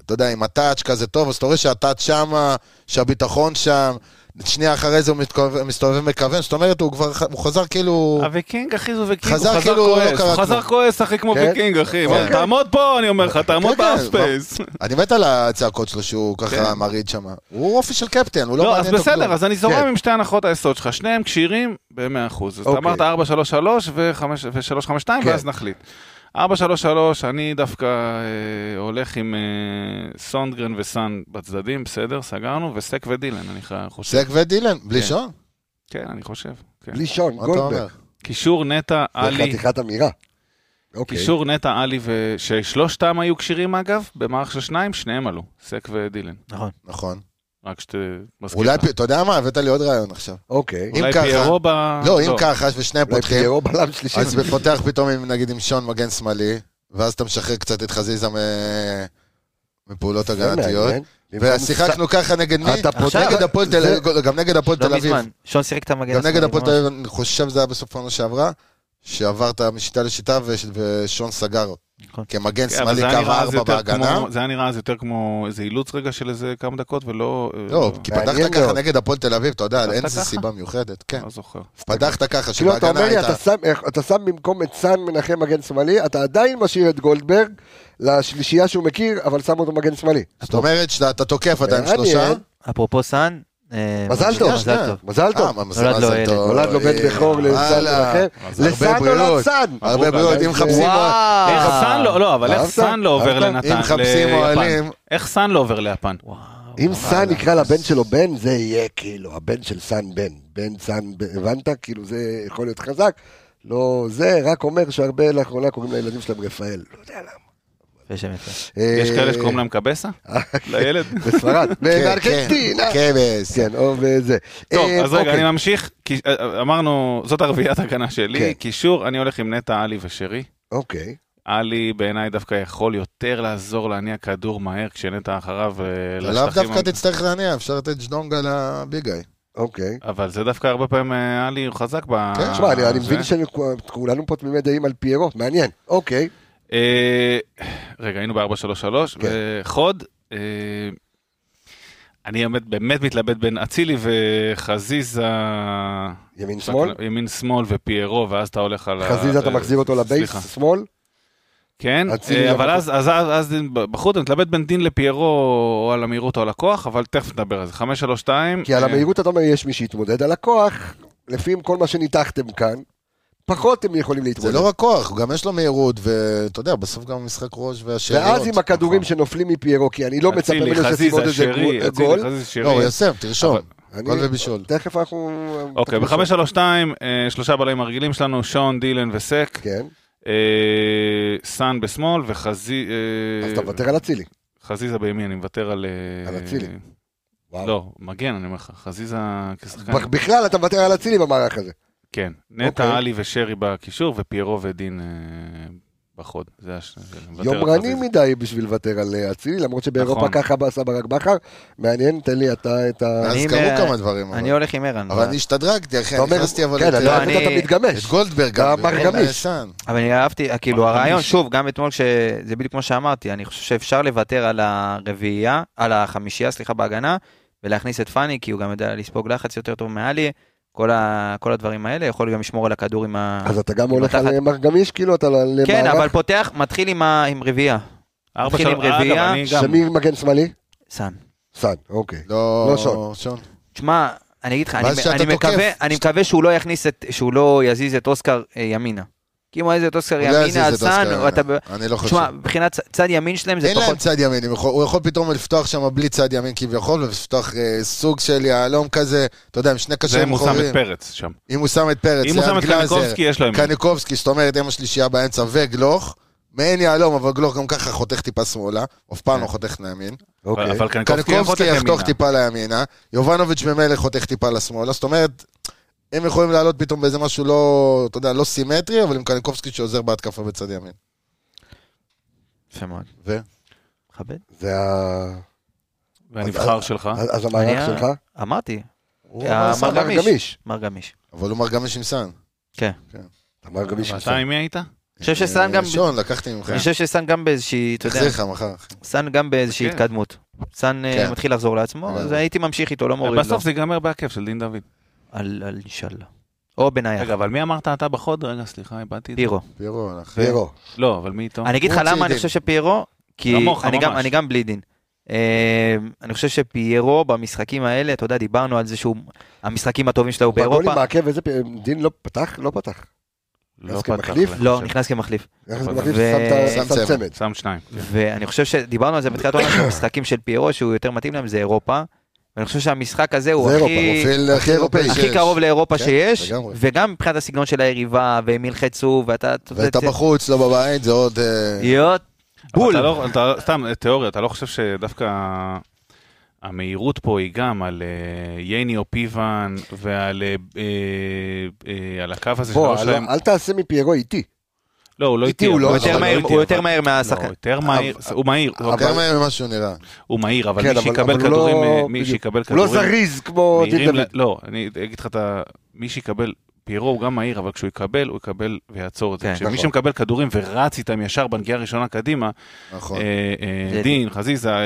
אתה יודע, עם הטאץ' כזה טוב, אז אתה רואה שהטאץ' שמה, שהביטחון שם, שנייה אחרי זה הוא מתקרב- מסתובב מכוון, זאת אומרת, הוא כבר, ח- הוא חזר כאילו... הוויקינג אחי זה וויקינג, חזר הוא חזר כאילו לא כועס, קרה הוא חזר כלום. כועס אחי כמו כן? ויקינג אחי, כן. מה, תעמוד פה אני אומר לך, תעמוד כן, כן, באפספייס. אני מת על הצעקות שלו שהוא ככה כן. מרעיד שם. הוא אופי של קפטן, הוא לא לא, מעניין אז אותו כלום. בסדר, אז אני כן. זורם עם שתי הנחות היסוד שלך, שניהם כשירים ב-100%. אז אתה אוקיי. אמרת 433 ו-352 כן. ואז נחליט. 433, אני דווקא אה, הולך עם אה, סונדגרן וסאן בצדדים, בסדר, סגרנו, וסק ודילן, אני ח- חושב. סק ודילן, בלי כן. שעון, כן, אני חושב. כן. בלי שון, מה אתה אומר? גולדברג. קישור נטע, זה עלי, חתיכת אמירה. אוקיי. קישור נטע, עלי, ו- ששלושתם היו כשירים אגב, במערך של שניים, שניהם עלו, סק ודילן. נכון. נכון. רק שתזכיר. אולי, פ- אתה יודע מה, הבאת לי עוד רעיון עכשיו. אוקיי. אם אולי ככה- פיירו ב... לא, אם ככה, ושניהם אולי פותחים, פיירו בלם שלישי. אז פותח פתאום, עם, נגיד, עם שון מגן שמאלי, ואז אתה משחרר קצת את חזיזה מ- מפעולות זה הגנתיות. מעניין. ושיחקנו ככה נגד מי? אתה פותח- נגד הפועל תל זה- אביב, גם נגד הפועל תל לא אביב. מזמן, שון שיחק את המגן גם נגד השמאלי, הפועל תל ממש. אביב, אני חושב שזה היה בסוף העונה שעברה, שעברת משיטה לשיטה וש- ושון סגר. נכון. כמגן כן, אבל שמאלי זה היה קו נראה אז ארבע יותר בהגנה. כמו- זה היה נראה אז יותר כמו איזה אילוץ רגע של איזה כמה דקות, ולא... אה, לא, כי מעניין פתחת ככה מאוד. נגד הפועל תל אביב, אתה יודע, פתחת אין איזה ככה? סיבה מיוחדת, כן. לא זוכר. פתחת ככה, כאילו אתה שבהגנה אומר לי, הייתה... אתה שם- אתה שם במקום את סאן מנחם מגן שמאלי, אתה עדיין משאיר את גולדברג לשלישייה שהוא מכיר, אבל שם אותו מגן שמאלי. זאת אומרת שאתה אתה תוקף, אתה עם שלושה. מעניין. אפרופו סאן, אה, מזל טוב. מזל טוב. מזל אה, טוב. מה, נולד מזל לו טוב. ילד. נולד לו בן אה, בכור לסאן וואלה. מנחם. אז הרבה לסאן נולד בריאות. סאן. אה, הרבה מברוק, בריאות, אגב. אם מחפשים אוה- איך סאן לא, לא, אבל איך אהבת? סאן לא עובר אהבת? לנתן, אה, אם מחפשים ליפן? אוהלים... איך סאן לא עובר ליפן? אם סאן יקרא לבן שלו בן, זה יהיה כאילו, הבן של סאן בן. בן סאן, בן, הבנת? כאילו זה יכול להיות חזק. לא, זה רק אומר שהרבה לאחרונה קוראים לילדים שלהם רפאל. לא יודע למה. יפה שם יפה. יש אה, כאלה שקוראים להם... להם קבסה? לילד? בספרד. כן, כן, בארגנטינה. כבש. כן, או בזה. טוב, אה, אז רגע, אוקיי. אני ממשיך. כי- אה, אה, אמרנו, זאת הרביעיית הגנה כן. שלי. קישור, אני הולך עם נטע, עלי ושרי. אוקיי. עלי בעיניי דווקא יכול יותר לעזור להניע כדור מהר כשנטע אחריו אה, אתה לאו לשטחים. דווקא תצטרך להניע, אפשר לתת ג'דונגה לביגאי. אוקיי. אבל זה דווקא הרבה פעמים אה, עלי הוא חזק ב... כן, תשמע, אני אני אה, זה. מבין שכולנו פה תמימי דעים על פיירו, מעניין. אוקיי. אה, רגע, היינו ב-433, כן. וחוד, אה, אני באמת- באמת מתלבט בין אצילי וחזיזה, ימין שמאל? ימין שמאל ופיירו, ואז אתה הולך על... ה- חזיזה אתה אה, מחזיר אותו לבייס סליחה. שמאל? כן, אצילי אה, אבל לבחור. אז, אז, אז, אז דין- בחוץ, אני מתלבט בין דין לפיירו או על המהירות או על הכוח, אבל תכף נדבר על זה. 532. כי על אה, המהירות אתה אומר יש מי שיתמודד, על הכוח, לפי כל מה שניתחתם כאן, פחות הם יכולים להתמודד. זה לא רק כוח, גם יש לו מהירות, ואתה יודע, בסוף גם המשחק ראש והשאריות. ואז עם הכדורים נכון. שנופלים מפיירו, כי אני לא מצפה אצילי, ממנו שתצמוד חזיזה, איזה גו- שרי, אצילי, גול. חזיזה, שרי. לא, הוא יסם, תרשום. אבל- אני- גול ובישול. תכף אנחנו... אוקיי, ב-532, אה, שלושה בלמים הרגילים שלנו, שון, דילן וסק. כן, אה, סאן בשמאל וחזי... אה, אז אתה מוותר על אצילי. חזיזה בימין, אני מוותר על... אה, על אצילי. וואו. לא, כן. מגן, אני אומר לך, חזיזה כשחקן... בכ- בכלל אתה מוותר על אצילי במערך הזה. כן, אוקיי. נטע, עלי ושרי בקישור, ופיירו ודין אה, בחוד. זה הש... אני מוותר על יומרני חזיזה. מדי בשביל לוותר על אה, אצילי, למרות שבאירופה נכון. ככה עשה ברק בכר. מעניין, תן לי אתה את ה... אז אני קרו מה- כמה דברים. אני אבל- הולך עם ערן. אבל אני השתדרגתי, אחי, אתה אומר- נכנסתי אבל... כן, את- אה, אתה לא, אתה אני- לא, תמיד את גמש. גולדברג אה, אתה גם. אמר וכל גמיש. הישן. אבל אני אהבתי, כאילו מרגיש. הרעיון, שוב, גם אתמול, שזה בדיוק כמו שאמרתי, אני חושב שאפשר לוותר על הרביעייה, על החמישייה, סליחה, בהגנה, ולהכניס את פאני, כי הוא גם יודע לספוג לחץ יותר טוב מעלי, כל, ה, כל הדברים האלה, יכול גם לשמור על הכדור עם ה... אז אתה גם הולך מתחת. על אה, מר גמיש, כאילו אתה למערך... כן, אבל פותח, מתחיל עם, ה, עם רביעייה, ארבע, מתחיל עם שלוש- אגב, רביעייה, אני גם- שמי מגן שמאלי? סן. סאן, אוקיי. לא לא שון. שון. תשמע, אני אגיד לך, ואז אני, כשאתה אני, תוקף, מקווה, אני מקווה שהוא לא יכניס את, שהוא לא יזיז את אוסקר אה, ימינה. כי אם הוא יזיז את אוסקר הוא לא יזיז ימינה, את אז סאן, אוסקר, או אתה... ב- אני לא חושב. תשמע, מבחינת צ- צד ימין שלהם זה אין להם פחות... צד ימין, הם יכול- הוא יכול פתאום לפתוח שם בלי צד ימין כביכול, ולפתוח אה, סוג של יהלום כזה, אתה יודע, עם שני זה קשרים אם הוא שם אחוריים. את פרץ שם. אם הוא שם את פרץ, אם הוא שם לאן את גלאזר, קניקובסקי, יש לו ימין. קניקובסקי, זאת אומרת, אם השלישייה באמצע וגלוך, מעין יהלום, אבל גלוך גם ככה חותך טיפה שמאלה, אף כן. פעם לא חותך לימין. אבל אוקיי. אבל קניקובסקי יכול קניקובסקי לתת יחתוך ימינה. טיפה לימינה, יובנוביץ' ממילא חותך טיפה לשמאלה, זאת אומרת, הם יכולים לעלות פתאום באיזה משהו לא, אתה יודע, לא סימטרי, אבל עם קניקובסקי שעוזר בהתקפה בצד ימין. יפה מאוד. ו? מכבד. זה ה... והנבחר שלך. אז אז המערך אני- שלך? אמרתי, הוא אמר המערך סמר גמיש. גמיש. מר גמיש. אבל הוא מרגע משמסן. אמר גמיש. ואתה עם מי היית? אני אה, חושב שסאן גם... שון, לקחתי ממך. אני חושב שסאן גם באיזושהי, אתה יודע, תחזיר לך מחר. אחי. סאן גם באיזושהי כן. התקדמות. סאן אה, כן. מתחיל לחזור לעצמו, אבל- אז הייתי ממשיך איתו, לא מוריד לו. אה, בסוף זה ייגמר בהכיף של דין דוד. על על אינשאללה. או בנייח, רגע, אבל מי אמרת אתה בחוד? רגע, סליחה, איבדתי את זה. אה. פירו. פירו הלך. פירו. לא, אבל מי איתו? אני אגיד לך הוא הוציא למה אני דין. חושב שפיירו, כי כמוך, אני גם- ממש. אני גם בלי דין. אה, אני חושב שפיירו במשחקים האלה, אתה יודע, דיברנו על זה שהוא, המשחקים הטובים שלו הוא בגולים באירופה. מעכב איזה... פ- דין לא פתח? לא פתח. לא אז פתח. כמחליף? אני לא, חושב. הוא נכנס כמחליף. יחס אבל- מחליף, ו- שם את ה- שם שם צמד. צמד. שם שניים. כן. ואני חושב שדיברנו על זה בתחילת העונה, שהמשחקים של פיירו, שהוא יותר מתאים להם, זה אירופה. ואני חושב שהמשחק הזה הוא זה אירופה, הכי... פרופיל הכי אירופאי שיש. הכי קרוב לאירופה כן, שיש, לגמרי. וגם מבחינת הסגנון של היריבה, והם ילחצו, ואתה... ואתה בחוץ, לא בבית, זה עוד... אה, להיות בול. אבל אתה לא- אתה- סתם, תיאוריה, אתה לא חושב שדווקא המהירות פה היא גם על אה, ייני או פיוון ועל אה, אה, אה, על הקו הזה בוא, שלא אל- שלהם? אל תעשה מפיירו איתי. לא, הוא לא איתי איטי. הוא לא, אבל- אבל אבל יותר מהיר- איטי, הוא אבל- יותר מהר מהשחקן. לא, יותר מהיר, הוא מהיר, יותר מהר ממה שהוא נראה. הוא מהיר, אבל כן, מי שיקבל הוא לא- כדורים, אה, מי בדיוק. שיקבל הוא לא כדורים, זריז כמו דין מהירים, ל- דוד. לא, אני אגיד לך את ה... מי שיקבל, פיירו הוא גם מהיר, אבל כשהוא יקבל, הוא יקבל ויעצור את זה. כן, כשמי נכון. שמקבל כדורים ורץ איתם ישר בנגיעה הראשונה קדימה, נכון. אה, אה, זה- דין, חזיזה, אה,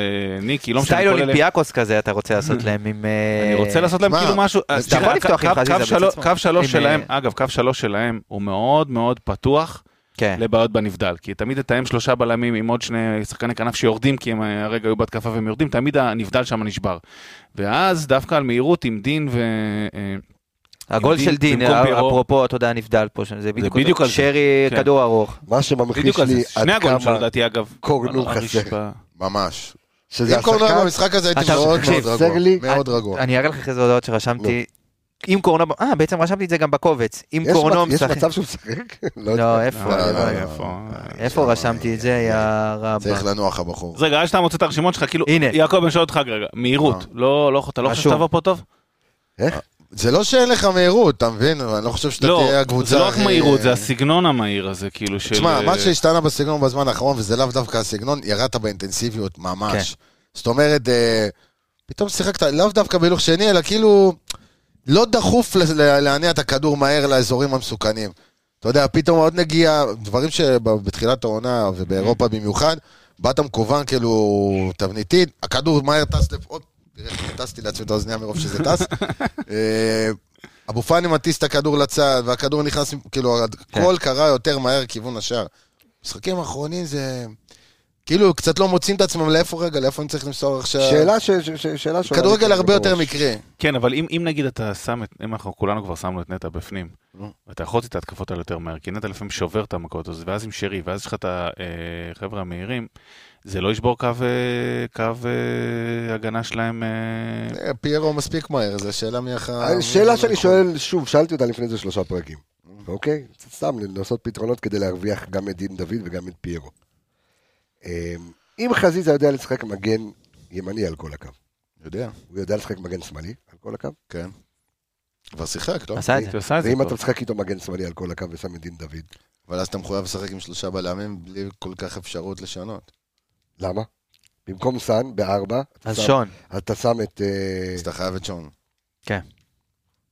ניקי, לא משנה, סטייל כל אלה. אולימפיאקוס כזה אתה רוצה לעשות להם עם... אה, אני רוצה לעשות להם מה? כאילו משהו, אז אה, אתה תראה, יכול לפתוח קו- עם חזיזה קו שלוש- בעצמו. קו שלוש עם, שלהם, אה, אגב, קו שלוש שלהם הוא מאוד מאוד פתוח כן. לבעיות בנבדל, כי תמיד לתאם שלושה בלמים עם עוד שני שחקני כנף שיורדים, כי הם אה, הרגע היו בהתקפה והם יורדים, תמיד הנבדל שם נשבר. ואז דווקא על מהירות עם דין ו... אה, הגול דין של דין, אה, במקום פיירו. אפרופו, אתה יודע, נבדל פה, זה בדיוק... בדיוק על זה. שרי, כן. כדור ארוך. מה שממחיש בדיוק על זה. לי שני עד הגולים שלו כמה... לדעתי, אגב. קורנו על חסר. הרצפה. ממש. שזה אם קורנו היה השחקן... במשחק הזה הייתי עכשיו, מאוד תקשיב, מאוד חסר רגוע. לי- מאוד רגוע. אני אראה לך אחרי זה הודעות שרשמתי. אם קורנו... אה, בעצם רשמתי את זה גם בקובץ. אם יש קורנו מצ- יש משחק... מצב שהוא משחק? לא לא, יודע. איפה? לא, לא, לא, לא, איפה? איפה רשמתי את זה, יא רבא? צריך לנוח הבחור. אז רגע, עד שאתה מוצא את הרשימות שלך, כאילו, הנה. יעקב, אני שואל אותך רגע, מהירות, אה. לא, לא, אתה לא חושב רשום. שתבוא פה טוב? זה לא שאין לך מהירות, אתה מבין? אבל אני לא חושב שאתה לא, תהיה הקבוצה... זה לא רק הכי- אה, מהירות, זה הסגנון המהיר הזה, כאילו, של... תשמע, מה שהשתנה בסגנון בזמן האחרון, וזה לאו דווקא הסגנון, ירדת באינטנסיביות ממש. זאת אומרת, אה, פתאום שיחקת לאו דווקא בהילוך שני, אלא כאילו לא דחוף ל- ל- להניע את הכדור מהר לאזורים המסוכנים. אתה יודע, פתאום עוד נגיעה, דברים שבתחילת העונה Mm-hmm. ובאירופה במיוחד, באת מכוון כאילו תבניתית, הכדור מהר טס לפ... עוד, תראה, טסתי לעצמי את האוזנייה מרוב שזה טס. אה, אבו פאני מטיס את הכדור לצד, והכדור נכנס, כאילו, כן. הכל קרה יותר מהר כיוון השער. משחקים האחרונים זה... כאילו, קצת לא מוצאים את עצמם לאיפה רגע, לאיפה אני צריך למסור עכשיו. שאלה ש- ש- ש- שאלה שעולה כדורגל לי הרבה בראש. יותר מקרי. כן, אבל אם, אם נגיד אתה שם את, אם אנחנו כולנו כבר שמנו את נטע בפנים, נו. ואתה יכול להוציא את ההתקפות האלה יותר מהר, כי נטע לפעמים שובר את המכות, אז- ואז עם שרי, ואז יש לך את החבר'ה המהירים, זה לא ישבור קו, אה, קו אה, הגנה שלהם. אה, אה, פיירו מספיק מהר, זו שאלה מי אחר... אה, לא שאלה שאני שואל שוב, שאלתי אותה לפני איזה שלושה פרקים, אוקיי? סתם לנסות פתרונות כדי להרוויח גם את דין דוד וגם את פיירו. אמ, אם חזיזה יודע לשחק מגן ימני על כל הקו, יודע, הוא יודע לשחק מגן שמאלי על כל הקו, כן. כבר שיחק, לא? עשה את זה. אתה עושה את זה ואם כבר. אתה משחק איתו מגן שמאלי על כל הקו ושם את דין דוד, אבל אז אתה מחויב לשחק עם שלושה בלמים בלי כל כך אפשרות לשנות. למה? במקום סאן בארבע, אתה אז שם- שון, אתה שם את... אה, אז אתה חייב את שון. כן.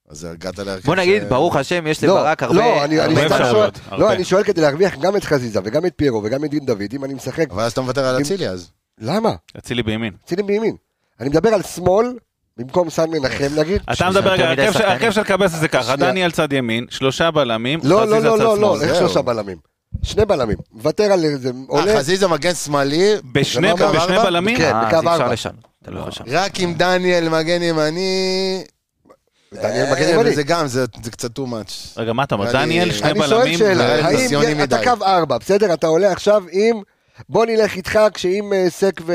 אז הגעת להרכב... בוא נגיד, ש- ברוך השם, יש לא, לברק הרבה... לא, אני- אני הרבה סתם שואל- אפשרויות, הרבה. לא, אני שואל כדי להרוויח גם את חזיזה וגם את פיירו וגם את דין דוד, אם אני משחק, אבל אז אתה מוותר על אצילי אז. אה, למה? אצילי בימין. צילים בימין. אני מדבר על שמאל, במקום סן מנחם נגיד. אתה מדבר רגע, יותר מדי הרכב של- שחקנים. הרכב של קבס זה ככה, שנייה. דניאל צד ימין, שלושה בלמים, לא, לא, חזיזה לא, צד לא, לא, שמאל. איך זהו. שלושה בלמים? שני בלמים. מוותר על איזה אה, עולה, חזיזה מגן שמאלי, בשני זה מה, בשני ארבע? בלמים? כן, בקו אה, אז אי אפשר ארבע. לשנות, אתה לא יכול לשנות. רק עם דניאל מגן ימני, ודניאל מגן אה, ימני. זה גם, זה זה קצת too much. רגע, מה אתה אומר? אני- דניאל, שני אני אני שואל בלמים. זה שאלה, ניסיוני האם אתה מדי. קו ארבע, בסדר? אתה עולה עכשיו עם... בוא נלך איתך כשאם אה, סק ו...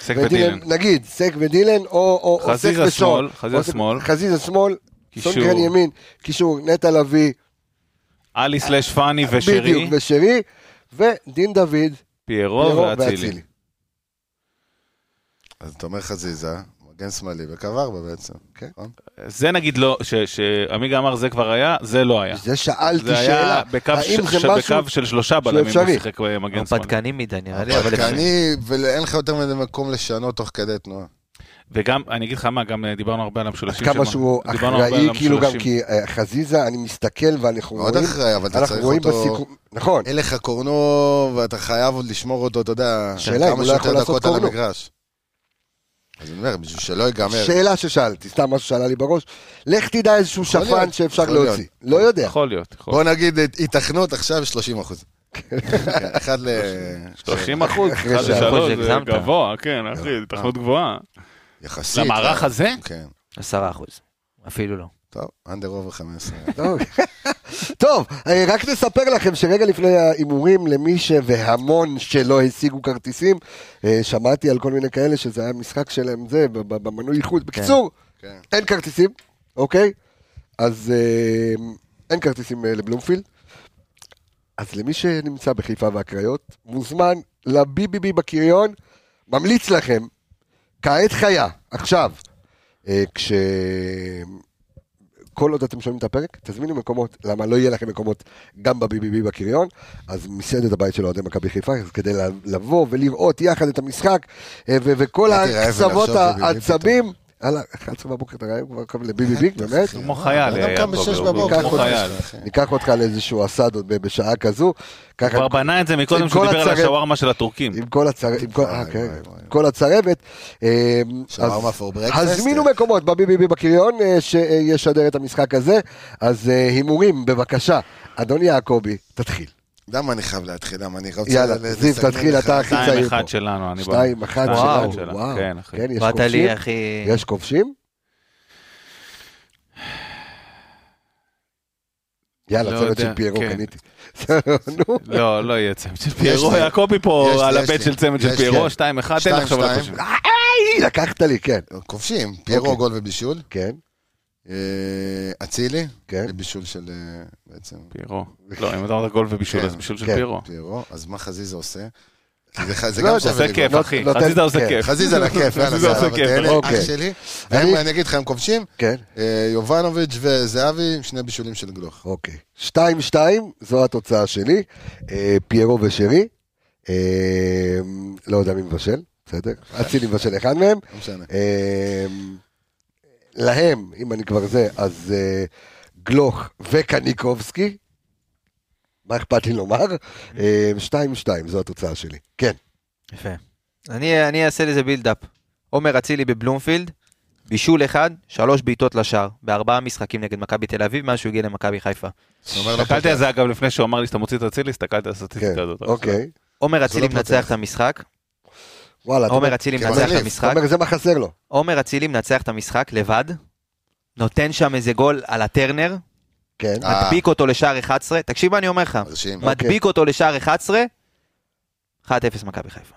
סק ודילן. ודילן. נגיד, סק ודילן, או- או או סק חזיזה ושול. שמאל, חזיזה או סק- שמאל. חזיזה שמאל, קישור. סונגרן ימין, קישור, נטע לביא, עלי סלאש פאני ושרי, בדיוק, ושרי, ודין דוד, פיירו פירו ואצילי. ואצילי. אז אתה אומר חזיזה, מגן שמאלי וקו ארבע בעצם. כן. נכון? זה נגיד לא, ש- שעמיגה אמר זה כבר היה, זה לא היה. זה שאלתי זה היה שאלה, בקו האם ש- זה משהו... בקו של שלושה בלמים אפשרי? הוא שיחק אה, מגן שמאלי. הרפתקנים מדי נראה לי, אבל... הרפתקני, ואין לך יותר מדי מקום לשנות תוך כדי תנועה. וגם, אני אגיד לך מה, גם אה, דיברנו הרבה על המשולשים. כמה של- שהוא דיברנו הרבה אחראי, על כאילו גם המשולשים. כי אה, חזיזה, אני מסתכל ואנחנו מאוד רואים, אחראי, אבל אתה אנחנו צריך רואים אותו... אה, בסיכום, נכון, אין לך קורנו, ואתה חייב עוד לשמור אותו, אתה יודע, שאלה, אם הוא כמה לא יכול שיותר לעשות דקות על קורנו. המגרש. אז אני אומר, בשביל שלא ייגמר. שאלה ששאלתי, סתם משהו שעלה לי בראש, לך תדע איזשהו יכול שפן להיות, שאפשר יכול להיות. להוציא, לא יודע, יכול להיות, יכול להיות. בוא נגיד, את- היתכנות עכשיו 30 אחוז. אחד ל... 30 אחוז, אחרי אה, 1 שעה. אחוז, ל-3 זה הגזמת. גבוה, כן, אחי, זו תחנות גבוהה. יחסית. למערך הזה? כן. עשרה אחוז. אפילו לא. טוב, אנדר אובר 15. טוב. טוב, אה, רק נספר לכם שרגע לפני ההימורים, למי ש... והמון שלא השיגו כרטיסים, אה, שמעתי על כל מיני כאלה שזה היה משחק שלהם זה, ב- ב- במנוי איחוד. בקיצור, כן. אין כרטיסים, אוקיי? אז אה, אין כרטיסים אה, לבלומפילד. אז למי שנמצא בחיפה והקריות, מוזמן לביביבי בקריון, ממליץ לכם, כעת חיה, עכשיו, אה, כש... כל עוד אתם שומעים את הפרק, תזמינו מקומות, למה לא יהיה לכם מקומות גם ב-BBB בקריון, אז מסעדת הבית של אוהדי מכבי חיפה, אז כדי ל- לבוא ולראות יחד את המשחק, אה, ו- וכל הייתי רעב הקצוות ולחשוב ב-BBB העצבים, הלאה, 11 בבוקר אתה רעב כבר קו ל-BBB, באמת, כמו אדם חייל, היה קם בו, בשש הוא- הוא בבוקר, כמו חודש. חייל. ניקח אותך לאיזשהו אסד עוד ב- בשעה כזו, ככה כבר בנה את זה מקודם עם שהוא כל דיבר על הצרב- השווארמה של הטורקים. עם כל הצר- עם כל- וואי, אה, כן, וואי, וואי. עם כל הצרבת. אה, שווארמה אז for breakfast? הזמינו מקומות בביביבי בקריון אה, שישדר את המשחק הזה, אז אה, הימורים, בבקשה. אדון יעקבי, תתחיל. למה אני חייב להתחיל? למה אני רוצה... יאללה, לסגנן זיו, תתחיל, לך? אתה הכי צעיר 2-1 פה. שלנו, אני בא. שתיים, אחת וואו, שלנו. שלנו. וואו, כן, אחי. כן, יש באת כובשים? לי הכי... יש כובשים? יאללה, לא צוות יודע, של פיירו כן. קניתי. נו, לא, לא יהיה צמד של יש פיירו, לי. יעקבי פה יש לי, על יש הבט לי. של צמד של יש, פיירו, כן. 2-1, תן לחשוב על שתיים, הכושים. היי, לקחת לי, כן. כובשים, פיירו אוקיי. גול ובישול. כן, אה, אצילי, כן. ובישול של אה, בעצם פיירו. לא, אם אתה אמרת גול ובישול, כן, אז בישול של כן. פיירו. פיירו, אז מה חזיזה עושה? זה זה לא גם יודע, שווה עושה לי. כיף, לא- אחי. נותן- חזיזה עושה כן. כיף. חזיזה לכיף, יאללה, חזיזה עושה זהב, כיף. תהנה, אוקיי. אח שלי. אני- והם, אני אגיד לך, הם כובשים, כן. אה, יובנוביץ' וזהבי עם שני בישולים של גלוך. אוקיי. 2-2, זו התוצאה שלי. אה, פיירו ושרי. אה, לא יודע מי מבשל, בסדר? אצילי מבשל אחד מהם. לא משנה. אה, להם, אם אני כבר זה, אז אה, גלוך וקניקובסקי. מה אכפת לי לומר? 2-2, זו התוצאה שלי. כן. יפה. אני, אני אעשה לזה בילדאפ. עומר אצילי בבלומפילד, בישול אחד, שלוש בעיטות לשער, בארבעה משחקים נגד מכבי תל אביב, מאז שהוא הגיע למכבי חיפה. אני אומר, לא הסתכלתי פותח. על זה אגב לפני שהוא אמר לי שאתה מוציא את אצילי, הסתכלתי על כן, הסטטיסטיקה הזאת. אוקיי. עומר אצילי לא מנצח פותח. את המשחק, וואלה, אתה עומר אומר, אצילי כן, מנצח את מחליף. אתה המשחק, אומר, זה מה חסר לו. עומר אצילי מנצח את המשחק לבד, נותן שם איזה גול על הטרנר, כן. אה. מדביק אותו לשער 11, תקשיב מה אני אומר לך, מרשים. מדביק אותו לשער 11, 1-0 מכבי חיפה.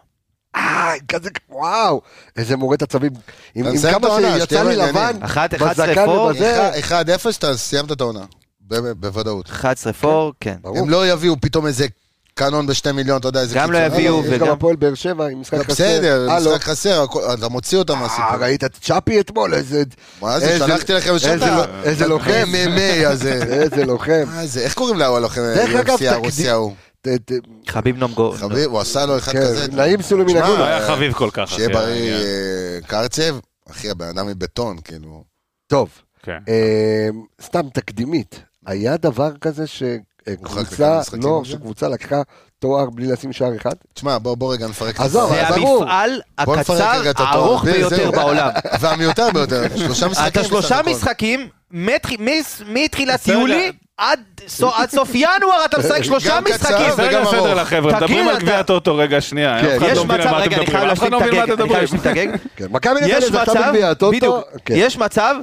אה, כזה, וואו, איזה מורד עצבים. עם אתה עם מסיים את כמה העונה, שיצא שתהיה לי בעניינים. לבן, אחת- אחת בזקן שרפות, ובזה, 1-0, אתה סיימת את העונה. ב- בוודאות. 11 פור, כן. ברור. הם לא יביאו פתאום איזה קנון בשתי מיליון, אתה יודע, איזה גם לא קיצוני. יביאו, אה, יש וגם- גם הפועל באר שבע עם משחק חסר. לא, בסדר, הלו. משחק חסר, הכל- אתה מוציא אותם לא. אה, מהסיפור. ראית את צ'אפי אתמול? איזה... מה זה, איזה- שלחתי לכם אה, איזה לשטח. לא- איזה לוחם. MMA הזה. איזה לוחם. מה זה, איך קוראים להוא הלוחם? דרך אגב, UFC הרוסי תקדים- ההוא. ת- ת- חביב נומגו. אוקיי. חביב, הוא עשה לו אחד כן, כזה. נעים סולו מן שמע, הגולה. לא היה חביב כל כך. שיהיה אחי, בריא העניין. אה, קרצב, אחי, הבן אדם מבטון, כאילו. טוב, כן. אה, סתם תקדימית. היה דבר כזה הורחק לכמה שקבוצה, משחקים לא, עכשיו? שקבוצה לקחה תואר בלי לשים שער אחד? תשמע, בוא בוא רגע נפרק את עזוב, זה אבל ברור. המפעל בוא נפרק הקצר, רגע את התואר. הארוך זה- ביותר זהו. בעולם. והמיותר ביותר, שלושה משחקים. אתה בסך שלושה הכל. משחקים, מתח- מס- מתחילת בסדר. יולי עד סו- עד סוף ינואר אתה משחק שלושה גם קצר משחקים. אז רגע וגם סדר ארוך. לחבר'ה, תגיד, מדברים על אתה- גביע הטוטו רגע שנייה, כן. אף אחד יש לא מבין על מצב, מה רגע, אתם אני מדברים, חייב אף אחד להשלים לא את מבין על מה הגג, אתם כן, אני חייב מדברים. להשלים את הגג. כן, מכבי נתניה יש זכתה מצב, בגביע הטוטו. בדיוק, כן. יש מצב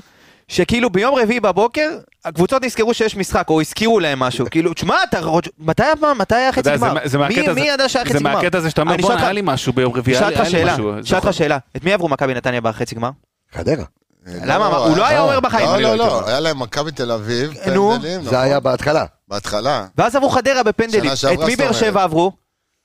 שכאילו ביום רביעי בבוקר, הקבוצות נזכרו שיש משחק, או הזכירו להם משהו, כאילו, תשמע, אתה רוצ- מתי הפעם, מתי היה אתה חצי יודע, זה גמר? מה- זה מהקטע מי- הזה- מי ידע שהיה חצי זה גמר? מהקטע הזה שאתה אומר, אני בואנה, אשאל אותך- היה לי משהו ביום רביעי, שאל היה לי- אותך היה לי שאלה, משהו. שאל אותך זוכר. שאלה, את מי עברו מכבי נתניה בחצי גמר? חדרה. למה? מה, הוא לא היה אומר בחיים. אה, לא, אני לא, לא הייתי לא, אומר. היה להם מכבי תל אביב, נו. פנדלים, אה, זה נכון? היה בהתחלה. בהתחלה. ואז עברו חדרה בפנדלים, שנה שעברה, את מי זאת באר שבע אומרת. עברו?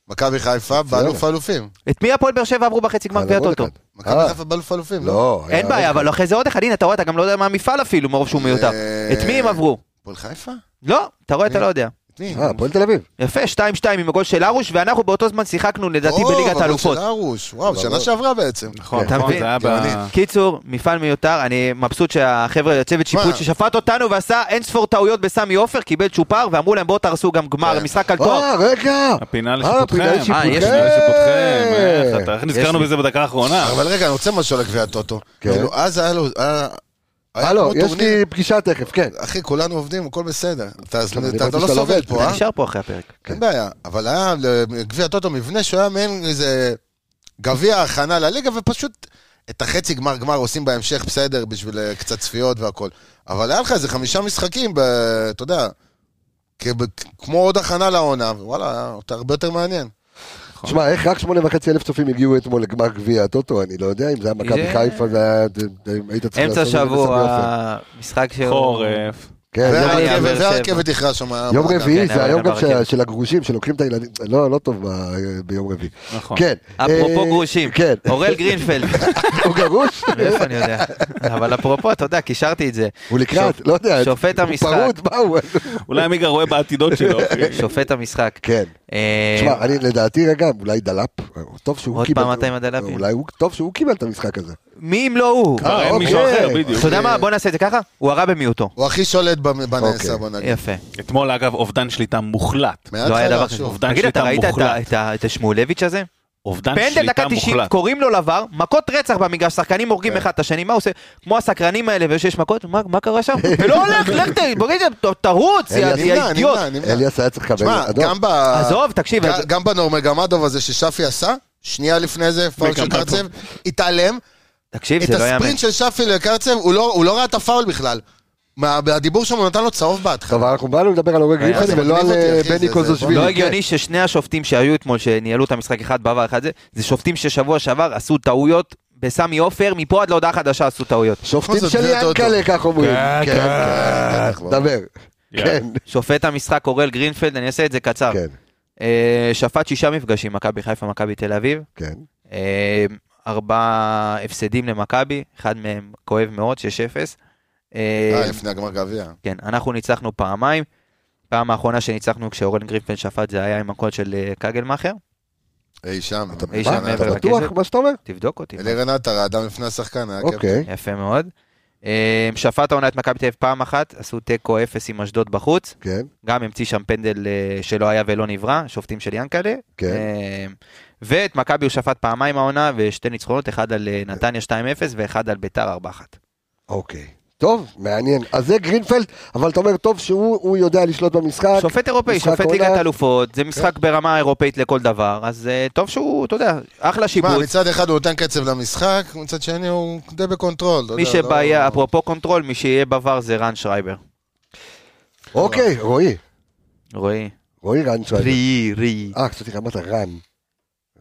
מכבי חיפה, באלוף אלופים. את מי הפועל באר שבע עברו בחצי גמר על גביע עוד טוטו? אחד. מכבי לא- אה, חיפה באלוף אלופים. לא. היה אה, אין בעיה, עוד אחד. אבל אחרי זה עוד אחד, הנה, אתה רואה, אתה גם לא יודע מה המפעל אפילו, מרוב שהוא מיותר. אה, את מי הם עברו? הפועל חיפה? לא, אתה רואה, אתה לא יודע. את מי? אה, הפועל תל אביב. יפה, 2-2 עם הגול של ארוש, ואנחנו באותו זמן שיחקנו לדעתי או, בליגת אבל האלופות. של ארוש, וואו, ברור. שנה שעברה בעצם. נכון, אתה נכון, מבין? זה היה ב... גאוני. קיצור, מפעל מיותר, אני מבסוט שהחבר'ה, צוות שיפוט מה? ששפט אותנו ועשה אין ספור טעויות בסמי עופר, קיבל צ'ופר, ואמרו להם בואו תהרסו גם גמר, כן. משחק על תואר. אה, רגע. הפינה הפינה לשיפוטכם. לשיפוטכם. אה, יש אה, פינה לשיפוטכם. איך אתה- איך נזכרנו לי. בזה בדקה האחרונה? אבל רגע, אני רוצה משהו על הגביע הטוטו. כן. כאילו, אז היה לו... היה- היה הלו, כמו אה, לא, יש טורניר. לי פגישה תכף, כן. אחי, כולנו עובדים, הכל בסדר. אתה אני כן. אתה- הבנתי אתה לא שאתה לא סובל עובד. פה, אתה אה? נשאר פה אחרי הפרק. אין בעיה. אבל היה לגביע הטוטו מבנה שהוא היה מעין איזה גביע הכנה לליגה, ופשוט את החצי גמר גמר עושים בהמשך בסדר, בשביל אה, קצת צפיות והכל. אבל היה לך איזה חמישה משחקים, ב- אתה יודע, כב- כמו עוד הכנה לעונה, וואלה, היה אותה הרבה יותר מעניין. נכון. תשמע, איך רק שמונה וחצי אלף צופים הגיעו אתמול לגמר גביע הטוטו, אני לא יודע אם זה היה מכבי זה- חיפה, זה היה... היית צריך אמצע לעשות את זה בסמי שבוע, עופר. משחק שהוא... חורף. כן, זה- היה והרכבת- באר שבע. והרכבת יכרה שם. אה, היה יום בלאגן. רביעי, כן, זה אבל היום גם גם של- ברכבת. של הגרושים שלוקחים את הילדים, לא, לא טוב ב- ביום רביעי. נכון. כן. אפרופו אה, גרושים, כן. אוראל גרינפלד, הוא גרוש? מאיפה אני יודע, אבל אפרופו, אתה יודע, קישרתי את זה, הוא לקראת, שופ- לא יודע. שופט הוא המשחק. פרוד, מה הוא? אולי עמיגה רואה בעתידות שלו. אחי. שופט המשחק. כן. אה, תשמע, אני לדעתי רגע, אולי דלאפ, טוב שהוא עוד קיבל. פעם אתה עם הדלאפים. אולי הוא, טוב שהוא קיבל את המשחק הזה. מי אם לא הוא? כבר אין אוקיי. מישהו אחר, בדיוק. אתה יודע מה, בוא נעשה את זה ככה, הוא הרע במיעוטו. כן. הוא הכי שולט במ- בנעשה, אוקיי. בוא נגיד. יפה. אתמול, אגב, אובדן שליטה מוחלט. לא היה מההתחלה, דבר כזה. שוב. אובדן תגיד, אתה שליטה ראית את ה- מוחלט. את ה- את השמואלביץ' הזה? אובדן פנדל שליטה דקה 90, מוחלט. קוראים לו לבר, מכות רצח במגרש, שחקנים הורגים אחד את השני, מה הוא עושה? כמו הסקרנים האלה, ושיש מכות, מה מה קרה שם? ולא הולך, לך ת- בוא נגיד, ת- תרוץ, יא אלי, יא נמנע, אידיוט. נמנע, נמנע. אליאס היה צריך לקבל תשמע, אדום. גם ב... עזוב, תקשיב, ג- אז- גם בנורמגמדוב הזה ששפי עשה, שנייה לפני זה, פאול של מגמדוב. קרצב, התעלם. תקשיב, את זה לא יאמן. הספרינט של שפי לקרצב, הוא לא- הוא לא ראה את הפאול בכלל. מה- מהדיבור שם הוא נתן לו צהוב בהתחלה. טוב, אנחנו באנו לדבר על אורי זה גרינפלד ולא על מגניב אותי, אה, אחי, זה- בני זה- קוזושווילי. לא כן. הגיוני ששני השופטים שהיו אתמול, שניהלו את המשחק, אחד בעבר, אחד זה, זה שופטים ששבוע שעבר עשו טעויות בסמי עופר, מפה עד להודעה חדשה עשו טעויות. שופטים מה זה, של גביע טוטו? ינקלה, כך אומרים. כן, כן, אה, כן, כן. דבר. יאללה. כן, שופט המשחק אוראל גרינפלד, אני אעשה את זה קצר. כן, אה, שפט שישה מפגשים, מכבי חיפה, מכבי תל אביב. כן. אה, ארבעה הפסדים למכבי, אחד מהם כואב מאוד, 6-0. אה, אה, לפני הגמר גביע. כן, אנחנו ניצחנו פעמיים. פעם האחרונה שניצחנו כשאורן גריפלד שפט זה היה עם הקול של אה, כגלמאכר, אי שם. אה, אתה אי מה? שם מעבר אתה בטוח לכסף. מה שאתה אומר? תבדוק אותי. אלי רנטה, האדם לפני השחקן, היה כיף. אוקיי. יפה מאוד. אה, שפט העונה את מכבי תל אביב פעם אחת, עשו תיקו 0 עם אשדוד בחוץ, כן, גם המציא שם פנדל אה, שלא היה ולא נברא, שופטים של ינקלה. כן. אה, ואת מכבי הוא שפט פעמיים העונה, ושתי ניצחונות, אחד על אה, נתניה 2-0 ואחד על ביתר 4-1. אוקיי. טוב, מעניין. אז זה גרינפלד, אבל אתה אומר, טוב שהוא הוא יודע לשלוט במשחק. שופט אירופאי, משחק שופט עונה. כן. ליגת אלופות, זה משחק ברמה אירופאית לכל דבר, אז אה, טוב שהוא, אתה יודע, אחלה מה, שיבוץ. מצד אחד הוא נותן קצב למשחק, מצד שני הוא די בקונטרול. אתה מי יודע, לא- שבעיה, אפרופו קונטרול, מי שיהיה בבר זה רן שרייבר. אוקיי, רועי. רועי. רועי רנצווייג. רי, רי. אה, חשבתי אמרת רן.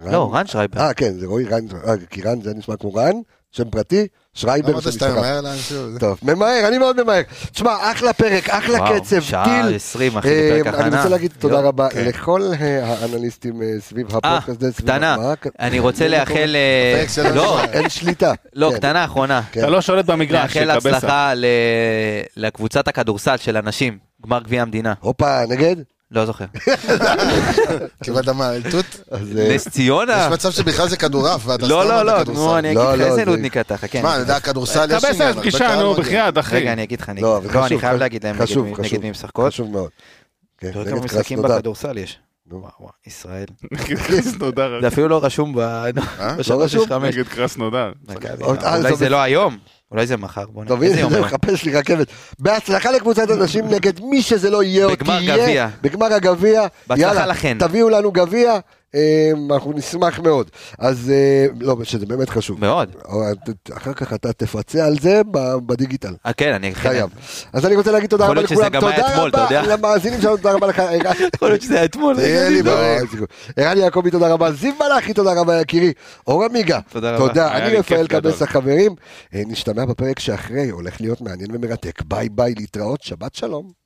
רן? לא, רן שרייבר. אה, כן, זה רועי רן, אה, כי רן זה נשמע כמו רן, שם פרטי, שרייבר לא אמרת של שאתה משפחה. ממהר לאנשהו. טוב, ממהר, אני מאוד ממהר. תשמע, אחלה פרק, אחלה וואו, קצב, שעה טיל. 20, אחי, אה, בפרק הכנה. לא. אני רוצה להגיד תודה יופי. רבה לכל אה, האנליסטים אה, סביב הפודקאסט הזה. סביב קטנה. מה- כן. אני רוצה לאחל... אה, הפרק שלנו. לא, אין שליטה. לא, כן, קטנה אחרונה. כן. אתה לא שולט במגרש, לאחל תקבסה. הצלחה ל- לקבוצת הכדורסל של הנשים, גמר גביע המדינה. הופה, נגד? לא זוכר. קיבלת מה, אלטוט? אז אה, נס ציונה. יש מצב שבכלל זה כדורעף, ואתה לא, סתם לא, אמרת לא, כדורסל. נו, אני כן. אגיד לא, לך לא, איזה זה- נודניקה אתה, חכה. מה, אני יודע, הכדורסל יש תקבסה עניין, אז הרבה פגישה, קהל נו, מגיע. בחייאת, אחי. רגע, אני אגיד לך, אני לא, אבל אגיד לך. לא, אני חשוב, חייב חשוב, להגיד להם נגד חשוב, מי- חשוב. נגד מי משחקות. חשוב מאוד. כן, אתה יודע נגד כמה משחקים קרסנודר. בכדורסל יש. נו. לא וואו, וואו, ישראל. קרסנודר, זה אפילו לא רשום ב... בשלוש אה? רשום? יש חמש. נגד קרסנודר. מכבי, עוד- אה, אולי זה זה בס- לא היום, אולי זה מחר. בוא טוב, נראה. הנה, איזה יום זה היום? מחפש לי רכבת. בהצלחה לקבוצת הנשים נגד מי שזה לא יהיה או בגמר תהיה. גביע. בגמר הגביע. בהצלחה יאללה, לכן. תביאו לנו גביע. אה, אנחנו נשמח מאוד. אז אה, לא, שזה באמת חשוב. מאוד. אבל ת- אחר כך אתה תפצה על זה ב- בדיגיטל. אה, כן, אני חייב. אז אני רוצה להגיד תודה יכול רבה להיות שזה לכולם, גם היה תודה אתמול, אתה רבה יודע. למאזינים שלנו, תודה רבה לך. ערן. יכול להיות שזה היה אתמול. תהיה לי לא, בריא. אין סיכוי. ערן יעקבי, תודה רבה. זיו מלאכי, תודה רבה, יקירי. אור עמיגה, תודה רבה. תודה. היה אני לי רפאל כיף גדול. קבס, החברים. אה, נשתמע בפרק שאחרי, הולך להיות מעניין ומרתק. ביי ביי, להתראות, שבת שלום.